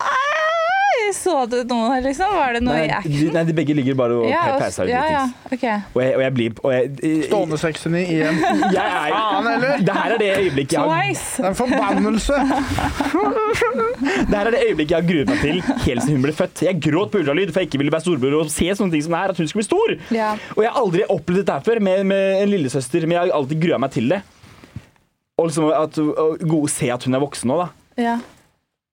S3: Nei, Så du noe, liksom? Var det noe
S4: Nei,
S3: i
S4: de,
S3: action?
S4: nei, de begge ligger bare og
S3: Ja,
S4: ja,
S3: og-
S4: pauser ut.
S3: ja, ja.
S4: dritings.
S3: Ok.
S4: Og jeg, og jeg blir og jeg,
S1: Stående 69 igjen.
S4: Jeg er
S1: Faen heller!
S4: Det her er det øyeblikket jeg, har-
S3: Twice!
S1: Det er en forbannelse!
S4: det her er det øyeblikket jeg har gruet meg til helt siden hun ble født. Jeg gråt på ultralyd, for jeg ikke ville være storbror og se sånne ting som det her, at hun skulle bli stor.
S3: Ja.
S4: Og jeg har aldri opplevd dette her før med, med en lillesøster, men jeg har alltid grua meg til det. Og liksom at, og, og se at hun er voksen nå, da.
S3: ja.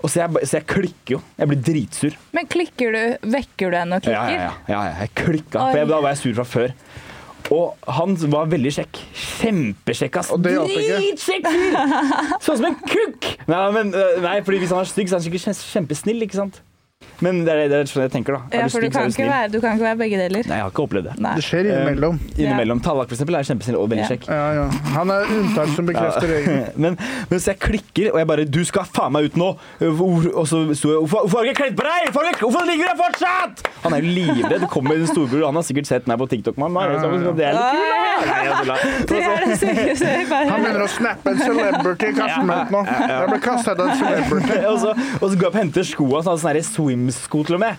S4: Og så jeg, ba- så jeg klikker jo. Jeg blir dritsur.
S3: Men klikker du Vekker du henne og
S4: Ja,
S3: klikker?
S4: ja, ja, ja, ja. Jeg klikka, for jeg, da var jeg sur fra før. Og han var veldig kjekk. Kjempekjekk, ass.
S1: Og det hjalp ikke.
S4: Dritkjekk fyr! Sånn som en kukk! Nei, men, øh, nei, fordi hvis han er stygg, så er han sikkert kjem- kjempesnill, ikke sant? Men det er, det er sånn jeg tenker, da. Er
S3: Ja,
S4: du
S3: for du
S4: stygg, så
S3: kan,
S4: er du
S3: ikke
S4: snill.
S3: være, du kan ikke være begge deler.
S4: Nei, jeg har ikke opplevd det.
S3: Nei.
S1: Det skjer innimellom.
S4: Innimellom. Tallak, for eksempel, er kjempesnill og veldig
S3: Ja.
S4: kjekk.
S1: Ja, ja. Han er unntak som bekrefter regelen.
S4: Men mens jeg klikker, og jeg bare 'Du skal faen meg ut nå!' Hvor- Og så sto jeg 'Hvorfor hvorfor har du ikke kledd på deg?! Hvorfor, har du ikke- hvorfor ligger du her fortsatt?! Han er jo livredd. Det Kommer en storbror, han har sikkert sett meg på TikTok. Mamma, er det sånn, så det er litt altså. kult, da!» Nei, jeg tuller.
S3: Det er det sykeste jeg bare
S1: Han begynner å snappe en celebrity i kassen min nå. Jeg ble kastet av en celebrity.
S4: og, så, og så går jeg opp og henter skoene, så hadde jeg sånne swimsko til og med.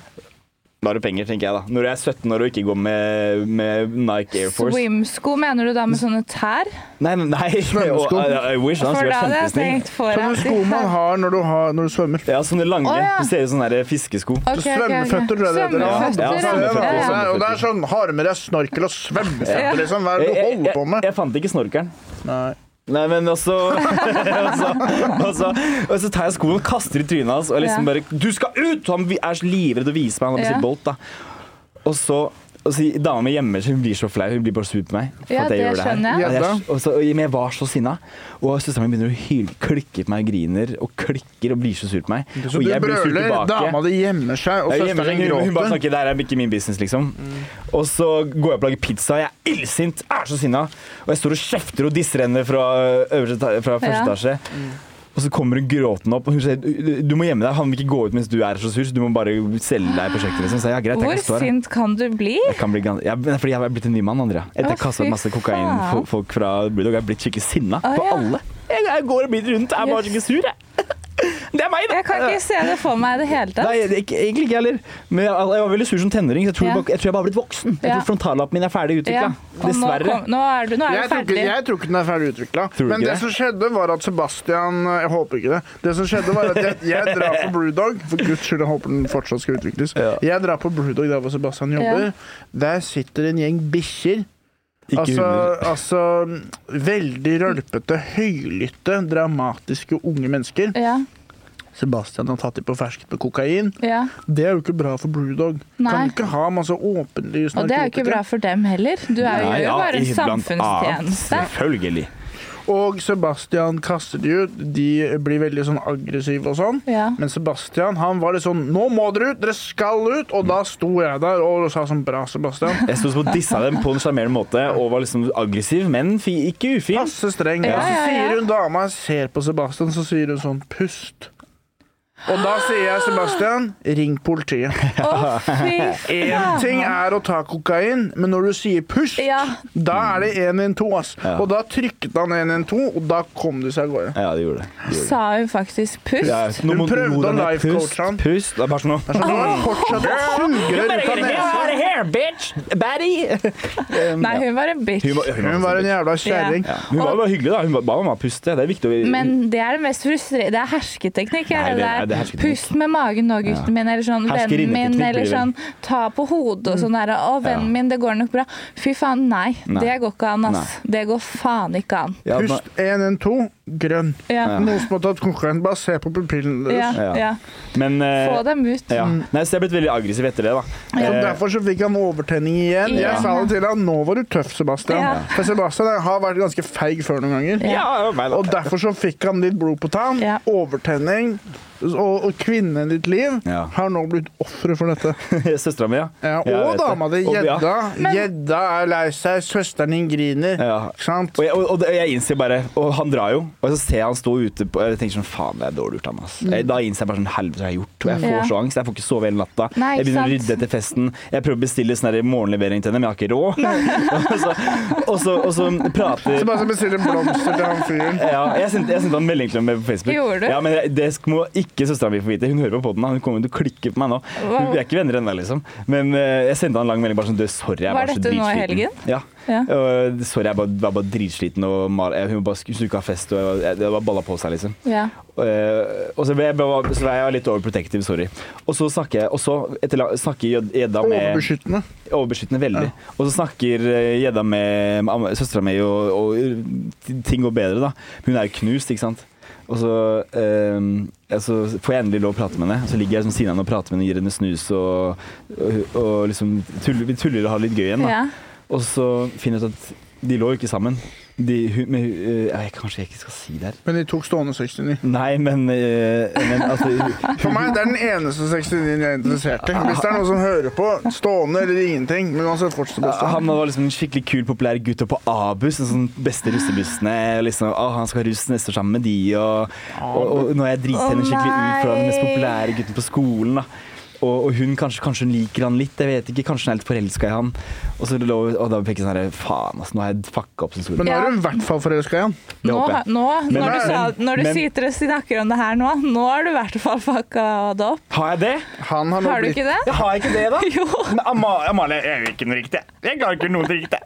S4: Da har du penger, tenker jeg da. Når jeg er 17 år og ikke går med, med Nike Air Force.
S3: Swimsko, mener du da med sånne tær?
S4: Nei, nei, nei.
S1: Svømmesko.
S4: Og, I, I wish, han
S3: For
S4: skulle
S3: da
S4: vært
S3: hadde jeg
S4: kjempesnill.
S3: tenkt for
S1: Sånne sko man har når du, har, når du svømmer.
S4: Ja, sånne lange.
S3: Å, ja.
S4: Det ser ut som sånne der fiskesko.
S1: Svømmeføtter, tror jeg det heter.
S4: Ja,
S3: Svømmeføtter,
S4: ja,
S1: Ja,
S4: svømmeføtter,
S3: ja, ja.
S4: svømmeføtter.
S1: Og det er sånn har med deg snorkel og svømmeføtter, liksom. Hva er det
S4: Jeg,
S1: du
S4: jeg,
S1: holder på
S4: jeg,
S1: med?
S4: jeg fant ikke snorkelen.
S1: Nei.
S4: Nei, men også og, så, og så tar jeg skoen og kaster i trynet hans og liksom
S3: Ja.
S4: bare 'Du skal ut!' Og han er så livredd og viser meg. Han har bestilt
S3: Ja.
S4: Bolt, da. Og så og så Dama mi hjemme hun blir så flau. Hun blir bare sur på meg. for
S3: Ja,
S4: at jeg
S3: det
S4: gjør her.
S3: skjønner jeg.
S4: Og
S1: Gjedda.
S4: og så, men jeg var så sinna. Og søstera mi begynner å hyle, klikke på meg og griner og klikker og blir så sur på meg.
S1: Så
S4: og
S1: du
S4: jeg blir sur
S1: brøler,
S4: tilbake.
S1: dama di gjemmer seg, og
S4: Jeg gjemmer
S1: søsteren
S4: meg,
S1: din
S4: hun, hun bare
S1: gråter.
S4: snakker, det her er ikke min business, liksom.
S3: Mm.
S4: Og så går jeg opp og lager pizza, jeg er illsint, er så sinna. Og jeg står og kjefter og disser henne fra, øverste, eta- fra første
S3: Ja. Mm.
S4: etasje. Og så kommer hun gråtende opp og hun sier du du må gjemme deg. Han vil ikke gå ut mens du er så sur, så du må bare selge deg prosjektet. Liksom. Så jeg, ja, greit, jeg
S3: Hvor
S4: kan stå her.
S3: sint kan du bli?
S4: Jeg kan bli gans jeg, men fordi jeg er blitt en ny mann, Andrea. Etter jeg
S3: Å,
S4: kastet
S3: fy
S4: masse kokain
S3: faen.
S4: fo- folk fra Brewdog, jeg er blitt skikkelig sinna
S3: Å,
S4: på
S3: ja.
S4: alle. Jeg, jeg går og blir rundt, jeg er bare skikkelig sur, jeg. Det er meg, da.
S3: Jeg kan ikke se det for meg i det hele tatt.
S4: Nei, det er ikke, egentlig ikke jeg heller. Men jeg, altså, jeg var veldig sur som tenåring, så jeg tror,
S3: Ja.
S4: jeg bare- jeg tror jeg bare har blitt voksen. Jeg
S3: Ja.
S4: tror frontallappen min er ferdig
S3: Ja.
S4: utvikla.
S3: Og Nå,
S4: Dessverre.
S3: kom, nå er du, nå er
S1: Jeg
S3: du
S1: tror, ikke,
S3: ferdig.
S1: jeg tror ikke den er ferdig utvikla.
S4: Tror du
S1: Men
S4: ikke
S1: det
S4: det?
S1: som skjedde, var at Sebastian eh, Jeg håper ikke det. Det som skjedde, var at jeg, jeg drar på Brewdog. For guds skyld, jeg håper den fortsatt skal utvikles.
S4: Ja.
S1: Jeg drar på Brewdog der hvor Sebastian jobber.
S3: Ja.
S1: Der sitter en gjeng bikkjer.
S4: Ikke
S1: Altså,
S4: hunder.
S1: altså veldig rølpete, høylytte, dramatiske unge mennesker.
S3: Ja,
S1: Sebastian har tatt dem på ferskt med kokain.
S3: ja.
S1: Det er jo ikke bra for Brewdog.
S3: Nei.
S1: Kan ikke ha masse åpenlys
S3: Og det er jo ikke bra for dem heller. Du er jo,
S4: Nei,
S3: gjør jo
S4: ja,
S3: bare en
S4: iblant
S3: samfunnstjeneste.
S4: annet, Selvfølgelig.
S1: Og Sebastian kaster de ut. De blir veldig sånn aggressive og sånn.
S3: Ja.
S1: Men Sebastian han var litt sånn 'Nå må dere ut! Dere skal ut!' Og da sto jeg der og sa sånn 'Bra, Sebastian'.
S4: Jeg sto og dissa dem på en sjarmerende måte og var liksom aggressiv, men fi, ikke ufin.
S1: Passe streng.
S3: Ja,
S1: Og så
S3: ja, ja.
S1: sier hun dama, ser på Sebastian, så sier hun sånn 'Pust'. Og da sier jeg Sebastian, ring politiet.
S3: Å, fy
S1: Én ting
S3: faen.
S1: er å ta kokain, men når du sier pust,
S3: Ja.
S1: da er det 112, ass.
S4: Ja.
S1: Og da trykket han 112, og da kom du seg av gårde.
S4: Ja, det gjorde det. det. Gjorde det.
S3: Sa hun faktisk pust?
S4: Ja,
S1: Hun
S4: nå må-
S1: prøvde å
S4: nå må den-
S1: life-coache
S4: pust,
S1: han.
S4: Pust. Det er bare
S1: Så
S4: sånn
S1: nå er det fortsatt et sugerør ut av nesa.
S4: Um,
S3: Nei, hun var en bitch.
S1: Hun var en jævla kjerring.
S4: Ja. Hun var jo bare hyggelig, da. Hun ba- ba meg om å puste. Det er viktig å
S3: Men det er det mest frustrerende. Det er hersketeknikk.
S4: Nei,
S3: Er
S4: det er-
S3: det,
S4: det er
S3: der.
S4: hersketeknikk.
S3: Pust med magen nå, gutten min, eller sånn vennen
S4: Herskerinneteknikk
S3: min,
S4: blir
S3: eller
S4: det.
S3: sånn ta på hodet og sånn der. Å, vennen
S4: Ja.
S3: min, det går nok bra. Fy faen, nei.
S4: Nei.
S3: Det går ikke an, ass. Det går faen ikke an.
S4: Ja, men-
S1: Pust 112, grønn.
S3: Ja.
S1: Noen som har tatt kokain, bare se på pupillen
S3: Ja,
S1: deres.
S4: Ja.
S3: ja.
S4: men eh,
S3: Få dem ut.
S4: ja. Nei, så jeg er blitt veldig aggressiv etter det, da.
S1: Så
S4: Eh,
S1: derfor så fikk han overtenning igjen.
S3: Ja.
S1: Jeg sa det til han, nå var du tøff, Sebastian.
S3: Ja.
S1: For Sebastian har vært ganske feig før noen ganger.
S4: ja, ja, meg, da.
S1: Og derfor så fikk han litt blod på tann,
S3: Ja.
S1: overtenning, og, og kvinnen i ditt liv
S4: Ja.
S1: har nå blitt ofre for dette.
S4: Søstera mi, ja.
S1: Ja,
S4: Jeg
S1: og
S4: vet
S1: dama di,
S4: Og- ja.
S1: gjedda. Gjedda er lei seg, søsteren din griner.
S4: Ja.
S1: Ikke sant?
S4: Og jeg, og, og det- jeg innser bare Og han drar jo. Og så ser jeg han stå ute på, og jeg tenker sånn Faen, det er dårlig gjort av meg. ass. Jeg- Da innser jeg bare sånn Helvete, hva har jeg gjort? Og jeg får
S3: Ja.
S4: så angst. Jeg får ikke sove hele natta.
S3: Nei,
S4: jeg
S3: ikke
S4: begynner å
S3: sant?
S4: rydde etter festen. Jeg prøver å bestille sånn her morgenlevering til henne, men jeg har ikke råd. og, så, og, så, og så prater
S1: Så bare så bestiller blomster til han fyren.
S4: ja, jeg sendte, jeg sendte han melding til ham på Facebook.
S3: Gjorde du?
S4: Ja, men jeg- Det må ikke søstera mi få vite. Hun hører på podden, da. Hun kommer til å klikke på meg nå.
S3: Hva-
S4: Vi er ikke venner ennå, liksom. Men eh, jeg sendte han en lang melding bare sånn Du, sorry, jeg
S3: Var
S4: var, så
S3: dette nå i
S4: dritsliten.
S3: helgen?
S4: Ja.
S3: Ja.
S4: Og, sorry, jeg bare, var bare dritsliten og mal, jeg, hun bare skulle skulle ikke ha fest, og jeg, var- jeg, det var balla på seg, liksom.
S3: Ja.
S4: Eh, og så ble jeg, bare- så var jeg litt overprotective, sorry. Og så snakker jeg, og så etter, la- snakker Jed- Jedda med
S1: Overbeskyttende.
S4: overbeskyttende veldig. Og så snakker eh, gjedda med am- søstera mi, og, og ting går bedre, da. Hun er jo knust, ikke sant. Og så, eh, ja, så får jeg endelig lov å prate med henne. Så ligger jeg liksom ved siden av henne og prater med henne, gir henne snus og, og, og liksom tuller, vi tuller og har det litt gøy igjen. da.
S3: ja.
S4: Og så finner jeg ut at de lå jo ikke sammen. De, hun, men, hun- eh, jeg, kanskje jeg ikke skal si det her.
S1: Men de tok stående 69.
S4: Nei, men, eh, men altså, hun-
S1: For meg det er den eneste 69 jeg er interessert i. Hvis det er noen som hører på, stående eller ingenting. Men uansett, fortsett. Sebastian.
S4: Han var liksom en skikkelig kul, populær gutt og på A-buss. Den sånn beste russebussene. og Liksom, å, han skal ha russ neste år sammen med de, og, og, og nå har jeg driti
S3: Å,
S4: henne skikkelig ut for han er den mest
S3: nei.
S4: populære gutten på skolen. da. Og, og hun kanskje, kanskje hun liker han litt, jeg vet ikke. Kanskje hun er litt forelska i han. Og så lå, og da fikk jeg sånn her Faen, altså, nå har jeg fucka opp som skole.
S1: Men nå
S3: Ja.
S1: er du i hvert fall forelska i han.
S4: Det
S3: Nå,
S4: håper jeg.
S3: nå
S4: Men-
S3: når, du, sa, når du
S4: men-
S3: sitter og snakker om det her nå, nå har du i hvert fall fucka det opp.
S4: Har jeg det?
S1: Han har nå
S3: Har du
S1: blitt
S3: ikke det?
S4: Jeg har ikke det, da.
S3: Jo.
S4: Men Amalie, Amalie jeg gjør ikke noe riktig. Jeg klarer ikke noe riktig.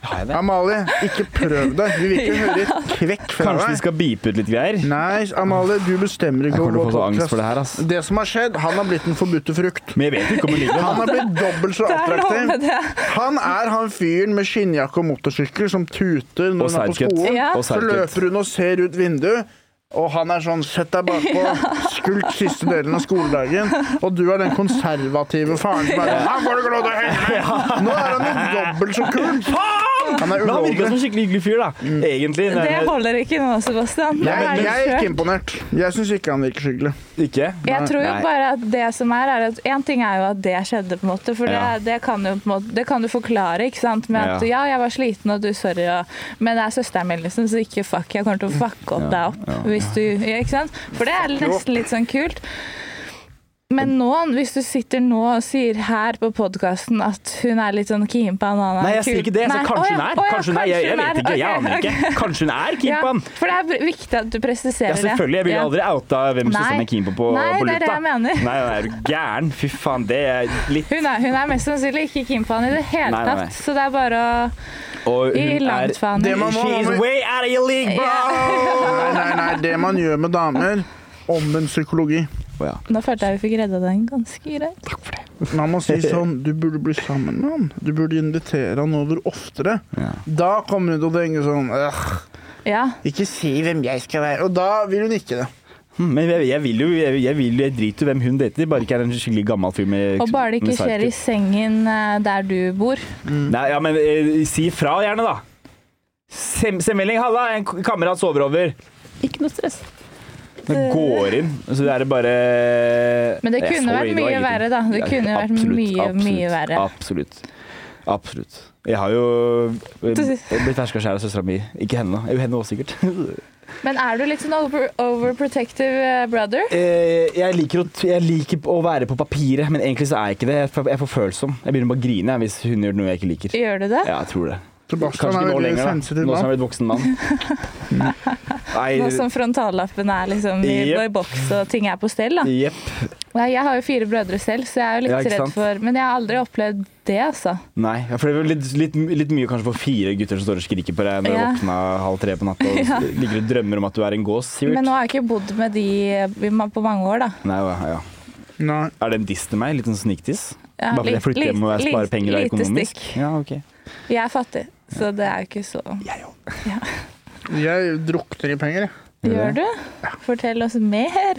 S4: Har jeg det?
S1: Amalie, ikke prøv deg. Vi vil ikke høre et kvekk fra
S4: Kanskje
S1: deg.
S4: vi skal beepe ut litt greier?
S1: Nei, Amalie, du bestemmer ikke
S4: Jeg kommer til å
S1: over
S4: få så
S1: podcast.
S4: angst for det her, ass.
S1: Det som har skjedd, han har blitt den forbudte frukt.
S4: Men jeg vet jo ikke om hun liker det. da.
S1: Han har blitt dobbelt så
S3: Det er noe med
S1: attraktiv.
S3: det.
S1: Han er han fyren med skinnjakke og motorsykkel som tuter
S4: Og
S1: når han er på
S4: sidecut.
S1: skolen.
S3: Ja.
S4: Og
S1: Så
S4: sidecut.
S1: løper hun og ser ut vinduet, og han er sånn Sett deg bakpå, skulk siste delen av skoledagen. Og du er den konservative faren som er Her får du ikke lov til å henge med! Nå er han jo dobbelt så kul! Han er
S4: Men han virka som
S1: ulovlig.
S4: en skikkelig hyggelig fyr, da.
S1: Mm.
S4: Egentlig. Nei,
S3: Det
S4: men-
S3: holder ikke nå, Sebastian.
S1: Jeg,
S3: Nå er du
S1: jeg er
S3: kjørt.
S1: ikke imponert. Jeg syns ikke han virker hyggelig.
S4: Ikke?
S3: Jeg tror jo
S4: Nei.
S3: bare at det som er, er at en ting er jo at det skjedde, på en måte, for
S4: Ja.
S3: det, det, kan jo, på en måte, det kan du forklare, ikke sant, med at
S4: Ja.
S3: ja, jeg var sliten, og du, sorry, og, men det er søsteren min, liksom, så ikke fuck, jeg kommer til å fucke opp deg opp, hvis du, ja, ikke sant, for det er nesten litt sånn kult. Men nå, hvis du sitter nå og sier her på podkasten at hun er litt sånn keen på han, han er
S4: Nei, jeg sier
S3: kul-
S4: ikke det. Så
S3: Nei,
S4: kanskje hun
S3: å ja,
S4: er.
S3: å ja,
S4: Kanskje hun er. Jeg, jeg vet ikke. Jeg
S3: Ok,
S4: aner
S3: ok.
S4: ikke. Kanskje hun er keen på han.
S3: Ja, for det er viktig at du presiserer
S4: Ja,
S3: det.
S4: selvfølgelig. Jeg ville
S3: Ja.
S4: aldri outa hvem
S3: Nei.
S4: som er keen på på,
S3: Nei,
S4: på
S3: det er det
S4: lufta.
S3: jeg mener.
S4: Nei, nei, er du gæren? Fy faen, det er litt
S3: Hun er, hun er mest sannsynlig ikke keen på han i det hele
S4: Nei, nei, nei.
S3: tatt, så det er bare å
S4: Og
S3: gi
S4: hun er
S3: langt for han.
S1: Det må-
S4: She's way out of your league, bro!
S1: Nei, nei, nei. Det man gjør med damer Omvendt psykologi.
S4: Å, ja.
S3: Nå følte jeg vi fikk redda den ganske greit.
S1: Man må si sånn Du burde bli sammen med han. Du burde invitere han over oftere.
S4: Ja.
S1: Da kommer hun til å tenke sånn «Åh,
S3: Ja.
S1: Ikke si hvem jeg skal være. Og da vil hun ikke det.
S4: Hm, Men jeg, jeg vil jo jeg, jeg, vil, jeg driter jo hvem hun dater, bare ikke er en skikkelig gammel fyr med
S3: Og bare det ikke
S4: med
S3: skjer i
S4: sidekick.
S3: sengen eh, der du bor.
S4: Nei, ja, men eh, si fra gjerne, da. Sem- Semmelding, halla, en k- kamerat sover over.
S3: Ikke noe stress.
S4: Det går inn, så det er det bare
S3: Men det
S4: Jeg
S3: kunne
S4: så
S3: vært
S4: inn, det var
S3: mye
S4: ingenting.
S3: verre, da. Det
S4: Ja,
S3: kunne vært
S4: absolutt,
S3: mye,
S4: absolutt,
S3: mye verre.
S4: Absolutt. Absolutt. Jeg har jo eh, blitt ferska skjær av søstera mi. Ikke henne, da. Jo, henne også, sikkert.
S3: Men er du litt sånn over, overprotective eh, brother?
S4: Eh, jeg, liker å, t- jeg liker å være på papiret, men egentlig så er jeg ikke det. Jeg er for- Jeg er for følsom. Jeg begynner bare å grine hvis hun gjør noe jeg ikke liker.
S3: Gjør du det?
S4: Ja, jeg tror det.
S5: Sebastian
S4: Kanskje
S5: er
S4: ikke nå
S5: veldig
S4: lenger, da.
S5: sensitiv
S4: Nå som jeg
S5: mann.
S4: har blitt voksen mann.
S3: Nå
S4: Nei,
S3: som frontallappen er liksom i,
S4: Jep.
S3: i boks og ting er på stell, da.
S4: jepp.
S3: Nei, jeg har jo fire brødre selv, så jeg er
S4: Ja,
S3: jo litt
S4: ikke sant?
S3: redd for Men jeg har aldri opplevd det, altså.
S4: Nei. ja, For det er vel litt, litt, litt mye kanskje for fire gutter som står og skriker på deg når du
S3: Ja.
S4: våkner halv tre på natta og
S3: Ja.
S4: ligger og drømmer om at du er en gås,
S3: Men
S4: Sivert.
S3: nå har jeg ikke bodd med de i ma- på mange år, da.
S4: Nei, ja, ja.
S5: Nei.
S4: Er det en diss til meg? Litt sånn sniktiss? Bare
S3: Ja,
S4: fordi jeg
S3: litt-
S4: flytter hjem og jeg
S3: litt-
S4: sparer penger der
S3: lite
S4: økonomisk?
S3: stikk.
S4: Ja, ok.
S3: Jeg er fattig, så det er jo ikke så
S5: Jeg drukner i penger, jeg.
S3: Gjør du? Fortell oss mer.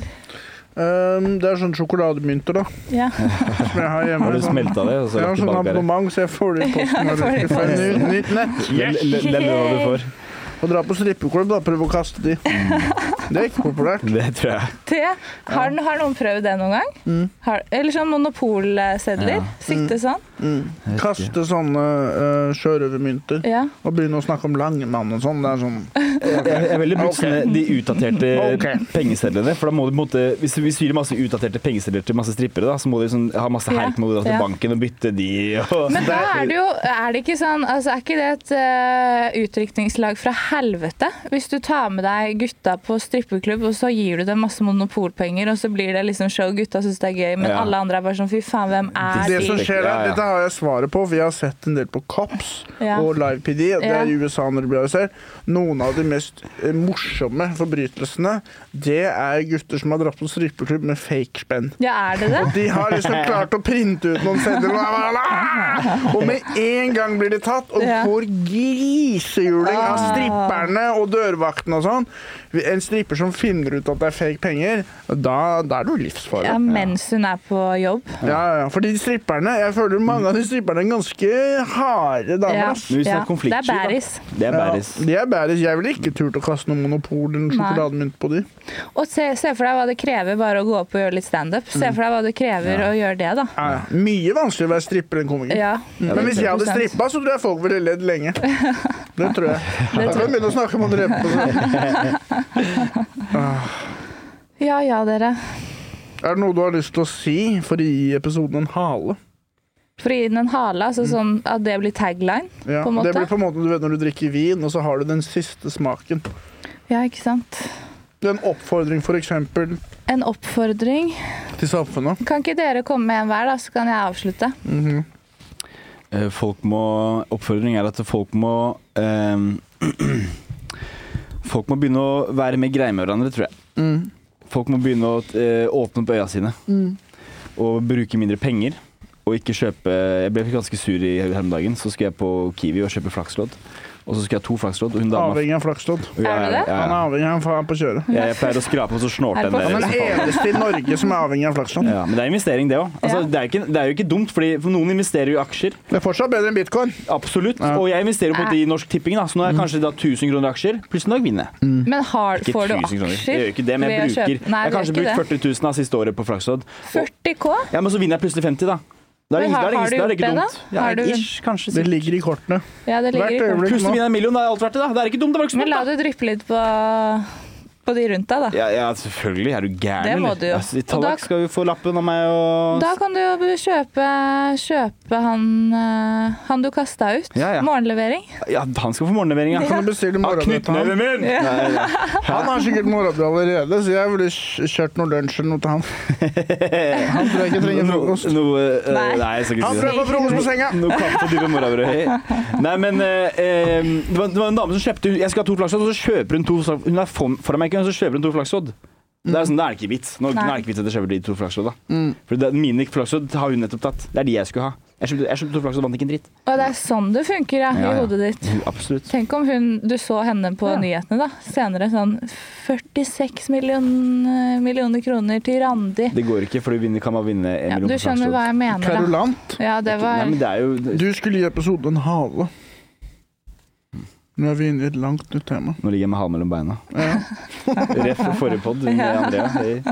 S1: Ehm,
S5: Um, det er
S1: sånn
S5: sånne sjokolademynter da,
S3: Ja.
S5: som jeg har hjemme.
S4: Har du
S5: Sånn-
S4: smelta det, og så
S5: Jeg har
S4: lagt
S5: sånn
S4: tilbake det?
S5: abonnement, så jeg får det i posten
S3: får
S5: når
S3: det i
S5: jeg skal få en ny- nytt nett.
S4: Den den lønna du får.
S5: Og dra på strippeklubb, da. Prøve å kaste de. Det er ikke populært.
S4: Det tror jeg.
S3: Det. Har, den- har noen prøvd det noen gang? Har, eller sånn monopolsedler?
S4: Ja.
S3: Sikte sånn?
S5: Kaste sånne uh, sjørøvermynter.
S3: Ja.
S5: Og begynne å snakke om Langemann og sånn. Det er sånn
S4: Jeg, jeg ville brukt sånne- de utdaterte
S5: Ok.
S4: pengesedlene. For da må du på en måte Hvis du hvis du gir masse utdaterte pengesedler til masse strippere, da, så må du liksom ha masse
S3: Ja,
S4: herk, må du dra til
S3: ja.
S4: banken og bytte de og
S3: Men da er Altså, det jo Er det ikke sånn altså Er ikke det et eh, utrykningslag fra helvete? Hvis du tar med deg gutta på strippeklubb, og så gir du dem masse monopolpenger, og så blir det liksom show, gutta syns det er gøy, men
S4: Ja.
S3: alle andre er bare sånn fy faen, hvem er
S5: Det
S3: de?
S5: som
S4: Ja,
S5: skjer der,
S4: ja.
S5: Dette har jeg svaret på. Vi har sett en del på COPS
S3: Ja.
S5: og Live PD. Det
S3: Ja.
S5: er i USA når det blir arrangert. Noen av de mest eh, morsomme forbrytelsene, det er gutter som har dratt på strippeklubb med fake spenn.
S3: Ja, er det det?
S5: De har liksom klart å printe ut noen sedler, la, la, la, og med en gang blir de tatt og
S3: Ja. Ah.
S5: får grisehjuling av stripperne og dørvaktene og sånn. En stripper som finner ut at det er fake penger, da, da er det jo livsfare.
S3: Ja, mens hun er på jobb.
S5: Ja, ja, fordi stripperne Jeg føler mange av de stripperne er ganske harde damer.
S3: Ja,
S5: ass.
S4: Men hvis det er
S3: ja. Det
S4: konfliktsky,
S3: er
S4: da.
S3: bæris.
S4: Det er
S5: Ja,
S4: bæris.
S5: de er bæris. Jeg ville ikke turt å kaste noe monopol eller sjokolademynt på de.
S3: Og se, se for deg hva det krever bare å gå opp og gjøre litt standup. Se
S4: Mm.
S3: for deg hva det krever å gjøre det, da.
S5: Ja, ja. Mye vanskeligere å være stripper enn komiker.
S3: Ja,
S5: Men hvis jeg hadde
S3: 100%.
S5: strippa, så tror jeg folk ville ledd lenge. Det tror jeg. Da kan vi begynne å snakke om å drepe og sånn.
S3: ja, ja dere.
S5: Er det noe du har lyst til å si for å gi episoden en hale?
S3: For å gi den en hale, altså
S4: Mm.
S3: sånn at det blir tagline,
S5: Ja,
S3: på en måte.
S5: Det blir på en måte du vet når du drikker vin, og så har du den siste smaken.
S3: Ja, ikke sant.
S5: Det er En oppfordring f.eks. til
S3: En oppfordring.
S5: samfunnet.
S3: Kan ikke dere komme med en hver, da, så kan jeg avslutte?
S4: Eh, Folk må Oppfordring er at folk må eh, Folk må begynne å være mer greie med hverandre, tror jeg. Folk må begynne å eh, åpne opp øya sine. Og bruke mindre penger. Og ikke kjøpe Jeg ble ganske sur i her om dagen. Så skulle jeg på Kiwi og kjøpe flakslodd. Og så skulle jeg ha to flakslodd. Og hun dama
S5: Avhengig av flakslodd.
S4: og jeg-
S3: Er du det?
S4: Ja,
S5: Han er
S4: ja.
S5: avhengig av å få han på kjøret.
S4: Jeg, jeg pleier å skrape, og så snorter
S3: Er det
S4: den der.
S5: Han er
S4: liksom.
S5: den eneste i Norge som er avhengig av flakslodd.
S4: Ja, men det er investering, det òg. Altså,
S3: Ja.
S4: det, er jo ikke- det er jo ikke dumt, fordi for noen investerer jo i aksjer.
S5: Det er fortsatt bedre enn bitcoin.
S4: Absolutt. Og jeg investerer på en måte i Norsk Tipping, da, så nå er jeg
S5: Mm.
S4: kanskje da 1000 kroner i aksjer. Plutselig en dag vinner jeg.
S3: Men har,
S4: Mm. Ikke
S3: får du
S4: 1000 kroner. Jeg
S3: aksjer?
S4: gjør ikke det, men jeg
S3: ved å
S4: bruker
S3: kjøpe- Nei,
S4: Jeg har kanskje
S3: det
S4: brukt
S3: er ikke
S4: 40 000 av siste året på flakslodd.
S3: det. 40 K?
S4: Ja, men så vinner jeg plutselig 50, da. Da er det,
S3: Men har-
S4: da er det,
S3: har
S4: ikke-
S3: du
S4: da er det ikke
S3: gjort det,
S4: dumt.
S3: da? Har du-
S4: Ja, ish, kanskje.
S5: Det
S4: sikkert.
S5: ligger i kortene.
S3: Ja, det ligger
S5: Hvert
S3: i
S5: øyeblikk
S4: Plutselig
S5: nå.
S4: vinner jeg en million, da er alt verdt det, da. Det er ikke dumt, det var ikke så
S3: Men la
S4: dumt, da.
S3: det dryppe litt på, på de rundt deg, da.
S4: Ja, ja, selvfølgelig. Er du gæren,
S3: Det må
S4: eller?
S3: du jo.
S4: Altså, I
S3: Og da-
S4: Tallak skal jo få lappen av meg og
S3: Da kan du jo kjøpe, kjøpe han, eh, han du kasta ut.
S4: Ja, ja.
S3: Morgenlevering.
S4: Ja, han skal få morgenlevering, ja.
S5: Kan du bestille
S4: Ah,
S5: morgenbrød til
S4: Knyttneven
S5: han?
S4: min! Nei, nei.
S5: Han har sikkert morgenbrød allerede, så jeg ville kj- kjørt noe lunsj eller noe til han. Han tror jeg ikke trenger
S4: Noe,
S5: frokost.
S4: noe, eh,
S3: Nei.
S4: nei, jeg skal ikke
S5: Han
S4: si det.
S5: tror jeg får frokost på senga!
S4: Noe kaffe og dype morrabrød. Nei, men eh, eh, det, var, det var en dame som kjøpte Jeg skal ha to flakslodd, og så kjøper hun to Hun er for- foran meg, ikke, så kjøper hun to flakslodd. Det
S3: Mm.
S4: er sånn, da er det ikke vits. Nå, nå er det ikke vits at jeg kjøper de to flaksloddene. For det, mine flakslodd har hun nettopp tatt. Det er de jeg skulle ha. Jeg kjøpte, jeg kjøpte to flakslodd, vant ikke en dritt.
S3: Og det er sånn det funker ja,
S4: Ja,
S3: i
S4: ja.
S3: hodet ditt.
S4: Absolutt.
S3: Tenk om hun, du så henne på nyhetene da, senere sånn 46 millioner, millioner kroner til Randi.
S4: Det går ikke, for du vinner, kan man vinne en
S3: Ja,
S4: million
S3: du
S4: på
S3: skjønner hva
S4: flakslodd.
S3: jeg mener da.
S5: Kverulant.
S3: Ja, det
S4: Nei,
S3: var
S4: men det er jo
S5: Du skulle gi episoden en hale. Nå er vi inne i et langt nytt tema.
S4: Nå ligger jeg med halen mellom beina. Ref forrige pod med Andrea. Hei.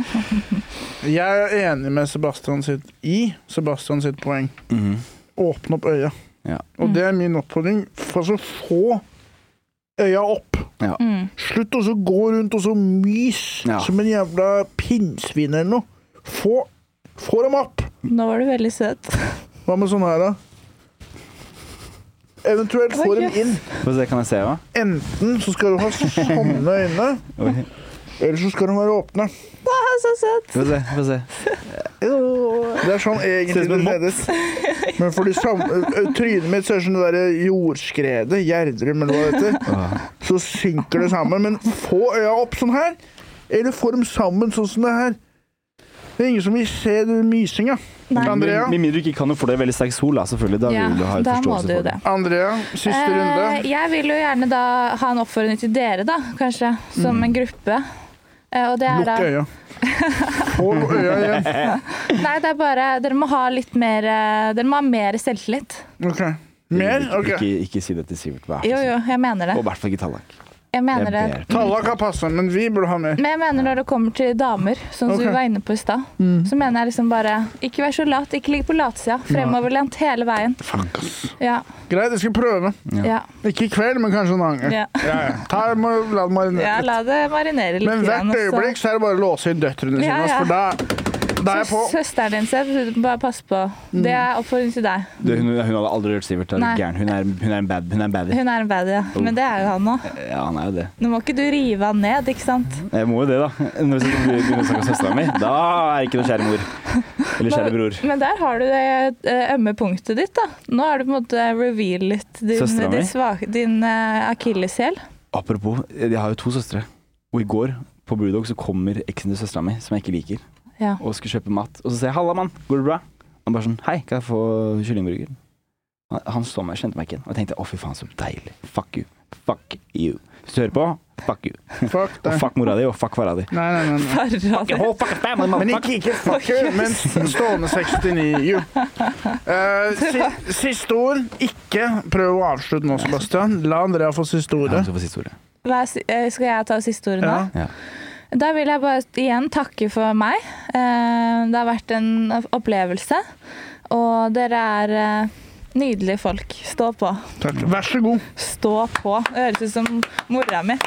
S5: Jeg er enig med Sebastian sitt i Sebastian sitt poeng.
S4: Mhm.
S5: Åpne opp øya.
S4: Ja.
S5: Og det er min oppfordring. For så få øya opp.
S4: Ja.
S3: Mm.
S1: Slutt å så gå rundt og så mys
S4: Ja.
S1: som en jævla pinnsvin eller noe. Få, få dem opp!
S3: Nå var du veldig søt.
S1: Hva med sånn her, da? Eventuelt få dem inn.
S4: Få se, kan jeg se hva?
S1: Enten så skal du ha sånne øyne,
S4: Ok.
S1: eller så skal de være åpne.
S3: Å, så søt.
S4: Få se, få se.
S1: Det er sånn egentlig
S4: Ser ut som
S1: det
S4: en mopp.
S1: ledes. Men for de samme, ø, ø, trynet mitt ser ut som det derre jordskredet, Gjerdrum eller hva det heter. Så synker det sammen. Men få øya opp sånn her, eller få dem sammen sånn som det her. Det er ingen som vil se den mysinga.
S3: Nei.
S1: Andrea,
S4: Med mindre du ikke kan jo få det veldig sterk sol, da, selvfølgelig. Da
S3: Ja,
S4: vil du ha
S3: da må
S4: forståelse
S3: du jo
S4: for
S3: det.
S1: Andrea, siste
S3: Eh,
S1: runde.
S3: jeg vil jo gjerne da ha en oppfordring til dere, da, kanskje, som en gruppe. Eh, og det er da
S1: Lukk øya. Få øya igjen.
S3: Nei, det er bare Dere må ha litt mer eh, Dere må ha mer selvtillit.
S1: OK. Mer?
S4: Ikke,
S1: OK.
S4: ikke, ikke si det til Sivert. vær så
S3: Jo,
S4: snill.
S3: jo, jeg mener det.
S4: Og i hvert fall ikke tallak.
S3: Jeg mener det.
S1: Tallak har passa, men vi burde ha mer.
S3: Men jeg mener når det kommer til damer, sånn som
S1: Ok.
S3: du var inne på i stad, så mener jeg liksom bare Ikke vær så lat. Ikke ligg på latsida. Fremoverlent hele veien. Ja.
S1: Greit, jeg skal prøve.
S3: Ja.
S1: Ikke i kveld, men kanskje en annen gang.
S3: ja.
S1: Ja, ja. Ta, må, la det marinere.
S3: ja la det marinere litt.
S1: Men hvert
S3: grann, og så-
S1: øyeblikk så er det bare å låse inn døtrene sine,
S3: Ja,
S1: ass,
S3: ja.
S1: for da, da er jeg på.
S3: Søs- altså. Søsteren din, Seb, bare pass på. Det er oppfordring til deg.
S4: Du, hun, hun hadde aldri rørt Sivert. Er du
S3: Nei.
S4: gæren? Hun er, hun er en bad. Hun er en baddie.
S3: Hun er en baddie, ja.
S4: Oh.
S3: men det er jo han òg.
S4: Ja, han er jo det.
S3: Nå må ikke du rive han ned, ikke sant?
S4: Jeg må jo det, da. Når jeg begynner å snakke om søstera mi, da er jeg ikke noe kjære mor. Eller kjære bror.
S3: Men der har du det eh, ømme punktet ditt, da. Nå har du på en måte revealet din,
S4: Søstera mi?
S3: din, svak- din eh, akilleshæl.
S4: Apropos, eh, jeg har jo to søstre. Og i går på Brewdog så kommer eksen til søstera mi, som jeg ikke liker,
S3: Ja.
S4: og skal kjøpe mat. Og så sier jeg 'halla, mann, går det bra?' Han bare sånn 'hei, kan jeg få kyllingburger?' Han- Han så meg, kjente meg ikke igjen. Og jeg tenkte 'å, fy faen, så deilig'. Fuck you. Fuck you. Hvis du hører på, fuck you.
S1: Fuck
S4: Og
S1: deg.
S4: fuck mora di, og fuck fara di.
S1: Nei, nei, nei. nei.
S3: Farad.
S1: Men ikke, ikke fuck you, men stående 69. Jo. Eh, si, siste ord. Ikke prøv å avslutte nå, Sebastian. La Andrea få siste
S4: Ja,
S1: ordet.
S4: så får siste ordet.
S3: Hva er si- eh, Skal jeg ta siste ordet nå?
S1: Ja.
S4: Ja.
S3: Da vil jeg bare igjen takke for meg. Eh, Det har vært en opplevelse. Og dere er eh, nydelige folk. Stå på.
S1: Takk. Vær så god.
S3: Stå på. Det høres ut som mora mi.